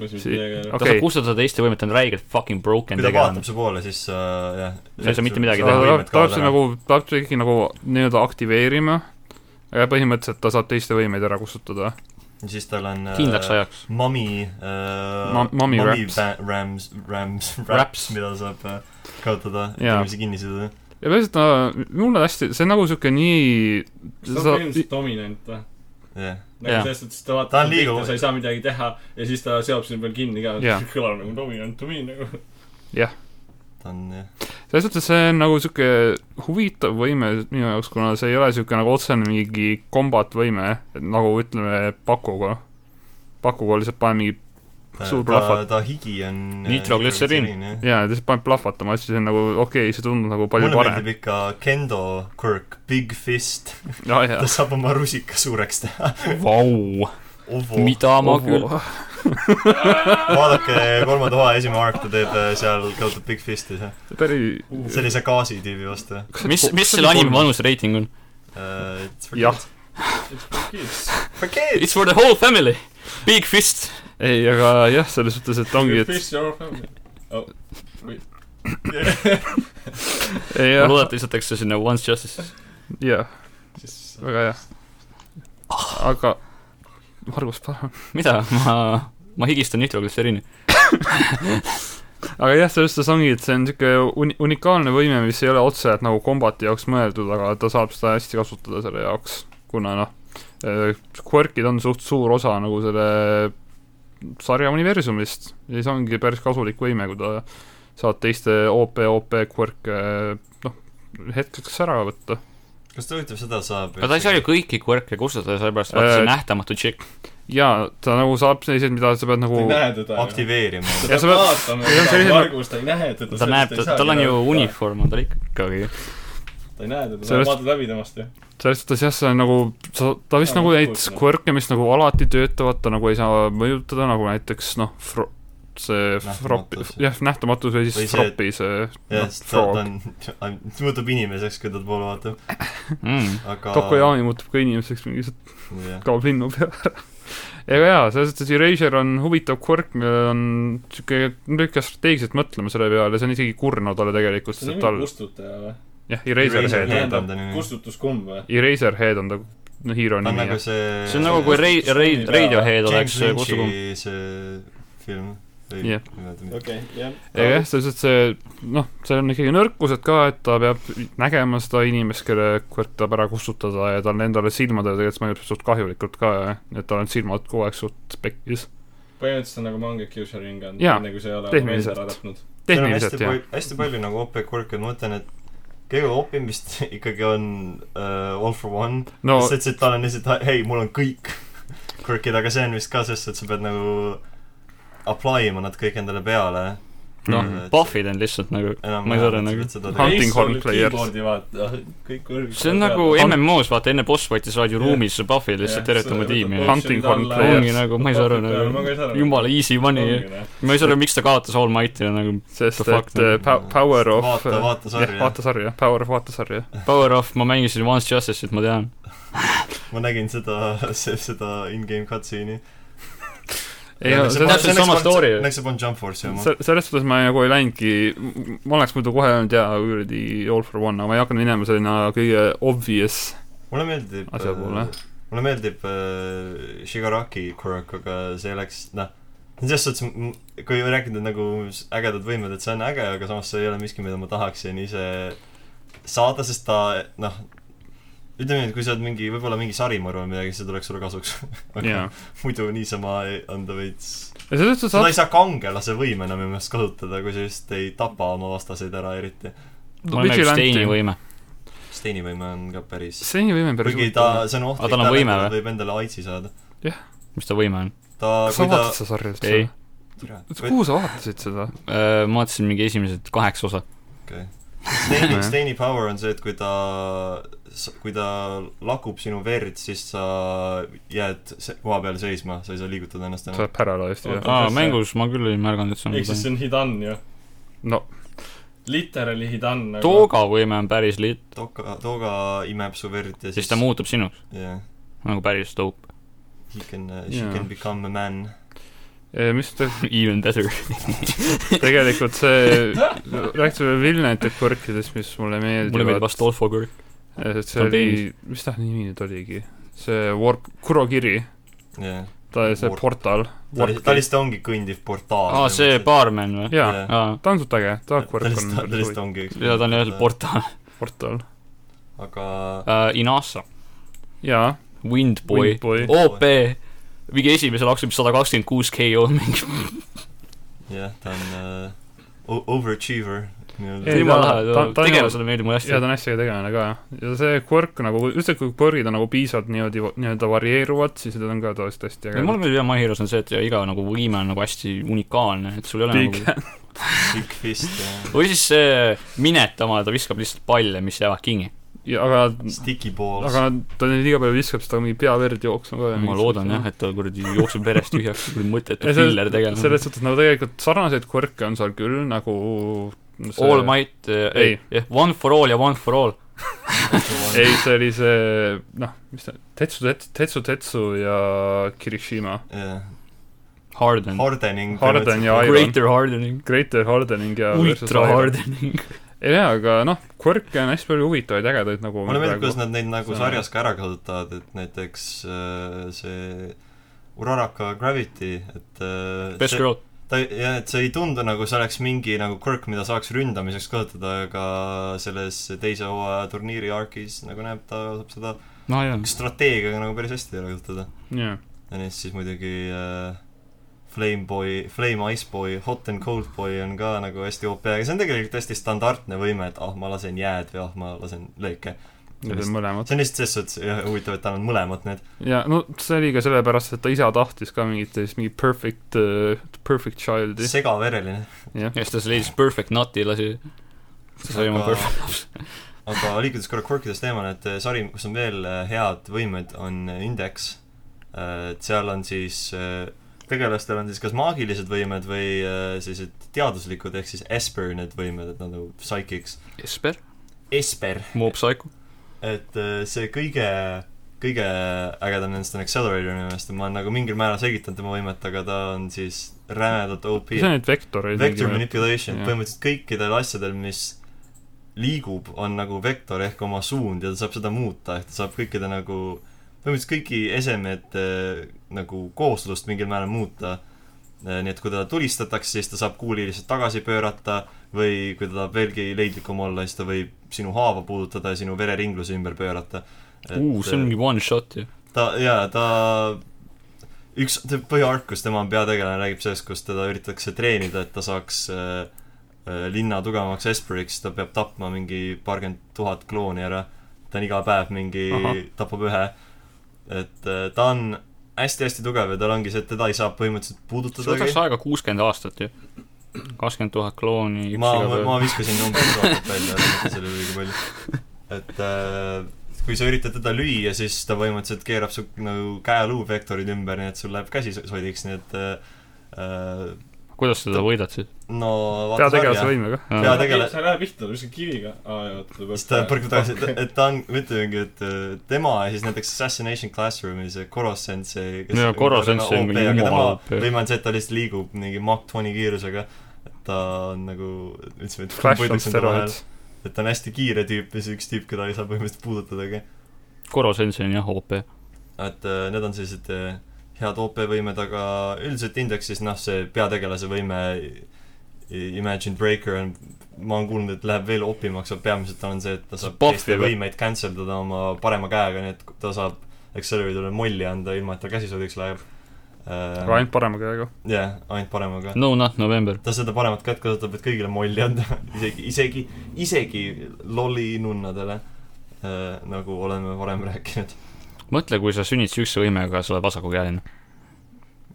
Speaker 5: ma ei saa mitte
Speaker 4: See-
Speaker 5: midagi
Speaker 2: ta
Speaker 5: öelda .
Speaker 4: okei.
Speaker 2: saab kustutada teiste võimet , ta on räigelt fucking broken
Speaker 1: kui ta
Speaker 2: tegelane
Speaker 1: vaatab . su poole , siis sa äh, jah .
Speaker 2: Sa ei saa mitte midagi
Speaker 4: ta
Speaker 2: teha.
Speaker 4: peab , ta peab see nagu , ta peab see ikkagi nagu nii-öelda aktiveerima , aga põhimõtteliselt ta saab teiste võimeid ära kustutada .
Speaker 1: ja siis tal on äh,
Speaker 2: kindlaks ajaks .
Speaker 1: Mami äh,
Speaker 4: Ma- mommy raps.
Speaker 1: ba- Rams , Rams ,
Speaker 2: Raps.
Speaker 1: Raps , mida saab äh, kaotada ,
Speaker 4: Jaa.
Speaker 1: inimesi kinni siduda .
Speaker 4: ja põhimõtteliselt ta , mulle hästi , see on nagu siuke nii ,
Speaker 5: kas ta on põhimõtteliselt dominant või ?
Speaker 1: jah ,
Speaker 5: nagu
Speaker 2: Jah.
Speaker 5: selles suhtes , et ta
Speaker 1: Ta
Speaker 5: vaatab
Speaker 1: on
Speaker 5: sind
Speaker 1: liigu-
Speaker 5: pihta , sa ei saa midagi teha ja siis ta seob sind veel kinni ka
Speaker 4: Jah. .
Speaker 5: kõlab nagu dominant to me nagu .
Speaker 1: ta on jah ,
Speaker 4: selles suhtes see on nagu siuke huvitav võime minu jaoks , kuna see ei ole siuke nagu otsene mingi kombat võime , nagu ütleme Pakuga . Pakuga lihtsalt paned mingi ,
Speaker 1: ta,
Speaker 4: Suur
Speaker 1: ta,
Speaker 4: plahvat-
Speaker 1: ta higi on äh,
Speaker 2: Nitroglütseriin.
Speaker 1: nitroglütseriin, jah.
Speaker 4: jaa , lihtsalt paned plahvatama , siis see on nagu okei okay, , see tundub nagu palju
Speaker 1: mulle
Speaker 4: parem .
Speaker 1: meeldib ikka Kendo Quirk , Big Fist ,
Speaker 4: jaa , jaa
Speaker 1: ta . saab oma rusika suureks teha .
Speaker 2: Vau ,
Speaker 1: Ovo ,
Speaker 2: mida ma küll .
Speaker 1: vaadake kolmanda hooaja esimene arg , ta teeb äh, seal , kaotab Big Fisti ,
Speaker 4: päris ,
Speaker 1: sellise gaasitüübi vastu äh, .
Speaker 2: mis , mis selle anime vanusereiting on ?
Speaker 1: it's for
Speaker 4: Jah.
Speaker 1: kids. For kids.
Speaker 2: It's for the whole family . Big fist .
Speaker 4: ei , aga jah , selles suhtes , et ongi , et
Speaker 5: Fish your family .
Speaker 2: ma
Speaker 4: ei, jah ,
Speaker 2: loodan , et lisatakse sinna Once Justice .
Speaker 4: jah , väga hea . aga Margus Parm .
Speaker 2: mida , ma , ma higistan nitroglüseriini .
Speaker 4: aga jah , sellest sa ongi , et see on niisugune uni- , unikaalne võime , mis ei ole otseselt nagu kombati jaoks mõeldud , aga ta saab seda hästi kasutada selle jaoks , kuna noh , Quirkid on suht suur osa nagu selle sarja universumist ja siis ongi päris kasulik võime , kui ta saad teiste OP , OP Quirke noh , hetkeks ära võtta .
Speaker 1: kas ta huvitav seda saab ?
Speaker 2: aga ta ei saa ju kõiki quirk'e kustutada , sellepärast vaata see
Speaker 4: Äh,
Speaker 2: nähtamatu tšikk .
Speaker 4: jaa , ta nagu saab selliseid , mida sa pead nagu
Speaker 5: ei näe teda .
Speaker 1: aktiveerima .
Speaker 5: ta
Speaker 4: Ja sa
Speaker 5: peab
Speaker 4: pead-
Speaker 5: vaatama
Speaker 4: see on
Speaker 5: seda
Speaker 4: sellised-
Speaker 5: Margus , ta ei näe teda .
Speaker 2: ta näeb , tal on ju . uniform on tal ikkagi .
Speaker 5: ta ei näe teda , sa
Speaker 4: Sellest-
Speaker 5: vaatad läbi temast ju .
Speaker 4: selles suhtes jah , see on nagu , sa , ta vist
Speaker 5: Jaa,
Speaker 4: nagu
Speaker 5: kuulsin.
Speaker 4: näiteks quirk'e , mis nagu alati töötavad , ta nagu ei saa mõjutada , nagu näiteks noh , fro- , see fropi
Speaker 1: Nähtamatus. ,
Speaker 4: jah , nähtamatus või
Speaker 1: Või see-
Speaker 4: siis fropi see
Speaker 1: jah ,
Speaker 4: noh,
Speaker 1: sest ta ta
Speaker 4: frog .
Speaker 1: on , ta muutub inimeseks , kui ta poole vaatab ,
Speaker 2: Mm.
Speaker 1: aga .
Speaker 4: Tokojaani muutub ka inimeseks , mingi lihtsalt
Speaker 1: jah ,
Speaker 4: kaob linnu peale . ega jaa , selles suhtes Erasure on huvitav quirk , millel on sihuke , lükkab strateegiliselt mõtlema selle peale , see on isegi kurnav talle tegelikult ,
Speaker 5: see
Speaker 4: sest et
Speaker 5: nimi on
Speaker 4: tal ,
Speaker 5: kustutaja või ?
Speaker 4: jah , Eraserhead on ta
Speaker 1: Eraserhead. . nimi.
Speaker 5: kustutuskumm või ?
Speaker 4: Eraserhead on ta , noh , hero
Speaker 1: ta on
Speaker 4: nimi
Speaker 1: nagu . see .
Speaker 2: see on nagu , kui Ray , Ray , Radiohead oleks äh,
Speaker 1: James
Speaker 2: kustukum .
Speaker 1: Lynch'i see film .
Speaker 4: Jah.
Speaker 1: jah .
Speaker 5: okei , jah .
Speaker 4: ja
Speaker 2: Nagu?
Speaker 4: jah , selles suhtes see noh , seal on ikkagi nõrkused ka , et ta peab nägema seda inimest , kelle kord tahab ära kustutada ja tal on endale silmadele tegelikult see mõjub suht kahjulikult ka , et tal on silmad kogu aeg suht pekkis .
Speaker 5: põhimõtteliselt on nagu Mange Q-Sharing on ,
Speaker 4: Jaa,
Speaker 5: enne kui see ei ole
Speaker 4: tehniliselt.
Speaker 5: ära tapnud .
Speaker 4: tehniliselt jah .
Speaker 1: hästi palju nagu OP kurke , ma mõtlen , et kõige opim vist ikkagi on uh, All for One no.
Speaker 4: no ,
Speaker 1: lihtsalt , et tal on lihtsalt , hei , mul on kõik kurkid , aga see on vist ka sest , et sa pead nagu apply ima nad kõik endale peale .
Speaker 2: noh , Buffid on lihtsalt nagu , ma ei saa aru nagu .
Speaker 1: nagu .
Speaker 4: Hunting Horn Players.
Speaker 5: vaata , kõik kõrged .
Speaker 2: see on nagu
Speaker 4: Hunt-
Speaker 2: MMO-s , vaata enne boss fight'i sa oled ju
Speaker 5: Jah.
Speaker 2: ruumis , sa buff'id lihtsalt tervet oma tiimi .
Speaker 4: Hunt- Hunting Horn Players.
Speaker 2: ongi nagu , ma ei saa aru nagu , jumala easy money . ma ei saa aru , miks ta kaotas All Might'ile nagu
Speaker 4: sest
Speaker 2: the fuck,
Speaker 4: et eh,
Speaker 2: nagu-
Speaker 4: pa- Power of äh,
Speaker 1: vaata , vaata
Speaker 4: jah ,
Speaker 1: sarja .
Speaker 4: vaata sarja , Power of vaata sarja .
Speaker 2: Power Off , ma mängisin Once Justice'it , ma tean .
Speaker 1: ma nägin seda , seda in-game cutscene'i .
Speaker 4: ei
Speaker 2: see
Speaker 4: no
Speaker 2: on
Speaker 4: selles
Speaker 2: täpselt sama story.
Speaker 1: eks see on Jump Force'i oma .
Speaker 4: se- selles suhtes ma nagu ei läinudki , ma oleks muidu kohe öelnud jaa , kuradi All for One , aga ma ei hakanud minema selline kõige obvious
Speaker 1: mulle meeldib
Speaker 4: asja poole.
Speaker 1: äh, mulle meeldib äh, Shigaraki Quirk , aga see läks , noh , selles suhtes , kui rääkida nagu s- ägedad võimed , et see on äge , aga samas see ei ole miski , mida ma tahaksin ise saada , sest ta , noh , ütleme nii , et kui sa oled mingi , võib-olla mingi sarimõrv või midagi , siis see tuleks sulle kasuks . aga
Speaker 4: jaa .
Speaker 1: muidu niisama ei- on ta veits ,
Speaker 4: ja selles suhtes
Speaker 1: seda ei saa kangelase võimena minu meelest kasutada , kui sa just ei tapa oma vastaseid ära eriti .
Speaker 2: mul on nagu
Speaker 4: Vigilante.
Speaker 2: Steini võime .
Speaker 1: Steini võime on ka päris
Speaker 4: seni võime päris
Speaker 1: kuigi ta , see on
Speaker 2: Aga
Speaker 1: ohtlik
Speaker 2: tal on võime või?
Speaker 1: võib endale aidsi saada .
Speaker 2: mis ta võime on ?
Speaker 1: ta ,
Speaker 4: kas sa
Speaker 1: kui ta
Speaker 4: vaatasid seda sarja
Speaker 2: ei
Speaker 4: üldse ?, kuhu sa vaatasid seda ?
Speaker 2: Äh, ma vaatasin mingi esimesed kaheksa osa .
Speaker 1: okei . Steini ,
Speaker 4: Nojah.
Speaker 1: Steini power on see , et kui ta , kui ta lakub sinu verd , siis sa jääd se- koha peal seisma , sa ei saa liigutada ennast
Speaker 4: sa
Speaker 1: enam .
Speaker 4: oled paraloost ju .
Speaker 5: Oota,
Speaker 2: aa ,
Speaker 5: kas see-
Speaker 2: mängus ma küll ei märganud , et see on
Speaker 5: ehk siis
Speaker 2: midagi .
Speaker 5: see on Hidan ju .
Speaker 4: no
Speaker 5: Literally Hidan nagu .
Speaker 2: Tooga võime on päris lit- ,
Speaker 1: Toga , Toga imeb su verd ja
Speaker 2: siis
Speaker 1: siis
Speaker 2: ta muutub sinuks .
Speaker 1: jah ,
Speaker 2: nagu päris dope .
Speaker 1: he can , she
Speaker 4: Jaa.
Speaker 1: can become a man .
Speaker 4: eh, mis te,
Speaker 2: Even better .
Speaker 4: tegelikult see , rääkisime Vilnete kõrkidest , mis mulle
Speaker 2: mulle meeldib
Speaker 4: meeldivad .
Speaker 2: Astolfo Kirk .
Speaker 4: see oli , mis ta nimi nüüd oligi ? see Warp , Kurokiri ,
Speaker 1: jah .
Speaker 4: ta oli see
Speaker 1: Warp.
Speaker 4: portal .
Speaker 1: ta lihtsalt ongi kõndiv portaal .
Speaker 2: aa , see . baarmen või ?
Speaker 4: jaa ,
Speaker 2: aa ,
Speaker 4: ta on suht äge ,
Speaker 1: ta
Speaker 4: ta kõrk on
Speaker 1: lihtsalt , ta
Speaker 4: päris
Speaker 1: lihtsalt
Speaker 4: huvitav
Speaker 1: ongi üks .
Speaker 2: ja ta on jälle . portaal .
Speaker 4: portal .
Speaker 1: uh, aga
Speaker 2: Inasa ,
Speaker 4: jaa ,
Speaker 2: Windboy ,
Speaker 4: Windboy .
Speaker 2: OP , mingi esimesel aktsionil sada kakskümmend kuus KO mingi .
Speaker 1: jah , ta on äh, o- overachiever nii-öelda
Speaker 4: Ei, .
Speaker 2: jumala
Speaker 4: ta-
Speaker 2: lahe
Speaker 4: ta- , ta-
Speaker 2: ta tegelasele meeldib mulle
Speaker 4: ja ta
Speaker 2: hästi .
Speaker 4: on hästi äge tegelane ka . ja see Quirk nagu , üldiselt kui Quirkid on nagu piisavalt niimoodi , nii-öelda varieeruvad , siis need on ka tavaliselt hästi
Speaker 2: mulle
Speaker 4: ägedad .
Speaker 2: meeldib jah , My Heroes on see , et iga nagu võime on nagu hästi unikaalne , et sul ei ole
Speaker 4: Big
Speaker 2: nagu
Speaker 1: Big fist uh, ja
Speaker 2: või siis see Minet oma , ta viskab lihtsalt palle , mis jäävad kinni .
Speaker 4: ja aga ,
Speaker 1: sticky balls .
Speaker 4: Mm. aga nad- ta nüüd iga päev viskab seda mingi pea verd jooksma ka .
Speaker 2: ma loodan jah , et ta kuradi jookseb verest tühjaks , kuradi mõttetu
Speaker 4: Ja see-
Speaker 2: filler tegelane
Speaker 4: selles . suhtes nagu tegelikult sarnaseid Quirke on seal küll nagu see...
Speaker 2: All Might , ei
Speaker 4: Ei. ,
Speaker 2: jah , One for all ja One for all .
Speaker 4: ei , see oli see , noh , mis ta , Tetsu , Tetsu , Tetsu ja Kirishima .
Speaker 1: jah ,
Speaker 2: Harden .
Speaker 1: hardening .
Speaker 4: Mm. Harden ja Iron.
Speaker 2: Greater Hardening .
Speaker 4: Greater Hardening ja versus
Speaker 2: Ultra
Speaker 4: Iron.
Speaker 2: Hardening .
Speaker 4: ei tea , aga noh , Quirke on hästi palju huvitavaid ägedaid nagu
Speaker 1: mulle meeldib , kuidas nad neid nagu
Speaker 4: See on-
Speaker 1: sarjas ka ära kasutavad , et näiteks äh, uh, see Uraraka Gravity , et äh,
Speaker 2: Best
Speaker 1: see,
Speaker 2: Girl .
Speaker 1: ta , jah , et see ei tundu nagu see oleks mingi nagu kõrk , mida saaks ründamiseks kasutada , aga selles teise hooaja turniiri arc'is nagu näeb , ta saab seda
Speaker 4: no jaa ,
Speaker 1: strateegiaga nagu päris hästi ära kasutada .
Speaker 4: jaa .
Speaker 1: ja neist siis muidugi äh, Flameboy , Flame Iceboy , Hot and Cold Boy on ka nagu hästi OP , aga see on tegelikult hästi standardne võime , et ah , ma lasen jääd või ah , ma lasen lööke .
Speaker 4: Need on mõlemad .
Speaker 1: see on lihtsalt selles suhtes jah , huvitav , et tal on mõlemad need .
Speaker 4: ja no see oli ka sellepärast , et ta isa tahtis ka mingit sellist , mingit perfect uh, , perfect child'i .
Speaker 1: segavereline .
Speaker 4: jah ,
Speaker 2: ja siis ta leidis Perfect Nut'i lasi . see sai oma
Speaker 1: Aga-
Speaker 2: perfect .
Speaker 1: aga liikudes korra quirkidest eemale , et äh, sari , kus on veel äh, head võimed , on äh, Index . et seal on siis , tegelastel on siis kas maagilised võimed või äh, sellised teaduslikud ehk siis Esper need võimed , et nad nagu psychics .
Speaker 2: Esper ,
Speaker 1: Esper ,
Speaker 2: Mob Psycho .
Speaker 1: et äh, see kõige , kõige ägedam nendest on Accelerator minu meelest ja ma olen nagu mingil määral selgitanud tema võimet , aga ta on siis rämedalt OP .
Speaker 4: see on nüüd vektor .
Speaker 1: vector . manipulation ,
Speaker 4: Jah.
Speaker 1: põhimõtteliselt kõikidel asjadel , mis liigub , on nagu vektor ehk oma suund ja ta saab seda muuta , ehk ta saab kõikide nagu , põhimõtteliselt kõigi esemete eh, nagu kooslust mingil määral muuta . nii et kui teda tulistatakse , siis ta saab kuuli lihtsalt tagasi pöörata või kui ta tahab veelgi leidlikum olla , siis ta võib sinu haava puudutada ja sinu vereringluse ümber pöörata .
Speaker 2: uu , see on mingi one shot ju .
Speaker 1: ta , jaa , ta üks te- põhiark , kus tema on peategelane , räägib sellest , kus teda üritatakse treenida , et ta saaks äh, äh, linna tugevamaks Esperiks , ta peab tapma mingi paarkümmend tuhat klooni ära . ta on iga päev mingi
Speaker 4: Ahah. ,
Speaker 1: tapab ühe . et äh, ta on hästi-hästi tugev ja tal ongi see , et teda ei saa põhimõtteliselt
Speaker 2: see
Speaker 1: puudutada .
Speaker 2: võtaks aega kuuskümmend aastat ju . kakskümmend tuhat klooni , üks
Speaker 1: ma ,
Speaker 2: iga
Speaker 1: ma,
Speaker 2: päev
Speaker 1: ma . viskasin numbrid rohkem välja , see oli liiga palju . et äh, kui sa üritad teda lüüa , siis ta põhimõtteliselt keerab su nagu käeluu vektorid ümber , nii et sul läheb käsi so- sodiks , nii et äh,
Speaker 2: kuidas sa teda võidad siis ?
Speaker 1: no vaata
Speaker 4: peategelase
Speaker 1: sarja ,
Speaker 4: võimega .
Speaker 1: Jaa, tegelikult-
Speaker 5: sa ei lähe pihta , ta viskab kiviga . aa jaa , oota , ta
Speaker 1: siis ta põrkab tagasi , et ta on , ma ütlengi , et äh, tema ja siis näiteks Assassination Classroomis see Koro sensei kes
Speaker 2: Jaa, Koro sensei on
Speaker 1: OP,
Speaker 2: mingi
Speaker 1: aga
Speaker 2: jumala
Speaker 1: tema
Speaker 2: OP.
Speaker 1: võime on see , et ta lihtsalt liigub mingi Mach 20 kiirusega , et ta on nagu , ütlesime , et
Speaker 4: Flash on
Speaker 1: võidakse enda vahel.
Speaker 4: steroid .
Speaker 1: et ta on hästi kiire tüüp ja see üks tüüp , keda ei saa põhimõtteliselt puudutadagi .
Speaker 2: Koro Sensei on jah OP .
Speaker 1: et äh, need on sellised äh, head OP-võimed , aga üldiselt indeksis noh , see peategelase võime I- Imagine Breaker on , ma olen kuulnud , et läheb veel opimaks , aga peamiselt on see , et ta saab
Speaker 2: Buffi
Speaker 1: teiste
Speaker 2: või?
Speaker 1: võimeid cancel dada oma parema käega , nii et ta saab Accelerator'ile molli anda , ilma et ta käsi sodiks läheb .
Speaker 4: aga ainult parema käega .
Speaker 1: jah , ainult paremaga .
Speaker 2: No not November .
Speaker 1: ta seda paremat kätt kasutab , et kõigile molli anda , isegi , isegi , isegi lolli nunnadele , nagu oleme varem rääkinud
Speaker 2: mõtle , kui sa sünnid sihukese võimega , sa oled vasakukäeline .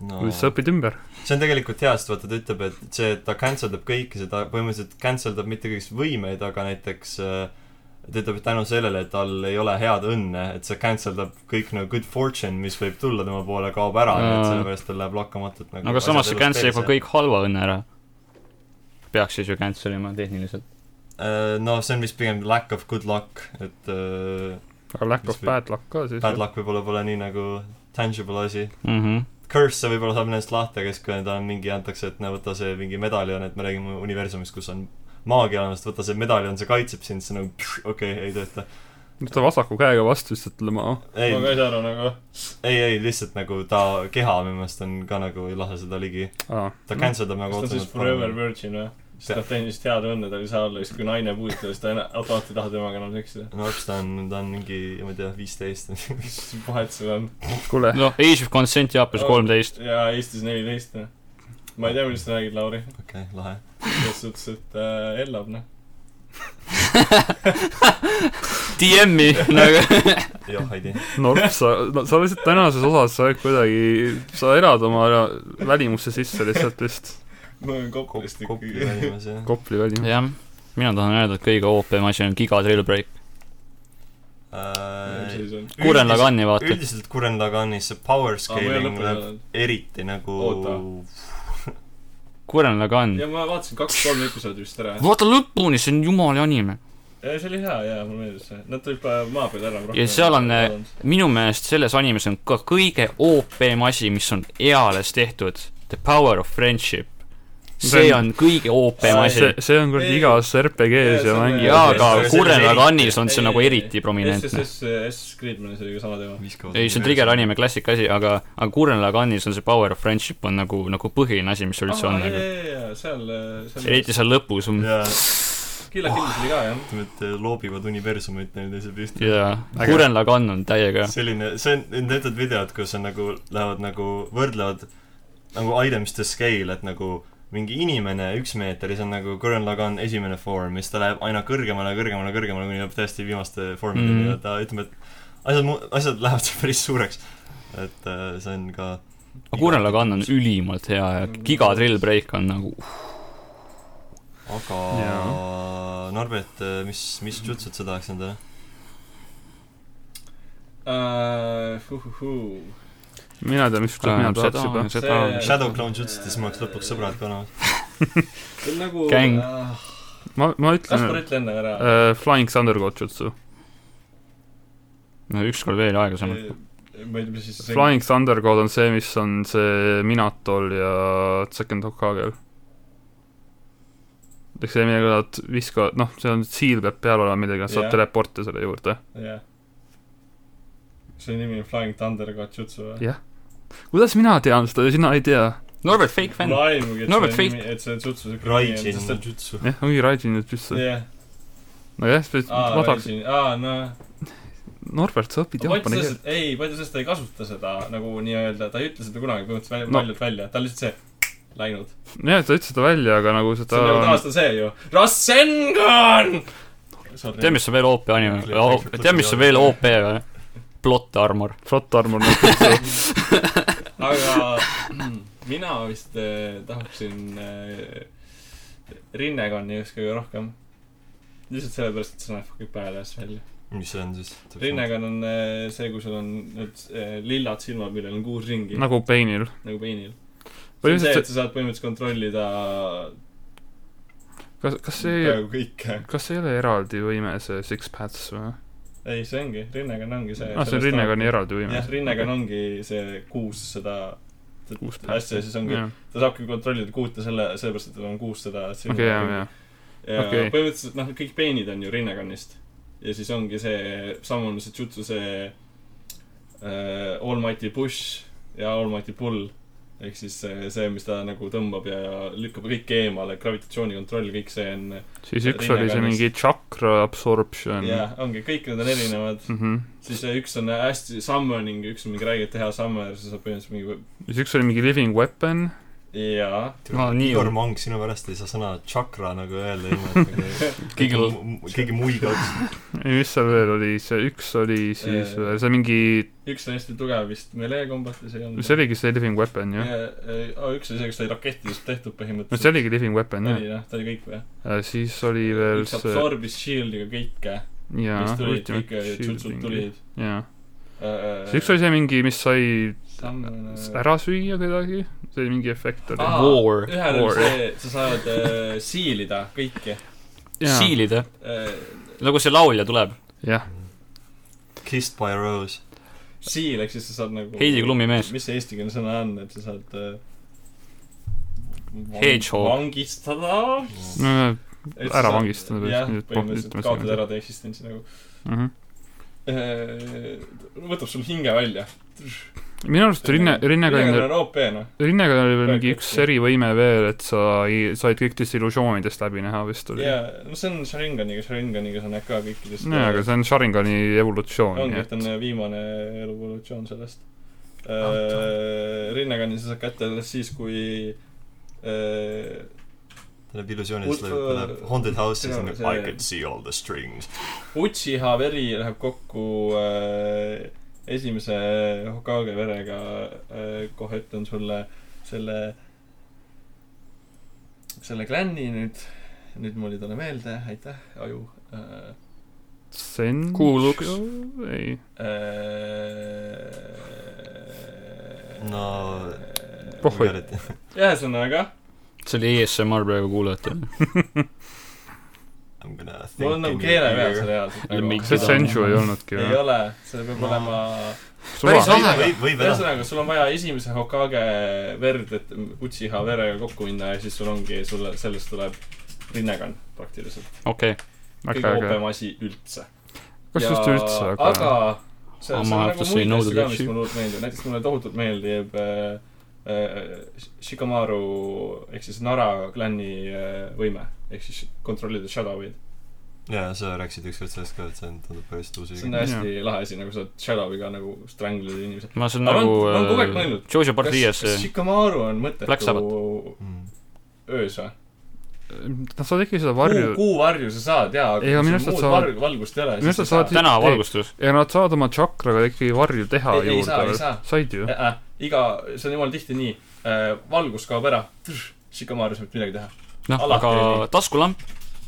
Speaker 1: no.
Speaker 4: kuidas sa õpid ümber ?
Speaker 1: see on tegelikult hea , sest vaata , ta ütleb , et see , et ta cancel dab kõike , seda põhimõtteliselt cancel dab mitte kõigist võimeid , aga näiteks äh, ta ütleb , et tänu sellele , et tal ei ole head õnne , et see cancel dab kõik nagu good fortune , mis võib tulla tema poole , kaob ära , nii et
Speaker 2: Aa.
Speaker 1: sellepärast tal läheb lakkamatult nagu
Speaker 2: no aga
Speaker 1: asjad
Speaker 2: samas see
Speaker 1: elus
Speaker 2: cancel
Speaker 1: perse.
Speaker 2: juba kõik halva õnne ära . peaks siis ju cancel ima tehniliselt .
Speaker 1: Äh, no see on vist pigem lack of good luck , et äh,
Speaker 4: aga lack
Speaker 1: Mis
Speaker 4: of
Speaker 1: või-
Speaker 4: bad luck ka siis .
Speaker 1: bad luck võib-olla pole nii nagu tangible asi . Mhm.
Speaker 2: mhmh .
Speaker 1: Curse see võib-olla saab nendest lahti , aga siis kui ta on mingi , antakse , et no võta see mingi medaljon , et me räägime universumist , kus on maagia olemas , võta see medaljon , see kaitseb sind , siis on nagu pš, okei okay, , ei tööta .
Speaker 4: mis ta vasaku käega vastu lihtsalt ütlema ,
Speaker 1: ei
Speaker 5: ma , ka ei saa aru nagu .
Speaker 1: ei , ei lihtsalt nagu ta keha minu meelest on ka nagu ei lase seda ligi .
Speaker 4: aa ,
Speaker 1: ta cancel dab nagu
Speaker 5: kas ta on siis forever virgin või ? siis
Speaker 1: See-
Speaker 5: ta teenis vist head õnne , tal ei saa olla , siis kui naine puudutab , siis ta ena- automaatselt ei taha temaga enam seksida .
Speaker 1: no eks ta on , ta on mingi , ma ei tea , viisteist .
Speaker 5: mis vahet sul on ?
Speaker 4: kuule ,
Speaker 2: noh , Age of Consent Jaapanis
Speaker 5: Oh.
Speaker 2: kolmteist .
Speaker 5: jaa , Eestis neliteist , noh . ma ei tea , millest sa räägid , Lauri .
Speaker 1: okei , lahe .
Speaker 5: selles suhtes , et äh, ellab , noh .
Speaker 2: DM-i nagu .
Speaker 1: jah , Heidi .
Speaker 4: Norp , sa , no sa lihtsalt tänases osas , sa oled kuidagi , sa elad oma välimusse sisse lihtsalt vist ,
Speaker 5: ma olen koplist
Speaker 1: Kopli
Speaker 5: ikkagi .
Speaker 1: välimas , jah .
Speaker 4: Kopli välimus .
Speaker 2: jah , mina tahan öelda , et kõige OP-m asi on Giga Drill Break . Kuren Lagani vaata .
Speaker 1: Äh, üldiselt Kuren Laganis see power scaling läheb
Speaker 5: ja
Speaker 1: eriti nagu
Speaker 2: Kuren Lagan .
Speaker 5: ma vaatasin kaks-kolm episoodi vist ära .
Speaker 2: vaata lõpuni , see on jumala anime .
Speaker 5: ja see oli hea ja mulle meeldis see . Nad tulid kohe maa peal ära .
Speaker 2: Ja seal on, äh, minu meelest selles animes on ka kõige OP-m asi , mis on eales tehtud . The Power of Friendship . see on kõige OP-m asi
Speaker 4: see , see on kuradi igas RPG-s
Speaker 5: see
Speaker 4: ja
Speaker 5: on-
Speaker 4: mängis
Speaker 2: jaa ,
Speaker 1: Aga
Speaker 2: aga
Speaker 1: selles
Speaker 2: Kurrela
Speaker 1: eriti-
Speaker 2: kannis on see nagu eriti prominentne .
Speaker 5: SSS , SS Gridmanis oli ka sama teema .
Speaker 2: ei , see on Trigger anime klassika asi , aga , aga Kurrela kannis on see Power of Friendship on nagu , nagu põhiline asi , mis sul üldse on nagu .
Speaker 5: seal , seal
Speaker 2: eriti seal lõpus on
Speaker 1: jaa ,
Speaker 5: Killa Killis oli ka jah .
Speaker 1: ütleme , et loobivad universumeid teineteise püsti .
Speaker 2: jaa ,
Speaker 4: Äge.
Speaker 2: Kurrela kann on täiega
Speaker 1: selline , see on , need need videod , kus on nagu , lähevad nagu , võrdlevad nagu items to scale , et nagu mingi inimene , üks meeter , siis on nagu Gurren Lagann esimene form , siis ta läheb aina kõrgemale , kõrgemale , kõrgemale , kuni jõuab täiesti viimaste formideni
Speaker 2: Mhm.
Speaker 1: mm. ja ta ütleb , et asjad , asjad lähevad seal päris suureks . et äh, see on ka
Speaker 2: aga Kurrela kann on ülimalt hea ja Giga Drill Break on nagu
Speaker 1: aga Norbert , mis , mis jutsud sa tahaks endale ?
Speaker 5: Äh,
Speaker 4: mina ei tea , mis
Speaker 2: Aa,
Speaker 4: mina
Speaker 2: seda-
Speaker 4: tahaks juba
Speaker 2: seda-
Speaker 5: see-
Speaker 1: Shadow Clone jutsutest mul oleks lõpuks sõbrad ka noh. olemas .
Speaker 5: nagu
Speaker 2: Gäng.
Speaker 5: äh,
Speaker 4: ma , ma
Speaker 5: Kaspar ,
Speaker 4: ütlen
Speaker 5: ütle enne ära .
Speaker 4: äh, Flying Thunder Gotchutsu
Speaker 2: no ükskord uh, veel aeglasemalt .
Speaker 5: Äh, ma ei tea , mis siis see
Speaker 4: Flying Thunder God on see , mis on see Minatol ja Second Hokagel . eks see , millega nad viskavad , noh , see on , siil peab peal olema midagi , nad saavad
Speaker 5: Jah.
Speaker 4: teleporti selle juurde .
Speaker 5: jah . see nimi on Flying Thunder Gotchutsu või ?
Speaker 4: kuidas mina tean seda ja sina ei tea ?
Speaker 2: Norbert , fake fänn
Speaker 5: mul . aimugi , et
Speaker 2: Norbert
Speaker 5: see
Speaker 2: Feit.
Speaker 5: nimi , et see jutsu siuke nimi
Speaker 1: Raijin
Speaker 5: on , sest et
Speaker 1: jutsu .
Speaker 4: jah , ongi Raijin nüüd püsse .
Speaker 5: jah ,
Speaker 4: nojah , sa pead ,
Speaker 5: aa ,
Speaker 4: ma tahaks ,
Speaker 5: Raijin , aa , noh .
Speaker 4: Norbert , sa õpid
Speaker 5: palju
Speaker 4: jaapani keelt .
Speaker 5: sellest , ei , palju sellest ta ei kasuta seda nagu nii-öelda , ta ei ütle seda kunagi põhimõtteliselt välja
Speaker 4: No.
Speaker 5: no. , paljalt välja , ta on lihtsalt see , läinud .
Speaker 4: jah , ta ütles seda välja , aga nagu
Speaker 5: see
Speaker 4: seda
Speaker 5: on nagu tavaliselt on see ju , Rasengan !
Speaker 2: tead , mis on veel OP anime , tead , mis on veel OP või ? Plot Armor .
Speaker 4: Flat Armor nagu Gotchutsu .
Speaker 5: aga mm, mina vist äh, tahaksin äh, Rinnekonni üks kõige rohkem . lihtsalt sellepärast , et see näeb fucking badass välja .
Speaker 1: mis see on siis ?
Speaker 5: Rinnekann on äh, see , kui sul on need äh, lillad silmad , millel on kuus ringi nagu,
Speaker 4: nagu peinil .
Speaker 5: nagu peenil . see on see ,
Speaker 4: põhimõtteliselt
Speaker 5: et , sa saad põhimõtteliselt kontrollida
Speaker 4: kas , kas see ,
Speaker 5: peaaegu kõike .
Speaker 4: kas see ei ole eraldi võime , see Six Paths või ?
Speaker 5: ei , see ongi , Rinnekann ongi see .
Speaker 4: aa , Ah, see on rinnega nii . eraldi võime .
Speaker 5: jah , Rinnekann ongi see kuus seda seda
Speaker 4: Kuus
Speaker 5: asja , siis ongi ,
Speaker 4: jah ,
Speaker 5: ta saabki kontrollida kuute selle , sellepärast , et tal on kuus seda silma
Speaker 4: okei , jah , jah .
Speaker 5: ja
Speaker 4: Okei.
Speaker 5: okay. põhimõtteliselt noh , kõik peenid on ju rinnakannist . ja siis ongi see , sama on see jutsu , see äh, All Mighty Push ja All Mighty Pull . ehk siis see, see , mis ta nagu tõmbab ja lükkab kõik eemale , gravitatsioonikontroll , kõik see on ,
Speaker 4: siis üks oli see mingi chakra absorption . Mhm.
Speaker 5: jah , ongi , kõik need on erinevad .
Speaker 4: mhmh .
Speaker 5: siis see üks on äh, hästi summoning , üks on mingi räigelt hea summer , siis saab põhimõtteliselt
Speaker 4: siis üks oli mingi living weapon .
Speaker 5: mingi jaa .
Speaker 2: Ma nii-
Speaker 1: Igor Mang , sinu pärast ei saa sõna tšakra nagu öelda ilma , et nagu keegi
Speaker 2: Keegi-
Speaker 1: mu- keegi muigaks .
Speaker 4: ei , mis seal veel oli , see üks oli siis , see mingi ,
Speaker 5: üks on hästi tugev vist melee kombatis , ei olnud .
Speaker 4: see oligi see living weapon ju .
Speaker 5: jah . üks oli see , kus sai rakettidest tehtud
Speaker 4: no see
Speaker 5: põhimõtteliselt .
Speaker 4: oligi living weapon jah
Speaker 5: oli . jah , ta oli kõik või ?
Speaker 4: siis oli veel
Speaker 5: üks
Speaker 4: see ,
Speaker 5: absorbis shield'iga kõike ,
Speaker 4: jaa
Speaker 5: mis , tulid , kõik
Speaker 4: ultimate
Speaker 5: tšutsud
Speaker 4: shielding .
Speaker 5: tulid . Äh,
Speaker 4: jaa , see üks oli see mingi , mis sai ära süüa kedagi , see oli mingi efekt
Speaker 5: Aa,
Speaker 4: oli .
Speaker 2: War.
Speaker 5: ühel on
Speaker 4: War.
Speaker 5: see , sa saad äh, siilida kõiki . Äh,
Speaker 2: siilid , jah ? nagu see laulja tuleb .
Speaker 4: jah ,
Speaker 1: Kissed by a rose .
Speaker 5: siil , ehk siis sa saad nagu
Speaker 2: Heidi Klumi mees.
Speaker 5: mis see eestikeelne sõna on , et sa saad äh, vang-
Speaker 2: Hedgehog.
Speaker 5: vangistada .
Speaker 4: ära vangistada või
Speaker 5: jah ,
Speaker 4: nüüd po-
Speaker 5: põhimõtteliselt
Speaker 4: ütleme
Speaker 5: kaotad
Speaker 4: selle-
Speaker 5: ära ta eksistentsi nagu
Speaker 4: mhmh .
Speaker 5: äh, . võtab sul hinge välja .
Speaker 4: minu arust rinne , rinnekaine
Speaker 5: on OP noh .
Speaker 4: Rinnega oli veel mingi
Speaker 5: Praegu
Speaker 4: üks
Speaker 5: tõesti.
Speaker 4: erivõime veel , et sa ei , said kõikidest illusioonidest läbi näha vist oli .
Speaker 5: jaa , no see on Sharinganiga , Sharinganiga sa näed ka kõikidest
Speaker 4: nojah , aga see on Sharingani evolutsioon ,
Speaker 5: ongi ,
Speaker 4: nii
Speaker 5: et on
Speaker 4: et
Speaker 5: viimane evolutsioon sellest .
Speaker 4: Ah,
Speaker 5: Rinnekanni sa saad kätte alles siis , kui äh,
Speaker 1: ta läheb illusioonidest läbi ,
Speaker 5: Ultra-
Speaker 1: ta läheb Haunted House'i , siis on
Speaker 5: see-
Speaker 1: nagu I can see all the strings .
Speaker 5: Uchiha veri läheb kokku äh, esimese Hokage verega äh, , kohe ütlen sulle selle , selle klänni nüüd , nüüd mul ei tule meelde , aitäh , aju äh, .
Speaker 4: sen- .
Speaker 2: Kuuluks.
Speaker 4: ei ,
Speaker 5: Äh,
Speaker 1: No,
Speaker 4: Pohhu.
Speaker 1: Nagu
Speaker 5: ühesõnaga ,
Speaker 2: see oli ESMR praegu kuulajatele .
Speaker 1: I'm gonna think
Speaker 5: mul on nagu
Speaker 1: in your
Speaker 5: keele peal see
Speaker 1: ear.
Speaker 5: reaalselt
Speaker 2: Ja mingi-
Speaker 5: nagu
Speaker 4: see
Speaker 2: Seda-
Speaker 4: Senju ei olnudki
Speaker 5: ei
Speaker 4: või ?
Speaker 5: ole , see peab
Speaker 1: No.
Speaker 5: olema
Speaker 4: suva
Speaker 5: Päris
Speaker 1: või ,
Speaker 5: lahe.
Speaker 1: või , või veel .
Speaker 5: ühesõnaga , sul on vaja esimese Hokage verd , et Uchiha verega kokku minna ja siis sul ongi , sulle , sellest tuleb Rinnegan praktiliselt .
Speaker 2: okei okay. ,
Speaker 5: kõige
Speaker 4: väga äge .
Speaker 5: opem asi üldse .
Speaker 4: kas just üldse , aga,
Speaker 5: aga
Speaker 4: aga...
Speaker 5: see
Speaker 3: I'ma
Speaker 5: on
Speaker 3: have
Speaker 5: nagu
Speaker 3: to say
Speaker 5: muid
Speaker 3: no to
Speaker 5: asju ka ,
Speaker 3: that
Speaker 5: mis
Speaker 3: shit.
Speaker 5: mulle hullult meeldivad , näiteks mulle tohutult meeldib äh, äh, Shikamaru ehk siis Nara klanni äh, võime ehk siis kontrollida Shadowid .
Speaker 1: jaa , sa rääkisid ükskord sellest ka , et see on , tundub päris tuus
Speaker 5: see on
Speaker 1: isegi .
Speaker 5: hästi lahe asi , nagu sa oled Shadowiga nagu stranglid inimesed .
Speaker 2: ma see on
Speaker 5: Ma olen-
Speaker 2: nagu
Speaker 5: ma olen kogu aeg mõelnud,
Speaker 2: äh, Jojo
Speaker 5: kas ,
Speaker 2: Bardias
Speaker 5: kas Shikamaru on
Speaker 2: Black Sabbath.
Speaker 5: mõttetu
Speaker 1: Mm.
Speaker 5: öös või ?
Speaker 4: nad saavad ikka seda
Speaker 5: kuu ,
Speaker 4: varju ,
Speaker 5: kuu varju sa saad jaa ,
Speaker 4: Ei,
Speaker 5: aga
Speaker 4: aga
Speaker 5: kui
Speaker 4: minu
Speaker 5: sul
Speaker 4: arust
Speaker 5: muud
Speaker 4: nad saavad-
Speaker 5: varju , valgust ei ole ,
Speaker 4: minu
Speaker 5: siis
Speaker 4: arust
Speaker 5: sa
Speaker 4: nad
Speaker 5: saad .
Speaker 2: täna
Speaker 4: ei-
Speaker 2: valgustus .
Speaker 4: ja nad saavad oma tšakraga ikkagi varju teha
Speaker 5: Ei-
Speaker 4: ei,
Speaker 5: ei saa,
Speaker 4: juurde
Speaker 5: ei
Speaker 4: veel
Speaker 5: saa. .
Speaker 4: said ju ?
Speaker 5: Äh, iga , see on jumal tihti nii , valgus kaob ära , Shikamaru ei saa mitte midagi teha .
Speaker 2: noh ,
Speaker 5: alati
Speaker 2: aga
Speaker 5: oli.
Speaker 2: taskulamp ,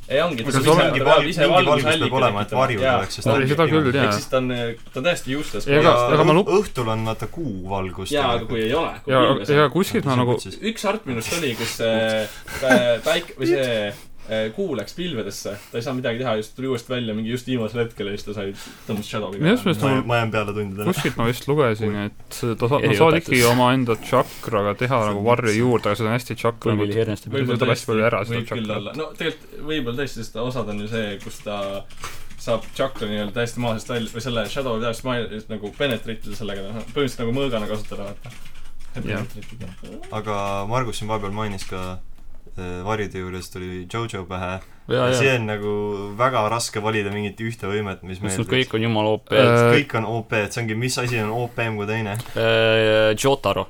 Speaker 5: ei ongi ,
Speaker 1: Aga sul mingi val- mingi valgus peab olema, et varju tuleks, sest
Speaker 4: Oli seda küll ,
Speaker 5: ehk
Speaker 4: jaa .
Speaker 5: siis ta on , ta on täiesti useless .
Speaker 4: Ei, aga- aga ma lu-
Speaker 1: õhtul on vaata kuu valgus .
Speaker 5: jaa , aga kui ei ole , kui
Speaker 4: ja ,
Speaker 5: külm
Speaker 4: ja
Speaker 5: on .
Speaker 4: kuskilt ma nagu ,
Speaker 5: üks art minust oli , kus äh, pä- päik- või see äh, kuu läks pilvedesse , ta ei saanud midagi teha , just tuli uuesti välja mingi just viimasel hetkel ja siis ta sai , tõmbas Shadowi .
Speaker 4: Minu arust me
Speaker 1: ma jään , ma jään peale tundidele .
Speaker 4: kuskilt ma vist lugesin , et ta saab , nad
Speaker 2: Eriõpetus.
Speaker 4: saavad ikkagi omaenda tšakraga teha nagu varju juurde , aga see on hästi tšakra nagu-
Speaker 2: põlvili herneste peal .
Speaker 4: Võib- võtab hästi palju ära seda
Speaker 5: võib küll
Speaker 4: tšakrat.
Speaker 5: olla , no tegelikult võib-olla tõesti , sest osad on ju see , kus ta saab tšakra nii-öelda täiesti maa seest välja või selle shadow täiesti maa nagu penetreatida sellega , noh , põhimõtteliselt nagu mõõgana kasutada ,
Speaker 4: Jah.
Speaker 5: vaata .
Speaker 1: aga Margus siin vahepeal mainis ka äh, varjude juures tuli Jojo pähe .
Speaker 2: ja ,
Speaker 1: see
Speaker 2: ja ,
Speaker 1: on nagu väga raske valida mingit ühte võimet , mis
Speaker 2: mis nad
Speaker 1: meeldib .
Speaker 2: kõik on jumala OP
Speaker 4: Äh, .
Speaker 1: kõik on OP , et see ongi , mis asi on OP-m kui teine .
Speaker 2: Äh, Jotaro ,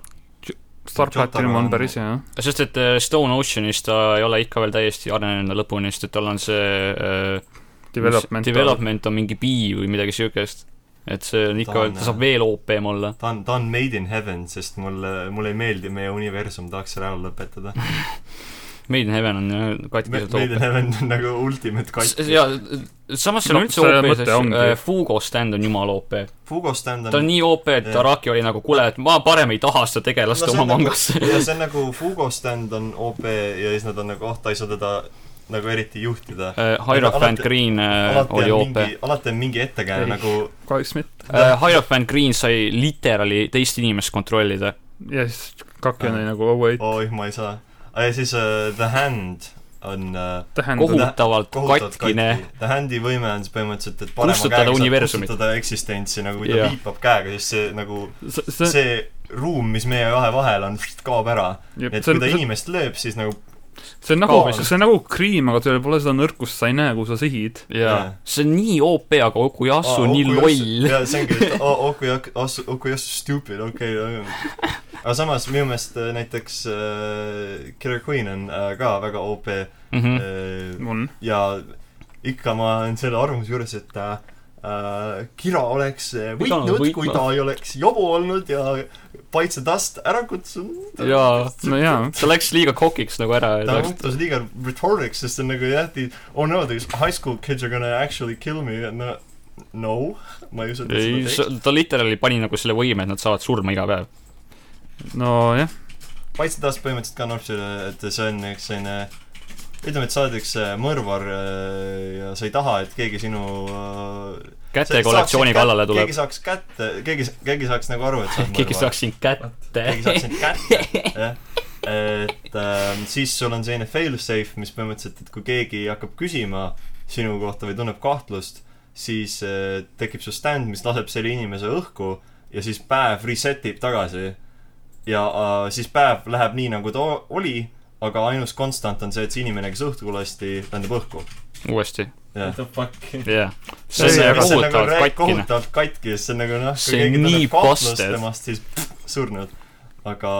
Speaker 4: Star Platinum on päris hea ,
Speaker 2: sest et äh, Stone Oceanis ta ei ole ikka veel täiesti arenenud lõpuni , sest et tal on see äh,
Speaker 4: development .
Speaker 2: development on mingi B või midagi siukest . et see on ikka , ta saab veel OP-m olla .
Speaker 1: ta on , ta on made in heaven , sest mulle , mulle ei meeldi meie universum , tahaks selle ära lõpetada .
Speaker 2: Made in Heaven on jah katkiselt
Speaker 1: Made in
Speaker 2: OP .
Speaker 1: heaven on nagu ultimate kaitse .
Speaker 2: ja samas seal on
Speaker 4: No,
Speaker 2: üldse
Speaker 4: see
Speaker 2: OP ,
Speaker 4: mõte ongi.
Speaker 2: sest Fugo äh, stand on jumala OP .
Speaker 1: Fugo stand
Speaker 2: ta on
Speaker 1: on
Speaker 2: nii OP , et
Speaker 1: Jah.
Speaker 2: Araki oli nagu , kuule , et ma parem ei taha seda tegelast
Speaker 1: No see
Speaker 2: oma
Speaker 1: on nagu-
Speaker 2: mangasse .
Speaker 1: ja see on nagu Fugo stand on OP ja siis nad on nagu , oh , ta ei saa teda nagu eriti juhtida .
Speaker 2: Hierophant
Speaker 1: Alati-
Speaker 2: Green äh,
Speaker 1: alati
Speaker 2: oli
Speaker 1: on
Speaker 2: OP .
Speaker 1: mingi , alati on mingi ettekääne
Speaker 4: Ei.
Speaker 1: nagu
Speaker 4: kahjuks mitte .
Speaker 2: Äh, Hierophant Green sai literaali teist inimest kontrollida .
Speaker 4: ja siis kake oli nagu oh wait ,
Speaker 1: oih , ma ei saa . ja siis uh, The Hand on uh,
Speaker 4: tähendab ,
Speaker 2: kohutavalt
Speaker 1: kohutavalt
Speaker 2: katkine .
Speaker 1: katki. The Handi võime on siis põhimõtteliselt , et parema
Speaker 2: Kustutada
Speaker 1: käega saab
Speaker 2: universumit.
Speaker 1: kustutada eksistentsi , nagu kui ta
Speaker 2: Jah.
Speaker 1: yeah. viipab käega , siis see nagu ,
Speaker 4: see , see ,
Speaker 1: see ruum , mis meie kahe vahel on , kaob ära . et
Speaker 4: see
Speaker 1: kui ta
Speaker 4: on ,
Speaker 1: inimest lööb , siis nagu
Speaker 4: see on nagu ,
Speaker 1: kaob.
Speaker 4: see on nagu kriim , aga seal pole seda nõrkust , sa ei näe , kuhu sa sihid .
Speaker 2: jaa , see on nii OP , aga Okuyasu
Speaker 1: aa,
Speaker 2: on nii
Speaker 1: Okuyasu-
Speaker 2: loll .
Speaker 1: jaa , see ongi , et oh, Okuyasu , Okuyasu stupid , okei okay, . aga samas minu meelest äh, näiteks äh, Killer Queen on äh, ka väga OP
Speaker 2: Mhm.
Speaker 1: äh,
Speaker 4: on .
Speaker 1: ja ikka ma olen selle arvamuse juures , et äh, Kira oleks äh,
Speaker 2: Pidanud
Speaker 1: võitnud , kui
Speaker 2: võitma.
Speaker 1: ta ei oleks jobu olnud ja paitsetast ära kutsunud .
Speaker 2: jaa ,
Speaker 4: no jaa ,
Speaker 2: ta läks liiga kokiks nagu ära ja
Speaker 1: ta
Speaker 2: läks
Speaker 1: muutus liiga rhetorics , sest see on nagu jah , oh no these high school kids are gonna actually kill me and no, no , ma ei usu , et
Speaker 2: ei ,
Speaker 1: nad seda teeks .
Speaker 2: ta literaali pani nagu selle võime , et nad saavad surma iga päev .
Speaker 4: nojah ,
Speaker 1: paitsetast põhimõtteliselt kannab selle , et see on üks selline ütleme , et sa oled üks äh, mõrvar äh, ja sa ei taha , et keegi sinu äh,
Speaker 2: käte
Speaker 1: See-
Speaker 2: kollektsiooni
Speaker 1: saaksid
Speaker 2: kallale
Speaker 1: kä-
Speaker 2: tuleb
Speaker 1: keegi . saaks kätte , keegi , keegi saaks nagu aru , et sa oled
Speaker 2: keegi
Speaker 1: mõrvar.
Speaker 2: saaks sind
Speaker 1: keegi saaks
Speaker 2: kätte .
Speaker 1: sind kätte , jah . et äh, siis sul on selline fail-safe , mis põhimõtteliselt , et kui keegi hakkab küsima sinu kohta või tunneb kahtlust , siis äh, tekib su stand , mis laseb selle inimese õhku ja siis päev reset ib tagasi . ja äh, siis päev läheb nii , nagu ta o- oli , aga ainus konstant on see , et see inimene , kes õhku lasti , läheb õhku .
Speaker 2: uuesti ,
Speaker 1: jah
Speaker 5: What the fuck .
Speaker 2: jah .
Speaker 1: see,
Speaker 2: see
Speaker 1: see,
Speaker 2: on
Speaker 1: aga see on nagu
Speaker 2: kohutavalt
Speaker 1: rää-
Speaker 2: katkine .
Speaker 1: kohutavalt katki , sest see on nagu noh ,
Speaker 2: See
Speaker 1: kui keegi
Speaker 2: on nii
Speaker 1: tunneb kahtlust
Speaker 2: busted.
Speaker 1: temast , siis pff, surnud . aga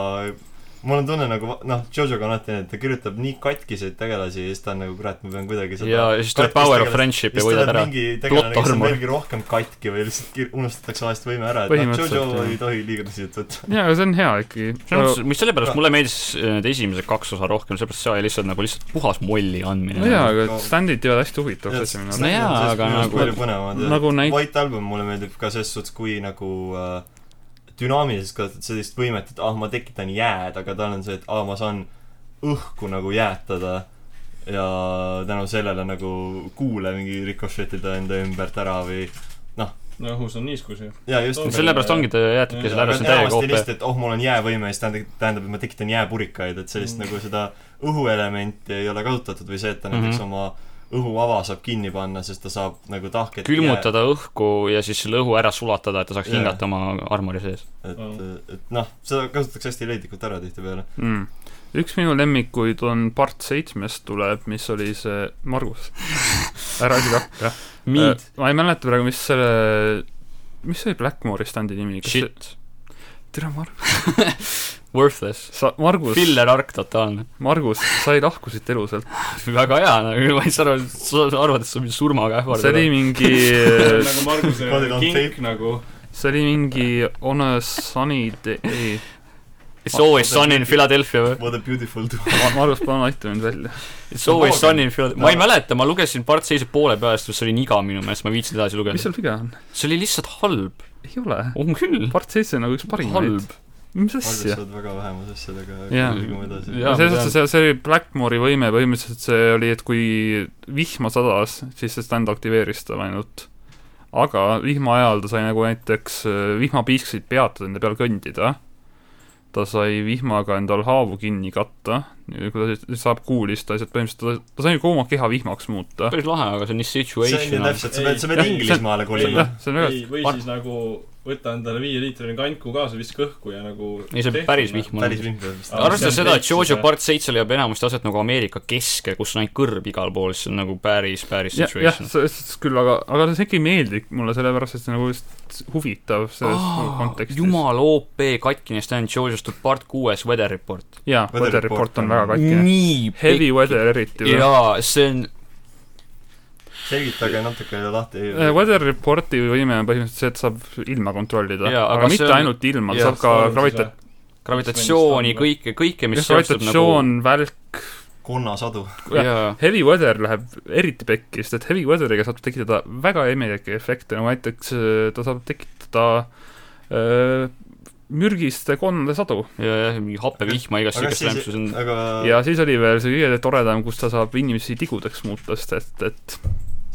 Speaker 1: mul on tunne nagu noh , Jojoga on alati nii , et ta kirjutab nii katkiseid tegelasi ja siis ta on nagu kurat , ma pean kuidagi seda
Speaker 2: ja siis tuleb Power of Friendship ja
Speaker 1: siis tuleb
Speaker 2: võidad ära .
Speaker 1: mingi tegelane , kes on
Speaker 2: Armor.
Speaker 1: veelgi rohkem katki või lihtsalt kir- unustatakse vahest võime ära , et noh ,
Speaker 4: Põhimõtteliselt,
Speaker 1: Jojo
Speaker 4: jah.
Speaker 1: ei tohi liiga tõsiselt võtta .
Speaker 4: jaa , aga see on hea ikkagi .
Speaker 2: mis sellepärast mulle meeldis äh, need esimesed kaks osa rohkem , sellepärast see oli lihtsalt nagu lihtsalt puhas molli andmine . Nagu-
Speaker 4: no jaa , aga stand'id jäävad hästi huvitavaks
Speaker 1: Just-
Speaker 4: asja
Speaker 1: just-
Speaker 4: minu
Speaker 2: No jaa,
Speaker 1: just-
Speaker 2: aga
Speaker 1: just-
Speaker 2: nagu-
Speaker 1: palju põnevam on .
Speaker 4: nagu näit-
Speaker 1: White Album mulle meeldib ka selles suhtes , kui nagu äh, dünaamiliselt kasutad sellist võimet , et ah , ma tekitan jääd , aga tal on see , et ah , ma saan õhku nagu jäätada ja tänu sellele nagu kuule mingi rikošetida enda ümbert ära või noh ,
Speaker 5: no õhus on niiskus ju .
Speaker 1: jaa , just nagu
Speaker 5: No .
Speaker 2: sellepärast ongi , ta jätabki selle ära , see on täiega
Speaker 1: enamasti
Speaker 2: OP .
Speaker 1: lihtsalt , et oh , mul on jäävõime , siis tähendab , tähendab , et ma tekitan jääpurikaid , et sellist
Speaker 5: Mm.
Speaker 1: mm. nagu seda õhuelementi ei ole kasutatud või see , et ta näiteks
Speaker 2: Mhm.
Speaker 1: mm -hmm. oma õhuava saab kinni panna , sest ta saab nagu tahket
Speaker 2: külmutada õhku ja siis selle õhu ära sulatada , et ta saaks
Speaker 1: Jaa.
Speaker 2: hingata oma armori sees .
Speaker 1: jää, et , et noh , seda kasutatakse hästi leidlikult ära tihtipeale .
Speaker 4: mm. . üks minu lemmikuid on part seitsmest tuleb , mis oli see , Margus , ära isegi hakka .
Speaker 5: Äh,
Speaker 2: Mead ,
Speaker 4: ma ei mäleta praegu , mis selle , mis oli Blackmore'i standi nimi , kas see ,
Speaker 2: shit ,
Speaker 4: tere Margus ,
Speaker 2: worthless ,
Speaker 4: sa , Margus ,
Speaker 2: filler arc totaalne .
Speaker 4: Margus , sa ei lahku siit elu sealt .
Speaker 2: väga hea , nagu ma ei saa aru , sa sa arvad , et sa mind surmaga
Speaker 4: see oli
Speaker 2: ähvardad .
Speaker 4: mingi ,
Speaker 5: nagu Marguse
Speaker 1: Got it on
Speaker 5: kink
Speaker 1: tape.
Speaker 5: nagu .
Speaker 4: see oli mingi On a sunny day , ei ,
Speaker 2: It's always sun in Philadelphia või ?
Speaker 1: What a beautiful tool .
Speaker 4: Margus , palun aita mind välja .
Speaker 2: It's always sun in Philadelphia , ma ei
Speaker 1: No.
Speaker 2: mäleta , ma lugesin part seise poole peale , sest see oli niga minu meelest , ma ei viitsinud edasi
Speaker 4: mis
Speaker 2: lugeda .
Speaker 4: seal viga on ?
Speaker 2: see oli lihtsalt halb ,
Speaker 4: ei ole .
Speaker 2: on küll ,
Speaker 4: part seitse on nagu üks parimaid .
Speaker 2: halb .
Speaker 4: mis asja ?
Speaker 1: arvestavad väga vähemuse asjadega ,
Speaker 4: Jaa.
Speaker 1: liigume edasi .
Speaker 2: Jaa,
Speaker 4: ja
Speaker 2: ma
Speaker 4: selles
Speaker 2: tean.
Speaker 4: suhtes , see oli Blackmore'i võime põhimõtteliselt see oli , et kui vihma sadas , siis see stand aktiveeris ta ainult . aga vihma ajal ta sai nagu näiteks äh, vihmapiisksid peatada , nende peal kõndida . ta sai vihmaga endal haavu kinni katta , kui ta siis saab kuulist asjad , põhimõtteliselt ta, ta sai kogu oma keha vihmaks muuta .
Speaker 2: päris lahe , aga see on nii
Speaker 1: see on ju
Speaker 2: situational .
Speaker 1: täpselt , sa pead , sa
Speaker 4: Ei.
Speaker 1: pead Inglismaale kolima
Speaker 4: jah , see on väga
Speaker 5: või , või
Speaker 2: Mar-
Speaker 5: siis nagu võta endale viieliitrine kanku kaasa , viska õhku ja nagu .
Speaker 2: ei , see on päris . vihma .
Speaker 1: päris vimpe vist .
Speaker 5: Aga
Speaker 2: arvestades
Speaker 5: see on
Speaker 2: seda , et
Speaker 5: täitsa
Speaker 2: Jojo
Speaker 5: see-
Speaker 2: part seitse leiab enamasti aset nagu Ameerika keskel , kus on ainult kõrb igal pool , siis see on nagu päris , päris
Speaker 4: jah , jah ,
Speaker 2: situation .
Speaker 4: selles suhtes küll , aga , aga see ikkagi meeldib mulle , sellepärast et see on nagu just huvitav selles oh, kontekstis .
Speaker 2: jumal , OP katkine stand Jojo's to part kuues Weather Report .
Speaker 4: jaa ,
Speaker 1: Weather
Speaker 4: Weather Report
Speaker 1: Report
Speaker 4: on
Speaker 1: on-
Speaker 4: väga katkine .
Speaker 2: nii
Speaker 4: Heavy Weather eriti veel.
Speaker 2: jaa , see on ,
Speaker 1: selgitage natuke lahti .
Speaker 4: Eh, Weather Reporti võime on põhimõtteliselt see , et saab ilma kontrollida ,
Speaker 2: Jaa,
Speaker 4: aga,
Speaker 2: aga
Speaker 4: aga
Speaker 2: see
Speaker 4: mitte
Speaker 2: on-
Speaker 4: on... ainult ilma ,
Speaker 2: jaa,
Speaker 4: ta saab ka gravita- ,.
Speaker 2: gravitatsiooni , kõike , kõike , mis seostub nagu
Speaker 4: gravitatsioon nagu... , välk ,
Speaker 1: konnasadu .
Speaker 2: jaa ,
Speaker 4: heavy weather läheb eriti pekki , sest et heavy weather'iga saab tekitada väga imelikke efekte , nagu näiteks eh, ta saab tekitada öö, mürgiste konnade sadu
Speaker 2: jaa , jah , mingi happevihma igast
Speaker 1: aga
Speaker 2: siukest lämpsu , see on
Speaker 1: siis , aga
Speaker 4: ja siis oli veel see kõige toredam , kus ta saab inimesi tigudeks muuta , sest et , et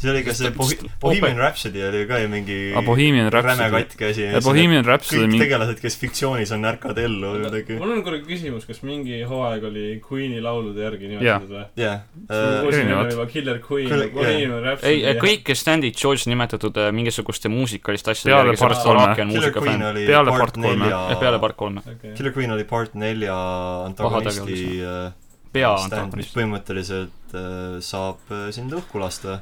Speaker 1: siis oli ka see Bohi- , Bohemian Rhapsody oli ka ju mingi
Speaker 4: A Bohemian
Speaker 1: räme
Speaker 4: Rhapsody ,
Speaker 1: katki asi .
Speaker 4: Bohemian Rhapsody
Speaker 1: kõik
Speaker 4: mingi
Speaker 1: tegelased , kes fiktsioonis on , ärkavad ellu või midagi .
Speaker 5: mul on korra küsimus , kas mingi hooaeg oli Queen'i laulude järgi
Speaker 4: Jah.
Speaker 5: nimetatud või ?
Speaker 1: jah . Äh,
Speaker 4: erinevad.
Speaker 5: juba Äh, Killer Queen
Speaker 1: Küll- ,
Speaker 5: Bohemian Rhapsody .
Speaker 2: ei , kõik stand'id Jojo's nimetatud äh, mingisuguste muusikaliste asjade
Speaker 4: Peale
Speaker 2: järgi , sellepärast
Speaker 4: part kolme.
Speaker 2: Araki on
Speaker 1: Killer Queen
Speaker 2: muusikafänn .
Speaker 1: oli
Speaker 4: Peale part
Speaker 1: part
Speaker 4: kolme.
Speaker 1: nelja
Speaker 2: jah , peale . part kolme ,
Speaker 5: okay. .
Speaker 1: Killer Queen oli part nelja antagonisti
Speaker 2: Pahategelase.
Speaker 1: äh,
Speaker 2: pea on
Speaker 1: stand , mis
Speaker 2: tahtmist .
Speaker 1: põhimõtteliselt äh, saab äh, sind õhku lasta .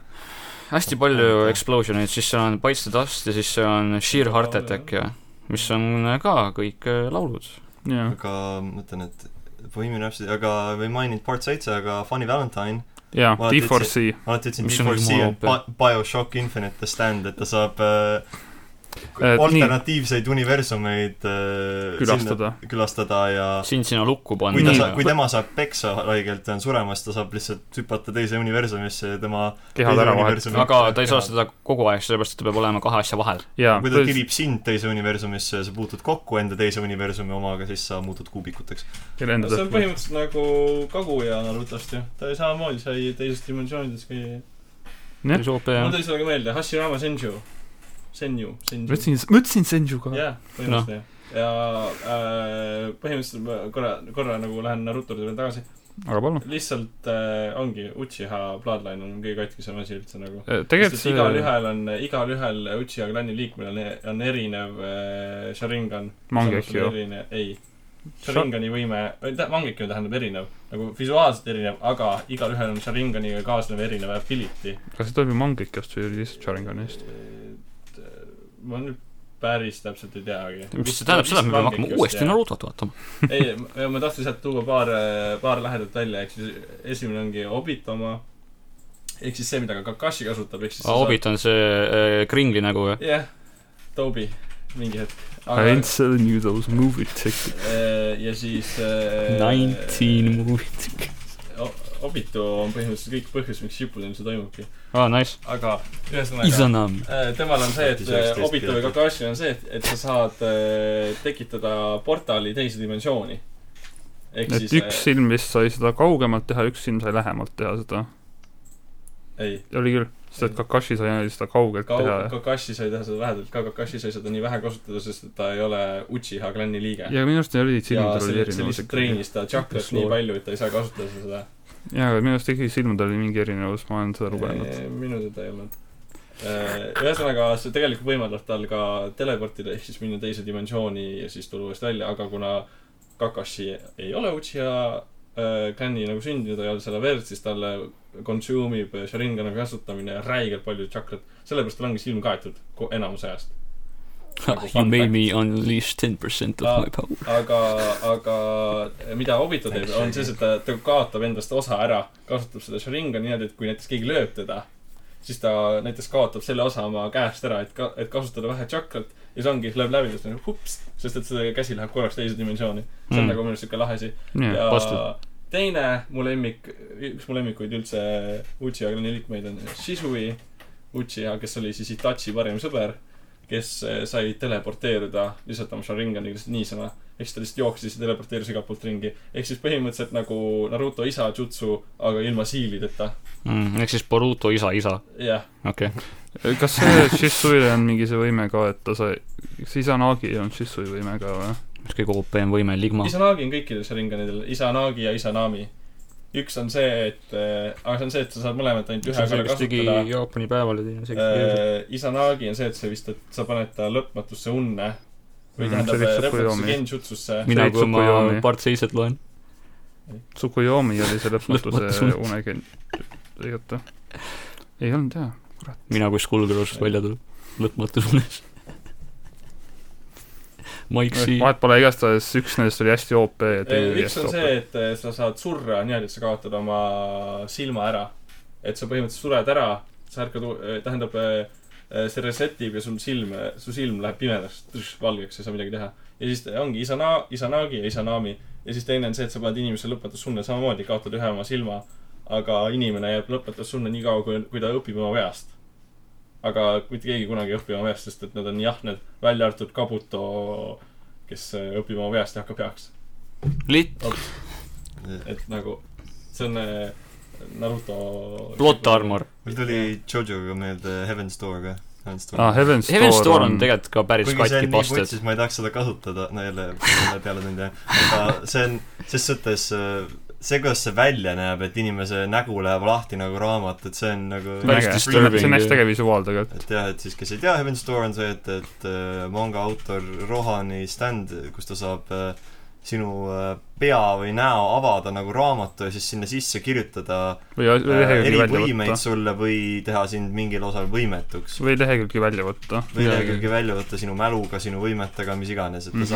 Speaker 2: hästi palju explosion'eid , siis seal on Bites the Dust ja siis seal on Sheer Heart Attack ja mis on ka kõik äh, laulud .
Speaker 4: jah ,
Speaker 1: aga ma mõtlen , et Bohemian Rhapsody , aga ma ei maininud part seitse , aga Funny Valentine ,
Speaker 4: jaa ,
Speaker 1: Ma
Speaker 4: D4C
Speaker 1: ma alati ütlesin
Speaker 2: Mis on
Speaker 1: D4C
Speaker 2: jumala
Speaker 1: on Bi- BioShock Infinite The Stand , et ta saab äh,
Speaker 4: Eh, nii.
Speaker 1: alternatiivseid universumeid äh,
Speaker 4: külastada .
Speaker 1: sinna- külastada ja
Speaker 2: sind sinna lukku
Speaker 1: kui ta saab ,
Speaker 2: panna
Speaker 1: kui . tema saab peksa haigelt ja on suremas , ta saab lihtsalt hüpata teise universumisse ja tema teise
Speaker 4: kehad ära vahetada .
Speaker 1: universumi-
Speaker 2: aga ta ei saa seda kogu aeg , sellepärast et ta peab olema kahe asja vahel .
Speaker 4: jaa ,
Speaker 1: kui ta tirib sind teise universumisse ja sa puutud kokku enda teise universumi omaga , siis sa muutud kuubikuteks .
Speaker 4: kelle enda
Speaker 5: see on
Speaker 4: tõttu .
Speaker 5: põhimõtteliselt nagu Kaguya Narutost ju . ta oli samamoodi sai teisest dimensioonidest käia .
Speaker 4: Jah.
Speaker 2: mis äh, OP
Speaker 5: mul
Speaker 2: on .
Speaker 5: tuli sellega meelde , Hashirama Senju . Senju ,
Speaker 4: ma
Speaker 5: Senju .
Speaker 4: ütlesin , ma ütlesin Senju ka .
Speaker 5: jah , põhimõtteliselt jah . ja äh, põhimõtteliselt ma korra , korra nagu lähen Narutole veel tagasi .
Speaker 4: aga palun .
Speaker 5: lihtsalt äh, ongi Uchiha Bloodline on kõige katkisem asi üldse nagu .
Speaker 4: Äh, tegelikult
Speaker 5: see...
Speaker 4: see
Speaker 5: igalühel on , igalühel Uchiha klanni liikmel on , on erinev äh, Sharingan .
Speaker 4: Mangeki ju .
Speaker 5: ei , Sharingani võime , Mangeki tähendab erinev , nagu visuaalselt erinev , aga igalühel on Sharinganiga kaasnev erinev ability .
Speaker 4: kas see toimib Mangekiost või lihtsalt Sharinganist ?
Speaker 5: ma nüüd päris täpselt ei teagi .
Speaker 2: mis see tähendab seda , et me peame hakkama uuesti nagu- Narutot vaatama .
Speaker 5: ei , ma tahtsin sealt tuua paar , paar lähedat välja , ehk siis esimene ongi Obito oma , ehk siis see , mida ka Kakashi kasutab , ehk siis
Speaker 2: Hobbit on see äh, kringli nägu ju .
Speaker 5: jah , Tobi , mingi hetk .
Speaker 4: I ain't selling you those movie tickets .
Speaker 5: Eh, ja siis äh,
Speaker 2: Nineteen movie .
Speaker 5: O- Obito on põhimõtteliselt kõik põhjus , miks Shippuden see toimubki .
Speaker 2: aa , Ah, nice .
Speaker 5: aga ühesõnaga ,
Speaker 2: Izanami .
Speaker 5: temal on see , et
Speaker 1: Saati
Speaker 5: äh,
Speaker 1: 19
Speaker 5: Obito või
Speaker 1: pealt.
Speaker 5: Kakashi on see , et , et sa saad äh, tekitada portaali teise dimensiooni . ehk
Speaker 4: et
Speaker 5: siis äh,
Speaker 4: üks silm vist sai seda kaugemalt teha , üks silm sai lähemalt teha seda .
Speaker 5: äh, ei ,
Speaker 4: oli küll . sest et Kakashi sai seda kaugelt teha
Speaker 5: Kau- , Kakashi sai teha seda vähedalt ka , Kakashi sai seda nii vähe kasutada , sest et ta ei ole Uchiha klanni liige .
Speaker 4: ja minu arust need olid
Speaker 5: ja
Speaker 4: silmad olid
Speaker 5: selleks , see lihtsalt
Speaker 4: erinevad .
Speaker 5: treenis ta tšakrat nii palju , et ta ei saa kasutada seda .
Speaker 4: jaa , aga minu arust ikkagi silmad oli mingi erinevus , ma olen seda lugenud .
Speaker 5: minu teada ei olnud . ühesõnaga , see tegelikult võimaldab tal ka teleportida ehk siis minna teise dimensiooni ja siis tulla uuesti välja , aga kuna Kakashi ei ole Uchiha äh, klanni nagu sündinud , ei ole selle verd , siis talle consume ib Sharingani kasutamine räigelt palju tšakrat . sellepärast tal ongi silm kaetud ko- enamuse ajast .
Speaker 2: You made me unleash ten percent of my power .
Speaker 5: aga , aga mida Obito teeb , on see , et ta , ta kaotab endast osa ära , kasutab seda Sharinga niimoodi , et kui näiteks keegi lööb teda , siis ta näiteks kaotab selle osa oma käest ära , et ka , et kasutada vähe tšakrat ja see ongi , lööb läbi , siis on hups , sest et see käsi läheb korraks teise dimensiooni . see on
Speaker 2: Mm.
Speaker 5: mm. nagu minu arust siuke lahe asi .
Speaker 4: jaa ,
Speaker 5: ja teine mu lemmik , üks mu lemmikuid üldse Uchiha klanni liikmeid on Shisui Uchiha , kes oli siis Itachi parim sõber , kes eh, sai teleporteeruda lihtsalt oma Sharingani lihtsalt niisama . ehk siis ta lihtsalt jooksis ja teleporteerus igalt poolt ringi . ehk siis põhimõtteliselt nagu Naruto isa jutsu , aga ilma siilideta .
Speaker 2: Mm, ehk siis Boruto isa isa ,
Speaker 5: jah ,
Speaker 2: okei .
Speaker 4: Äh, kas see Shisuile on mingi see võime ka , et ta sai , kas Isanagi on Shisui võime ka või ?
Speaker 2: mis kõige OP-m võime , Ligma .
Speaker 5: Isanagi on kõikidel Sharinganidel , Isanagi ja Isanami . üks on see , et , aga see on see , et sa saad mõlemat ainult ühe korra kasutada
Speaker 2: Jaapani päeval ja teine
Speaker 5: äh, Isanagi on see , et sa vist , et sa paned ta lõpmatusse unne või
Speaker 4: Mhm,
Speaker 5: tähendab äh,
Speaker 4: see lihtsalt
Speaker 5: lõpmatusse
Speaker 4: Koyomi.
Speaker 5: genjutsusse .
Speaker 2: mina ,
Speaker 4: see
Speaker 2: kui ma
Speaker 4: Tsukuyomi.
Speaker 2: part seiset loen .
Speaker 4: Tsukuyomi oli see
Speaker 2: Lõpmatus
Speaker 4: lõpmatuse
Speaker 2: unt.
Speaker 4: unegen- , lõigata . ei olnud jaa , kurat .
Speaker 2: mina , kui Skullcrossist välja tuleb , lõpmatus unes . Mike C .
Speaker 4: vahet pole , igastahes üks nendest oli hästi OP ja teine oli
Speaker 5: üks
Speaker 4: hästi
Speaker 5: on
Speaker 4: OP .
Speaker 5: see , et eh, sa saad surra niimoodi , et sa kaotad oma silma ära . et sa põhimõtteliselt sured ära , sa ärkad , tähendab , see reset ib ja sul silm , su silm läheb pimedaks , valgeks , ei saa midagi teha . ja siis ta- ongi Isana- , Isanagi ja Isanami . ja siis teine on see , et sa paned inimese lõpmatusse unne , samamoodi kaotad ühe oma silma . aga inimene jääb lõpmatusse unne nii kaua , kui , kui ta õpib oma veast . aga mitte keegi kunagi ei õpi oma veast , sest et nad on jahned , välja arvatud Kabuto , kes eh, õpib oma veast ja hakkab heaks .
Speaker 2: Lit- ,
Speaker 5: et nagu see on äh, Naruto nagu
Speaker 2: Plot . Armor .
Speaker 1: mul tuli Jojoga meelde Heaven's Door ka . Heaven's Door
Speaker 4: aa , Ah, Heaven's
Speaker 2: Heaven's Door
Speaker 4: Door
Speaker 2: on tegelikult ka päris
Speaker 1: kuigi see
Speaker 2: katki
Speaker 1: on nii
Speaker 2: bastard .
Speaker 1: putsis , ma ei tahaks seda kasutada , no jälle jälle peale tund jah , aga see on ses suhtes äh, see , kuidas see välja näeb , et inimese nägu läheb lahti nagu raamat , et see on nagu
Speaker 2: Päris
Speaker 4: Äge.
Speaker 2: disturbing.
Speaker 4: see on hästi äge visuaal tegelikult .
Speaker 1: et jah , et siis kes ei tea , Heaven's Door on see , et , et äh, manga autor Rohani stand , kus ta saab äh, sinu äh, pea või näo avada nagu raamatu ja siis sinna sisse kirjutada
Speaker 4: või as- või
Speaker 1: äh,
Speaker 4: lehekülgi välja
Speaker 1: erivõimeid
Speaker 4: võtta .
Speaker 1: sulle või teha sind mingil osal võimetuks .
Speaker 4: või lehekülgi välja võtta .
Speaker 1: või ikkagi välja võtta sinu mäluga , sinu võimetega , mis iganes , et ta
Speaker 4: Mhm.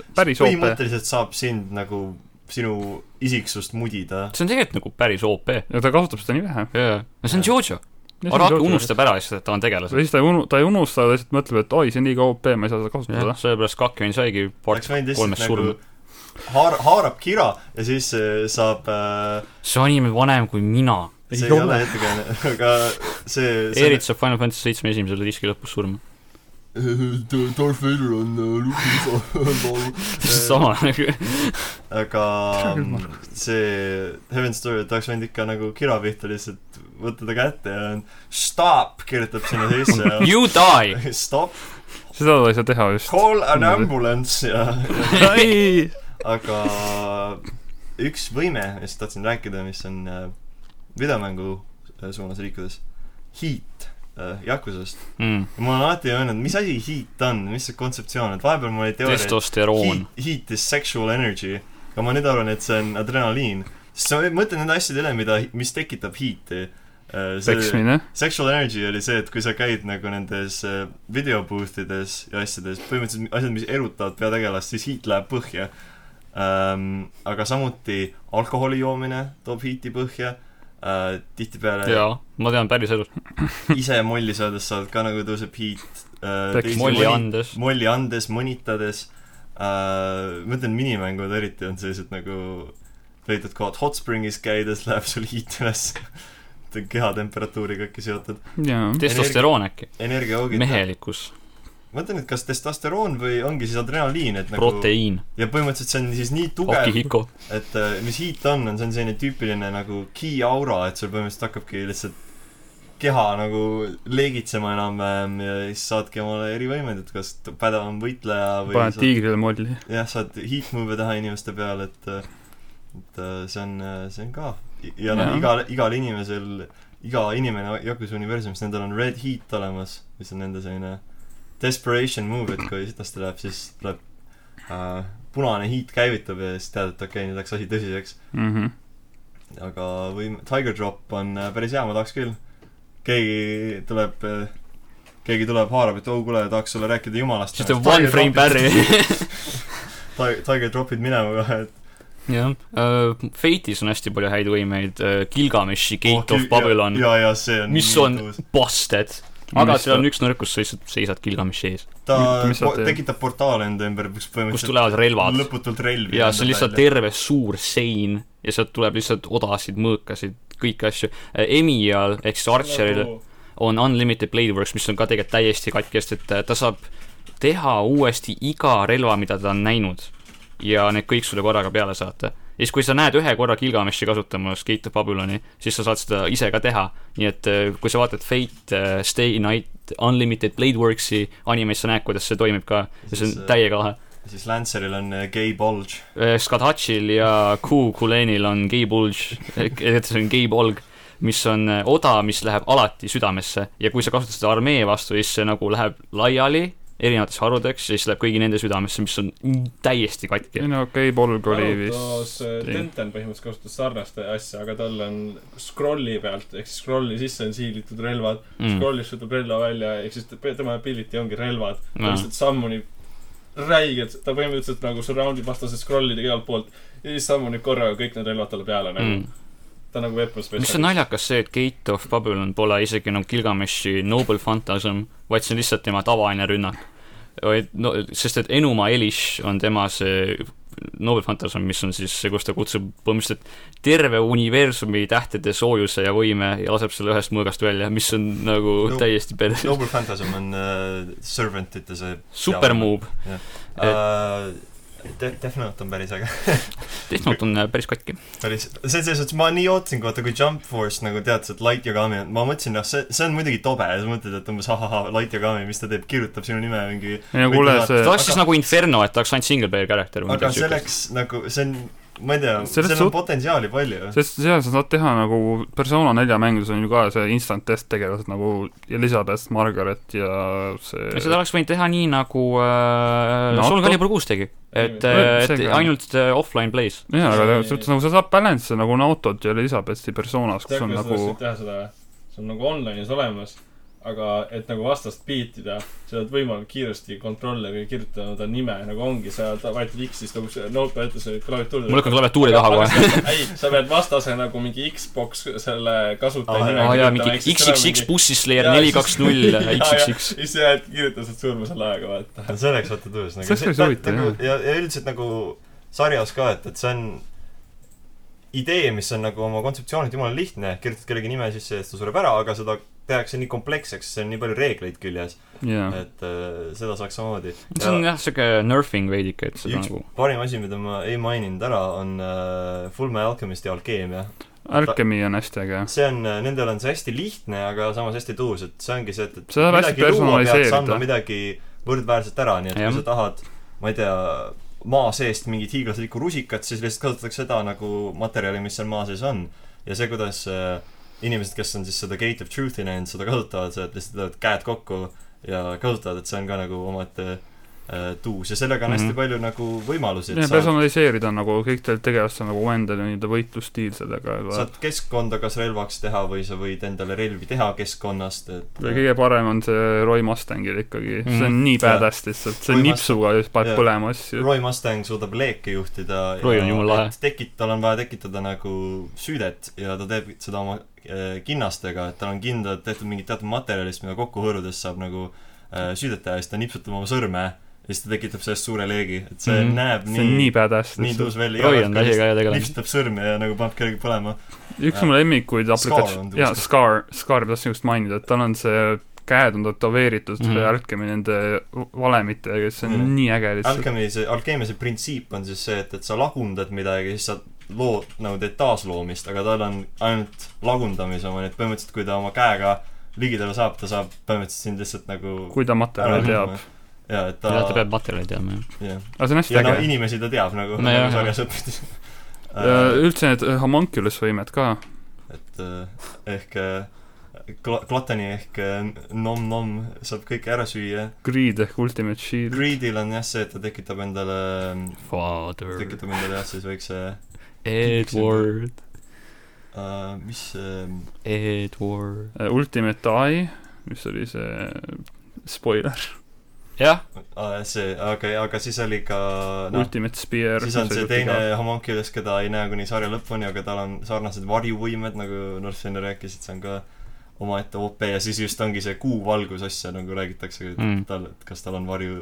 Speaker 1: saab
Speaker 4: päris OP .
Speaker 1: põhimõtteliselt saab sind nagu , sinu isiksust mudida .
Speaker 2: see on tegelikult nagu päris OP .
Speaker 4: ja ta kasutab seda nii vähe .
Speaker 2: jaa , no see on Jojo . Araki . unustab ära lihtsalt , et ta on tegelane .
Speaker 4: või siis ta ei unu- , ta ei unusta , ta lihtsalt mõtleb , et oi , see on liiga OP , ma ei saa seda kasutada .
Speaker 2: sellepärast Kakyoin saigi part
Speaker 1: oleks võinud lihtsalt
Speaker 2: kolmest
Speaker 1: nagu
Speaker 2: surma .
Speaker 1: haar- , haarab kira ja siis äh, saab äh,
Speaker 2: see anime vanem kui mina .
Speaker 1: see
Speaker 4: Ei
Speaker 1: ei
Speaker 4: ole.
Speaker 1: ole ettekääne , aga see , see
Speaker 2: Eerit saab Final Fantasy seitsme esimesel diski lõpus surma .
Speaker 1: Darth Vader on äh, Luke'i
Speaker 2: sama nagu .
Speaker 1: aga
Speaker 4: Tere küll, Markus.
Speaker 1: see Heaven's Door , et oleks võinud ikka nagu kira pihta lihtsalt võtta ta kätte ja stop kirjutab sinna sisse ja
Speaker 2: You die !
Speaker 1: stop ,
Speaker 4: seda ta ei saa teha just .
Speaker 1: call an ambulance ja
Speaker 4: ei ,
Speaker 1: aga üks võime , millest tahtsin rääkida , mis on äh, videomängu äh, suunas liikudes , Heat äh, Yakusast .
Speaker 2: Mm,
Speaker 1: ma olen alati öelnud , mis asi Heat on , mis see kontseptsioon , et vahepeal mul oli teooria , et
Speaker 2: testosteroon
Speaker 1: heat, . heat is sexual energy , aga ma nüüd arvan , et see on adrenaliin . sest sa mõtled nende asjade üle , mida , mis tekitab heat'i . see
Speaker 4: peksmine .
Speaker 1: sexual energy oli see , et kui sa käid nagu nendes äh, videobooth ides ja asjades , põhimõtteliselt asjad , mis erutavad peategelast , siis heat läheb põhja ähm, . aga samuti alkoholi joomine toob heat'i põhja äh, . tihtipeale
Speaker 2: jaa , ma tean päris elus .
Speaker 1: ise molli saades saad ka nagu tõuseb heat äh,
Speaker 4: Peks-
Speaker 1: teisi
Speaker 2: molli
Speaker 1: mõni-
Speaker 2: andes .
Speaker 1: molli andes , mõnitades äh, , ma ütlen , minimängud eriti on sellised nagu leidnud kohad hot spring'is käides läheb sul hiit üles kehatemperatuuriga äkki seotud ,
Speaker 4: jaa .
Speaker 2: testosteroon äkki .
Speaker 1: energiaaugid .
Speaker 2: mehelikkus .
Speaker 1: ma ütlen , et kas testosteroon või ongi siis adrenaliin , et nagu
Speaker 2: proteiin .
Speaker 1: ja põhimõtteliselt see on siis nii tugev ,
Speaker 2: Okihiko .
Speaker 1: et äh, mis hiit on , on see on selline tüüpiline nagu key aura , et sul põhimõtteliselt hakkabki lihtsalt keha nagu leegitsema enam-vähem ja siis saadki omale erivõimed , et kas t- pädevam võitleja või
Speaker 4: paned
Speaker 1: saad-
Speaker 4: tiigrile molli .
Speaker 1: jah , saad heatmove'e teha inimeste peale , et äh, et äh, see on , see on ka I- ja noh ,
Speaker 2: Jaa.
Speaker 1: igal , igal inimesel , iga inimene Yakuza universumis , nendel on red heat olemas , mis on nende selline desperation move , et kui sitasti läheb , siis tuleb äh, punane heat käivitub ja siis tead , et okei okay, , nüüd läks asi tõsiseks .
Speaker 4: Mhm.
Speaker 1: aga võim- , Tiger Drop on äh, päris hea , ma tahaks küll . keegi tuleb , keegi tuleb , haarab , et oo , kuule , tahaks sulle rääkida jumalast .
Speaker 2: siis teeb one frame parry .
Speaker 1: Tiger , Tiger Dropid minema kohe , et
Speaker 2: jah , Fate'is on hästi palju häid võimeid , Gilgameshi Gate
Speaker 1: Oh,
Speaker 2: of
Speaker 1: küll-
Speaker 2: Babylon ,
Speaker 1: ja , ja see on
Speaker 2: mis
Speaker 1: nii
Speaker 2: on
Speaker 1: tõus.
Speaker 2: busted . aga seal on üks nõrkus , sa lihtsalt seisad Gilgameshi ees ,
Speaker 1: ta
Speaker 4: mis sa
Speaker 1: po-
Speaker 4: teed?
Speaker 1: tekitab portaale enda ümber , kus
Speaker 2: kust
Speaker 1: põhimõtteliselt
Speaker 2: tulevad relvad
Speaker 1: lõputult relvi
Speaker 2: ja see on lihtsalt terve suur sein ja sealt tuleb lihtsalt odasid , mõõkasid , kõiki asju . Emial ehk siis Archeril
Speaker 5: nagu
Speaker 2: on Unlimited Bladeworks , mis on ka tegelikult täiesti katkest , et äh, ta saab teha uuesti iga relva , mida ta on näinud . ja need kõik sulle korraga peale saata . ja siis , kui sa näed ühe korra Gilgameshi kasutamas Gate of Babyloni , siis sa saad seda ise ka teha . nii et äh, kui sa vaatad Fate , Stay Night , Unlimited Bladeworksi animeid , sa näed , kuidas see toimib ka ja see
Speaker 1: äh,
Speaker 2: on täiega lahe .
Speaker 1: siis Lanceril on äh, gay bulge .
Speaker 2: Skadhatšil Eh, ja Kukulenil on gay bulge , see on gay polg , mis on äh, oda , mis läheb alati südamesse ja kui sa kasutad seda armee vastu , siis see nagu läheb laiali erinevateks harudeks ja siis läheb kõigi nende südamesse , mis on täiesti katki
Speaker 4: ei . no okei , polg oli
Speaker 5: arutas
Speaker 4: vist .
Speaker 5: äh, Tenten põhimõtteliselt kasutas sarnast asja , aga tal on scroll'i pealt ehk siis scroll'i sisse on siilitud relvad mm. ,
Speaker 2: Mm.
Speaker 5: scroll'ist võtab relva välja ehk siis ta- tema ability ongi relvad , ta
Speaker 2: Jaa.
Speaker 5: lihtsalt sammunib räigelt , ta põhimõtteliselt nagu surround'ib vastased scroll'id igalt poolt ja siis sammunib korraga kõik need relvad talle peale nagu
Speaker 2: Mm.
Speaker 5: mm. . ta on nagu weapon
Speaker 2: mis on
Speaker 5: spetsialist .
Speaker 2: naljakas , see , et Gate of Babylon pole isegi nagu Gilgameshi Noble Phantasm , vaid see on lihtsalt tema tavaline rünnak . vaid no , sest et Enuma Elish on tema see Noble Phantasm , mis on siis see , kus ta kutsub põhimõtteliselt terve universumi tähtede soojuse ja võime ja laseb selle ühest mõõgast välja , mis on nagu
Speaker 1: No.
Speaker 2: no. täiesti päris no.
Speaker 1: Noble Phantasm on äh, Servantite see
Speaker 2: super move .
Speaker 1: äh, . De- , Death Note on päris äge .
Speaker 2: tehnot on äh, päris katki .
Speaker 1: päris , see on selles mõttes , ma nii ootasin , vaata kui Jump Force nagu teatas , et Light Yagami on , ma mõtlesin , noh , see , see on muidugi tobe ja sa mõtled , et umbes ahahah , Light Yagami , mis ta teeb , kirjutab sinu nime mingi
Speaker 4: ei no kuule ,
Speaker 2: ta
Speaker 4: see
Speaker 1: Või-
Speaker 2: oleks siis
Speaker 1: aga-
Speaker 2: nagu Inferno , et ta oleks ainult single player character või
Speaker 1: aga
Speaker 2: midagi siukest .
Speaker 1: selleks nagu , see on , ma ei tea ,
Speaker 4: Selles
Speaker 1: seal on
Speaker 4: suht-
Speaker 1: potentsiaali palju .
Speaker 4: sest seal sa saad teha nagu persona nelja mängudes on ju ka see instant test tegelased nagu Elizabeth , Margaret ja
Speaker 2: seda
Speaker 4: see
Speaker 2: oleks võinud teha nii , nagu äh, no,
Speaker 4: NATO.
Speaker 2: Soul Calibur kuus tegi . et ,
Speaker 4: No
Speaker 2: et
Speaker 4: seega-
Speaker 2: ainult äh, offline plays .
Speaker 4: jaa , aga tegelikult selles mõttes nagu sa saad balance'i nagu Nautot ja Elizabethi personas , kus
Speaker 5: tead ,
Speaker 4: on
Speaker 5: kuidas sa
Speaker 4: nagu
Speaker 5: tahtsid teha seda või ? see on nagu online'is olemas , aga et nagu vastast biitida , sa oled võimalik kiiresti kontrolleri kirjutada ta nime , nagu ongi , sa ta- vajutad X-ist nagu see noope ütles , et klaviatuur .
Speaker 2: ma lükkan klaviatuuri taha kohe ..
Speaker 5: ei , sa pead vastase nagu mingi Xbox selle kasutaja
Speaker 1: Aa,
Speaker 5: nime
Speaker 2: aa jaa , mingi XXX . bussislayer
Speaker 5: Jaa,
Speaker 2: neli
Speaker 5: siis-
Speaker 2: kaks null XXX .
Speaker 5: siis sa jääd , kirjutad sealt surma selle ajaga , vaata .
Speaker 1: see oleks vaata tõus nagu, .
Speaker 4: See oleks päris huvitav,
Speaker 1: nagu, . ja , ja üldiselt nagu sarjas ka , et , et see on idee , mis on nagu oma kontseptsioonilt jumala lihtne , kirjutad kellegi nime sisse ja siis ta sureb ära , aga seda tehakse nii kompleksseks , seal on nii palju reegleid küljes ,
Speaker 4: jaa
Speaker 1: et äh, seda saaks samamoodi .
Speaker 2: see on jah , siuke nerfing veidike , et seda
Speaker 1: Üks-
Speaker 2: nagu
Speaker 1: parim asi , mida ma ei maininud ära , on äh, Fullme Alchemisti alkeemia .
Speaker 4: Alchemy on hästi äge .
Speaker 1: see on , nendel on see hästi lihtne , aga samas hästi tõus , et see ongi see , et , et
Speaker 4: See saab hästi personaliseerida.
Speaker 1: anda midagi võrdväärset ära , nii et
Speaker 2: Jah.
Speaker 1: kui sa tahad , ma ei tea , maa seest mingit hiiglaslikku rusikat , siis lihtsalt kasutatakse seda nagu materjali , mis seal maa sees on . ja see , kuidas äh, inimesed , kes on siis seda Gate of Truth'i näinud , seda kasutavad , see , et lihtsalt löövad käed kokku ja kasutavad , et see on ka nagu omaette äh, tuus ja sellega on hästi mm -hmm.
Speaker 2: Mhm.
Speaker 1: palju nagu võimalusi , et
Speaker 4: ja
Speaker 1: sa
Speaker 4: personaliseerida on nagu kõik teil tegelastel on nagu omaenda nii-öelda võitlusstiil sellega juba .
Speaker 1: saad keskkonda kas relvaks teha või sa võid endale relvi teha keskkonnast , et
Speaker 4: ja kõige parem on see Roy Mustangil ikkagi mm. , see on nii
Speaker 1: Jaa.
Speaker 4: badass lihtsalt , see
Speaker 1: Roy
Speaker 4: nipsuga just paneb
Speaker 1: jaa.
Speaker 4: põlema asju .
Speaker 1: Roy Mustang suudab leeke juhtida .
Speaker 2: Roy on jumala lahe.
Speaker 1: tekit- , tal on vaja tekitada nagu südet ja ta teeb seda oma äh, kinnastega , et tal on kindlalt tehtud mingit teatud materjalist , mida kokku hõõrudes saab nagu äh, südet teha ja siis ta nipsutab oma sõrme ja siis ta tekitab sellest suure leegi , et see mm
Speaker 2: Mhm.
Speaker 1: -hmm. näeb
Speaker 4: see on nii
Speaker 1: nii ,
Speaker 4: badass
Speaker 1: nii
Speaker 4: lihtsalt .
Speaker 1: tõus välja .
Speaker 2: Roy on täiega hea tegelane .
Speaker 1: nipsutab sõrme ja nagu paneb kellegi põlema .
Speaker 4: üks
Speaker 1: jaa.
Speaker 4: mu lemmikuid
Speaker 1: Scar on
Speaker 4: aplikatsioon ,
Speaker 1: tõus-
Speaker 4: jaa , Scar , Scar , ma tahtsin just mainida , et tal on see käed on tätoveeritud
Speaker 2: Mhm.
Speaker 4: mm. Alchemy nende valemitega , see on
Speaker 1: Mhm.
Speaker 4: mm. nii äge lihtsalt .
Speaker 1: Alchemy , see alkeemia see printsiip on siis see , et , et sa lagundad midagi , siis sa loo , nagu teed taasloomist , aga tal on ainult lagundamise oma , nii et põhimõtteliselt kui ta oma käega ligidale saab , ta saab põhimõtteliselt sind lihtsalt nagu
Speaker 4: kui ta materjali teab .
Speaker 1: jaa , et ta
Speaker 2: jah , ta peab materjali teadma , jah .
Speaker 1: jah .
Speaker 4: aga see on hästi
Speaker 1: ja no
Speaker 4: äge .
Speaker 1: inimesi ta teab nagu
Speaker 2: No
Speaker 1: no,
Speaker 2: jah, jah.
Speaker 1: sarjas õppis .
Speaker 4: üldse need homunculus võimed ka .
Speaker 1: et äh, ehk äh, gla- , glatani ehk äh, nom-nom saab kõike ära süüa .
Speaker 4: Greed ehk ultimate shield .
Speaker 1: Greedil on jah see , et ta tekitab endale ,
Speaker 2: Father ,
Speaker 1: tekitab endale jah , siis väikse
Speaker 2: Edward ,
Speaker 1: äh, , mis äh,
Speaker 2: Edward .
Speaker 4: Äh, Ultimate eye , mis oli see spoiler .
Speaker 2: jah ,
Speaker 1: aa, Ah, see , okei , aga siis oli ka noh ,
Speaker 4: Ultimate spear .
Speaker 1: siis on see teine homunculus , keda ei näe kuni sarja lõpuni , aga tal on sarnased varjuvõimed , nagu North enne rääkis , et see on ka omaette OP ja siis just ongi see kuu valgusasja , nagu räägitakse , et
Speaker 2: Mm.
Speaker 1: mm. tal , et kas tal on varju ,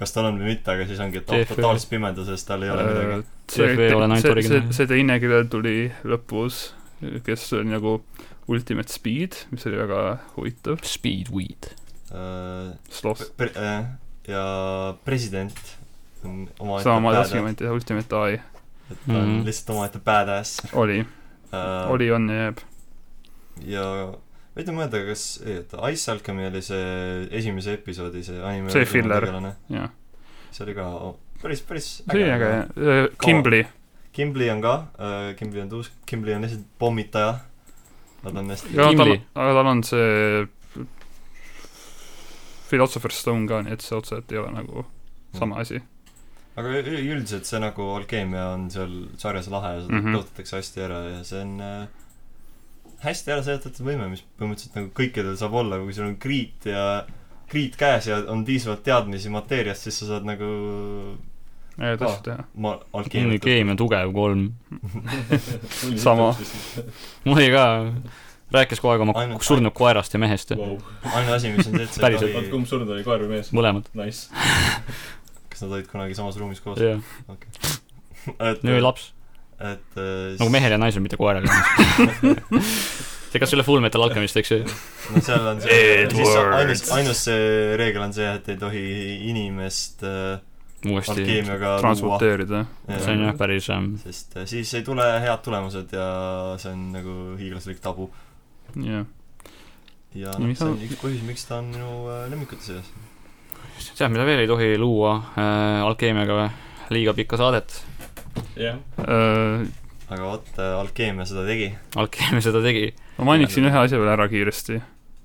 Speaker 1: kas tal on või mitte , aga siis ongi , et ta on
Speaker 2: Jeff- Äh,
Speaker 1: totaalses pimeduses , tal ei ole midagi .
Speaker 4: Äh, see ,
Speaker 2: Jeff ei ole ainult
Speaker 4: see , see
Speaker 2: originaal. ,
Speaker 4: see teine , kellel tuli lõpus , kes oli nagu Ultimate Speed , mis oli väga huvitav ,
Speaker 2: Speedweed .
Speaker 4: sloth .
Speaker 1: Pre- , äh, ja president on omaette
Speaker 4: samamoodi
Speaker 1: badass ,
Speaker 4: Ultimate ja Ultimate Eye
Speaker 1: et ta on
Speaker 2: Mhm.
Speaker 1: lihtsalt omaette badass
Speaker 4: oli ,
Speaker 1: äh,
Speaker 4: oli , on ja jääb .
Speaker 1: ja ma ei tea mõelda , kas , ei oota , Ice Alchemy oli see esimese episoodi see anime
Speaker 4: See filler. jah ,
Speaker 1: see oli ka o- päris , päris
Speaker 4: see oli äge jah . Äh, Kimbli ,
Speaker 1: Kimbli on ka äh, , Kimbli on tuus , Kimbli on lihtsalt pommitaja Nad on hästi
Speaker 4: aga tal
Speaker 2: Gimli. ,
Speaker 4: aga tal on see Philosopher's Stone ka , nii et see otseselt ei ole nagu
Speaker 1: Mm.
Speaker 4: sama asi .
Speaker 1: aga ü- ü- üldiselt see nagu alkeemia on seal sarjas lahe ja seda mm
Speaker 4: Mhm.
Speaker 1: -hmm. tõotatakse hästi ära ja see on äh, hästi ära seletatud võime , mis põhimõtteliselt nagu kõikidel saab olla , kui sul on kriit ja kriit käes ja on piisavalt teadmisi mateeriast , siis sa saad nagu
Speaker 4: ägedat asja teha .
Speaker 1: ma- , alkeemiat
Speaker 2: keemia Mm, tugev kolm .
Speaker 4: Sama. .
Speaker 2: mul oli ka , rääkis kogu aeg oma
Speaker 1: Ainult-
Speaker 2: surnud koerast ja mehest ,
Speaker 5: Wow.
Speaker 1: ainuke asi , mis on see , et see
Speaker 2: Päriselt.
Speaker 1: ei tohi ,
Speaker 5: kumb surnud oli , koer või mees ?
Speaker 2: mõlemad .
Speaker 5: Nice .
Speaker 1: kas nad olid kunagi samas ruumis koos ?
Speaker 2: jah ,
Speaker 1: et ,
Speaker 2: neil oli laps ,
Speaker 1: et äh,
Speaker 2: nagu mehel ja naisel , mitte koeral . see , kas selle Full Metal Alchemist , eks ju ?
Speaker 1: no seal on see ,
Speaker 2: Edward.
Speaker 1: siis on ainus , ainus see reegel on see , et ei tohi inimest äh,
Speaker 2: uuesti ,
Speaker 1: alkeemiaga luua .
Speaker 4: transmuteerida .
Speaker 2: see on jah päris ähm,
Speaker 1: sest äh, siis ei tule head tulemused ja see on nagu hiiglaslik tabu .
Speaker 4: jah ,
Speaker 1: ja
Speaker 4: Ja
Speaker 1: noh ,
Speaker 4: mis
Speaker 1: see on
Speaker 4: on-
Speaker 1: üks põhjus , miks ta on minu äh, lemmikute seas .
Speaker 2: tead , mida veel ei tohi luua äh, alkeemiaga või ? liiga pikka saadet .
Speaker 5: jah ,
Speaker 4: Äh,
Speaker 1: aga vot , alkeemia seda tegi .
Speaker 2: alkeemia seda tegi .
Speaker 4: ma mainiksin ühe asja veel ära kiiresti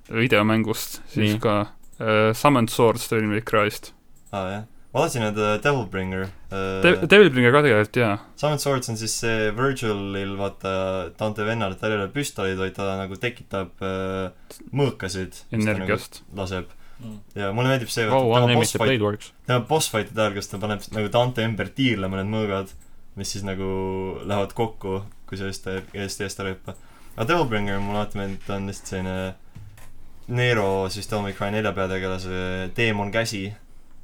Speaker 4: videomängust , siis
Speaker 2: Nii.
Speaker 4: ka uh, Summoned Swords Devil May Cry'st
Speaker 1: aa Ah, jah . ma tahtsin öelda Devilbringer
Speaker 4: De .
Speaker 1: äh, .
Speaker 4: Devilbringer ka tegelikult jaa ,
Speaker 1: Summon Swords on siis see Virgilil , vaata , Dante vennal , tal ei ole püstolid , vaid ta nagu tekitab äh, mõõkasid .
Speaker 4: energiast .
Speaker 1: Nagu laseb .
Speaker 5: Mm.
Speaker 1: ja mulle meeldib see ,
Speaker 2: Vau ,
Speaker 1: tema
Speaker 2: Unlimited
Speaker 1: boss fight ,
Speaker 2: Blade Works .
Speaker 1: tema boss fight'ide ajal , kus ta paneb nagu Dante ümber tiirlema need mõõgad , mis siis nagu lähevad kokku , kui sa eest , eest eest ära ei hüppa . aga Devilbringer mulle alati meeldib , ta on lihtsalt selline Nero siis Devil May Cry nelja peategelase teemon käsi ,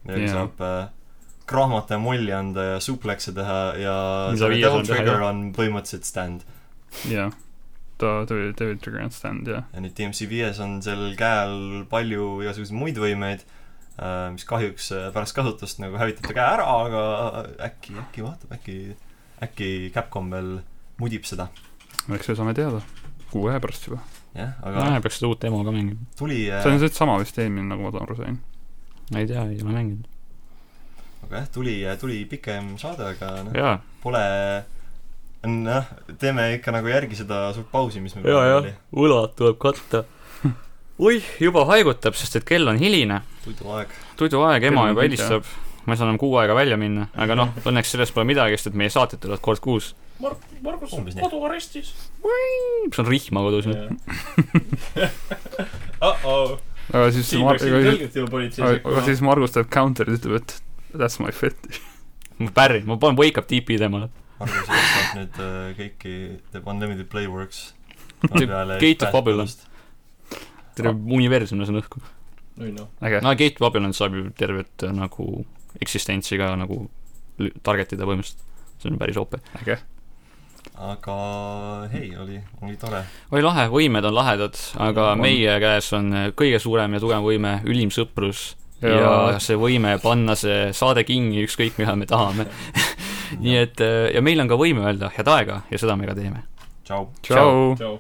Speaker 1: millega
Speaker 4: Jaa.
Speaker 1: yeah. saab äh, krahmata ja molli anda ja suplekse teha ja
Speaker 2: Mida
Speaker 1: selle
Speaker 2: viies
Speaker 1: Devil
Speaker 2: on teha,
Speaker 1: Trigger
Speaker 2: jah.
Speaker 1: on põhimõtteliselt stand .
Speaker 4: jaa , ta Devil , Devil Trigger and Stand jah .
Speaker 1: ja nüüd DMC viies on sellel käel palju igasuguseid muid võimeid , mis kahjuks äh, pärast kasutust nagu hävitab ta käe ära , aga äkki , äkki vaatab , äkki , äkki Capcom veel mudib seda ,
Speaker 4: eks me saame teada , kuu aja pärast juba .
Speaker 1: jah , aga
Speaker 2: nojah , peaks seda uut demo ka mängima .
Speaker 1: tuli , äh,
Speaker 4: see on
Speaker 1: aga
Speaker 4: see sama vist eelmine , nagu ma aru sain .
Speaker 2: ma ei tea , ei ole mänginud .
Speaker 1: jah , tuli , tuli pikem saade , aga noh ,
Speaker 2: jaa ,
Speaker 1: pole , noh , teeme ikka nagu järgi seda suurt pausi , mis meil
Speaker 2: ja ,
Speaker 1: praegu
Speaker 2: jah
Speaker 1: oli .,
Speaker 2: võlad tuleb katta . oih , juba haigutab , sest et kell on hiline ,
Speaker 1: tuduaeg .
Speaker 2: tuduaeg ,
Speaker 4: Kell
Speaker 2: ema
Speaker 4: on
Speaker 2: juba
Speaker 4: hiline.
Speaker 2: helistab , ma ei saa enam kuu aega välja minna , aga noh , õnneks sellest pole midagi , sest et meie saated tulevad kord kuus .
Speaker 5: Mark , Margus on
Speaker 1: Umbes nii.
Speaker 5: koduarestis .
Speaker 2: see on rihma kodus nüüd .
Speaker 5: Uh-oh ,
Speaker 4: aga siis
Speaker 5: siin
Speaker 4: Mar- ,
Speaker 5: peaks
Speaker 4: aga siis ,
Speaker 5: ilgelt juba politsei
Speaker 4: aga siis Margus teeb counter'it , ütleb , et that's my fetish .
Speaker 2: ma pärin , ma panen wake up tipi temale .
Speaker 1: Argo Sepp saab nüüd äh, kõiki , teeb Unlimited Playworks .
Speaker 2: Gate of Babylon. terve universum lase õhku .
Speaker 5: oi noh ,
Speaker 4: äge .
Speaker 2: no Gate Babylon saab ju tervet äh, nagu eksistentsi ka nagu lü- target ida põhimõtteliselt . see on päris OP .
Speaker 1: aga hei , oli , oli tore .
Speaker 2: oli lahe , võimed on lahedad , aga
Speaker 4: On.
Speaker 2: on. meie käes on äh, kõige suurem ja tugevam võime , ülim sõprus ja, ja
Speaker 4: ja
Speaker 2: see võime panna see saade kinni , ükskõik mida me tahame . nii et äh, ja meil on ka võime öelda head aega ja seda me ka teeme .
Speaker 1: tšau .
Speaker 4: tšau .
Speaker 5: tšau .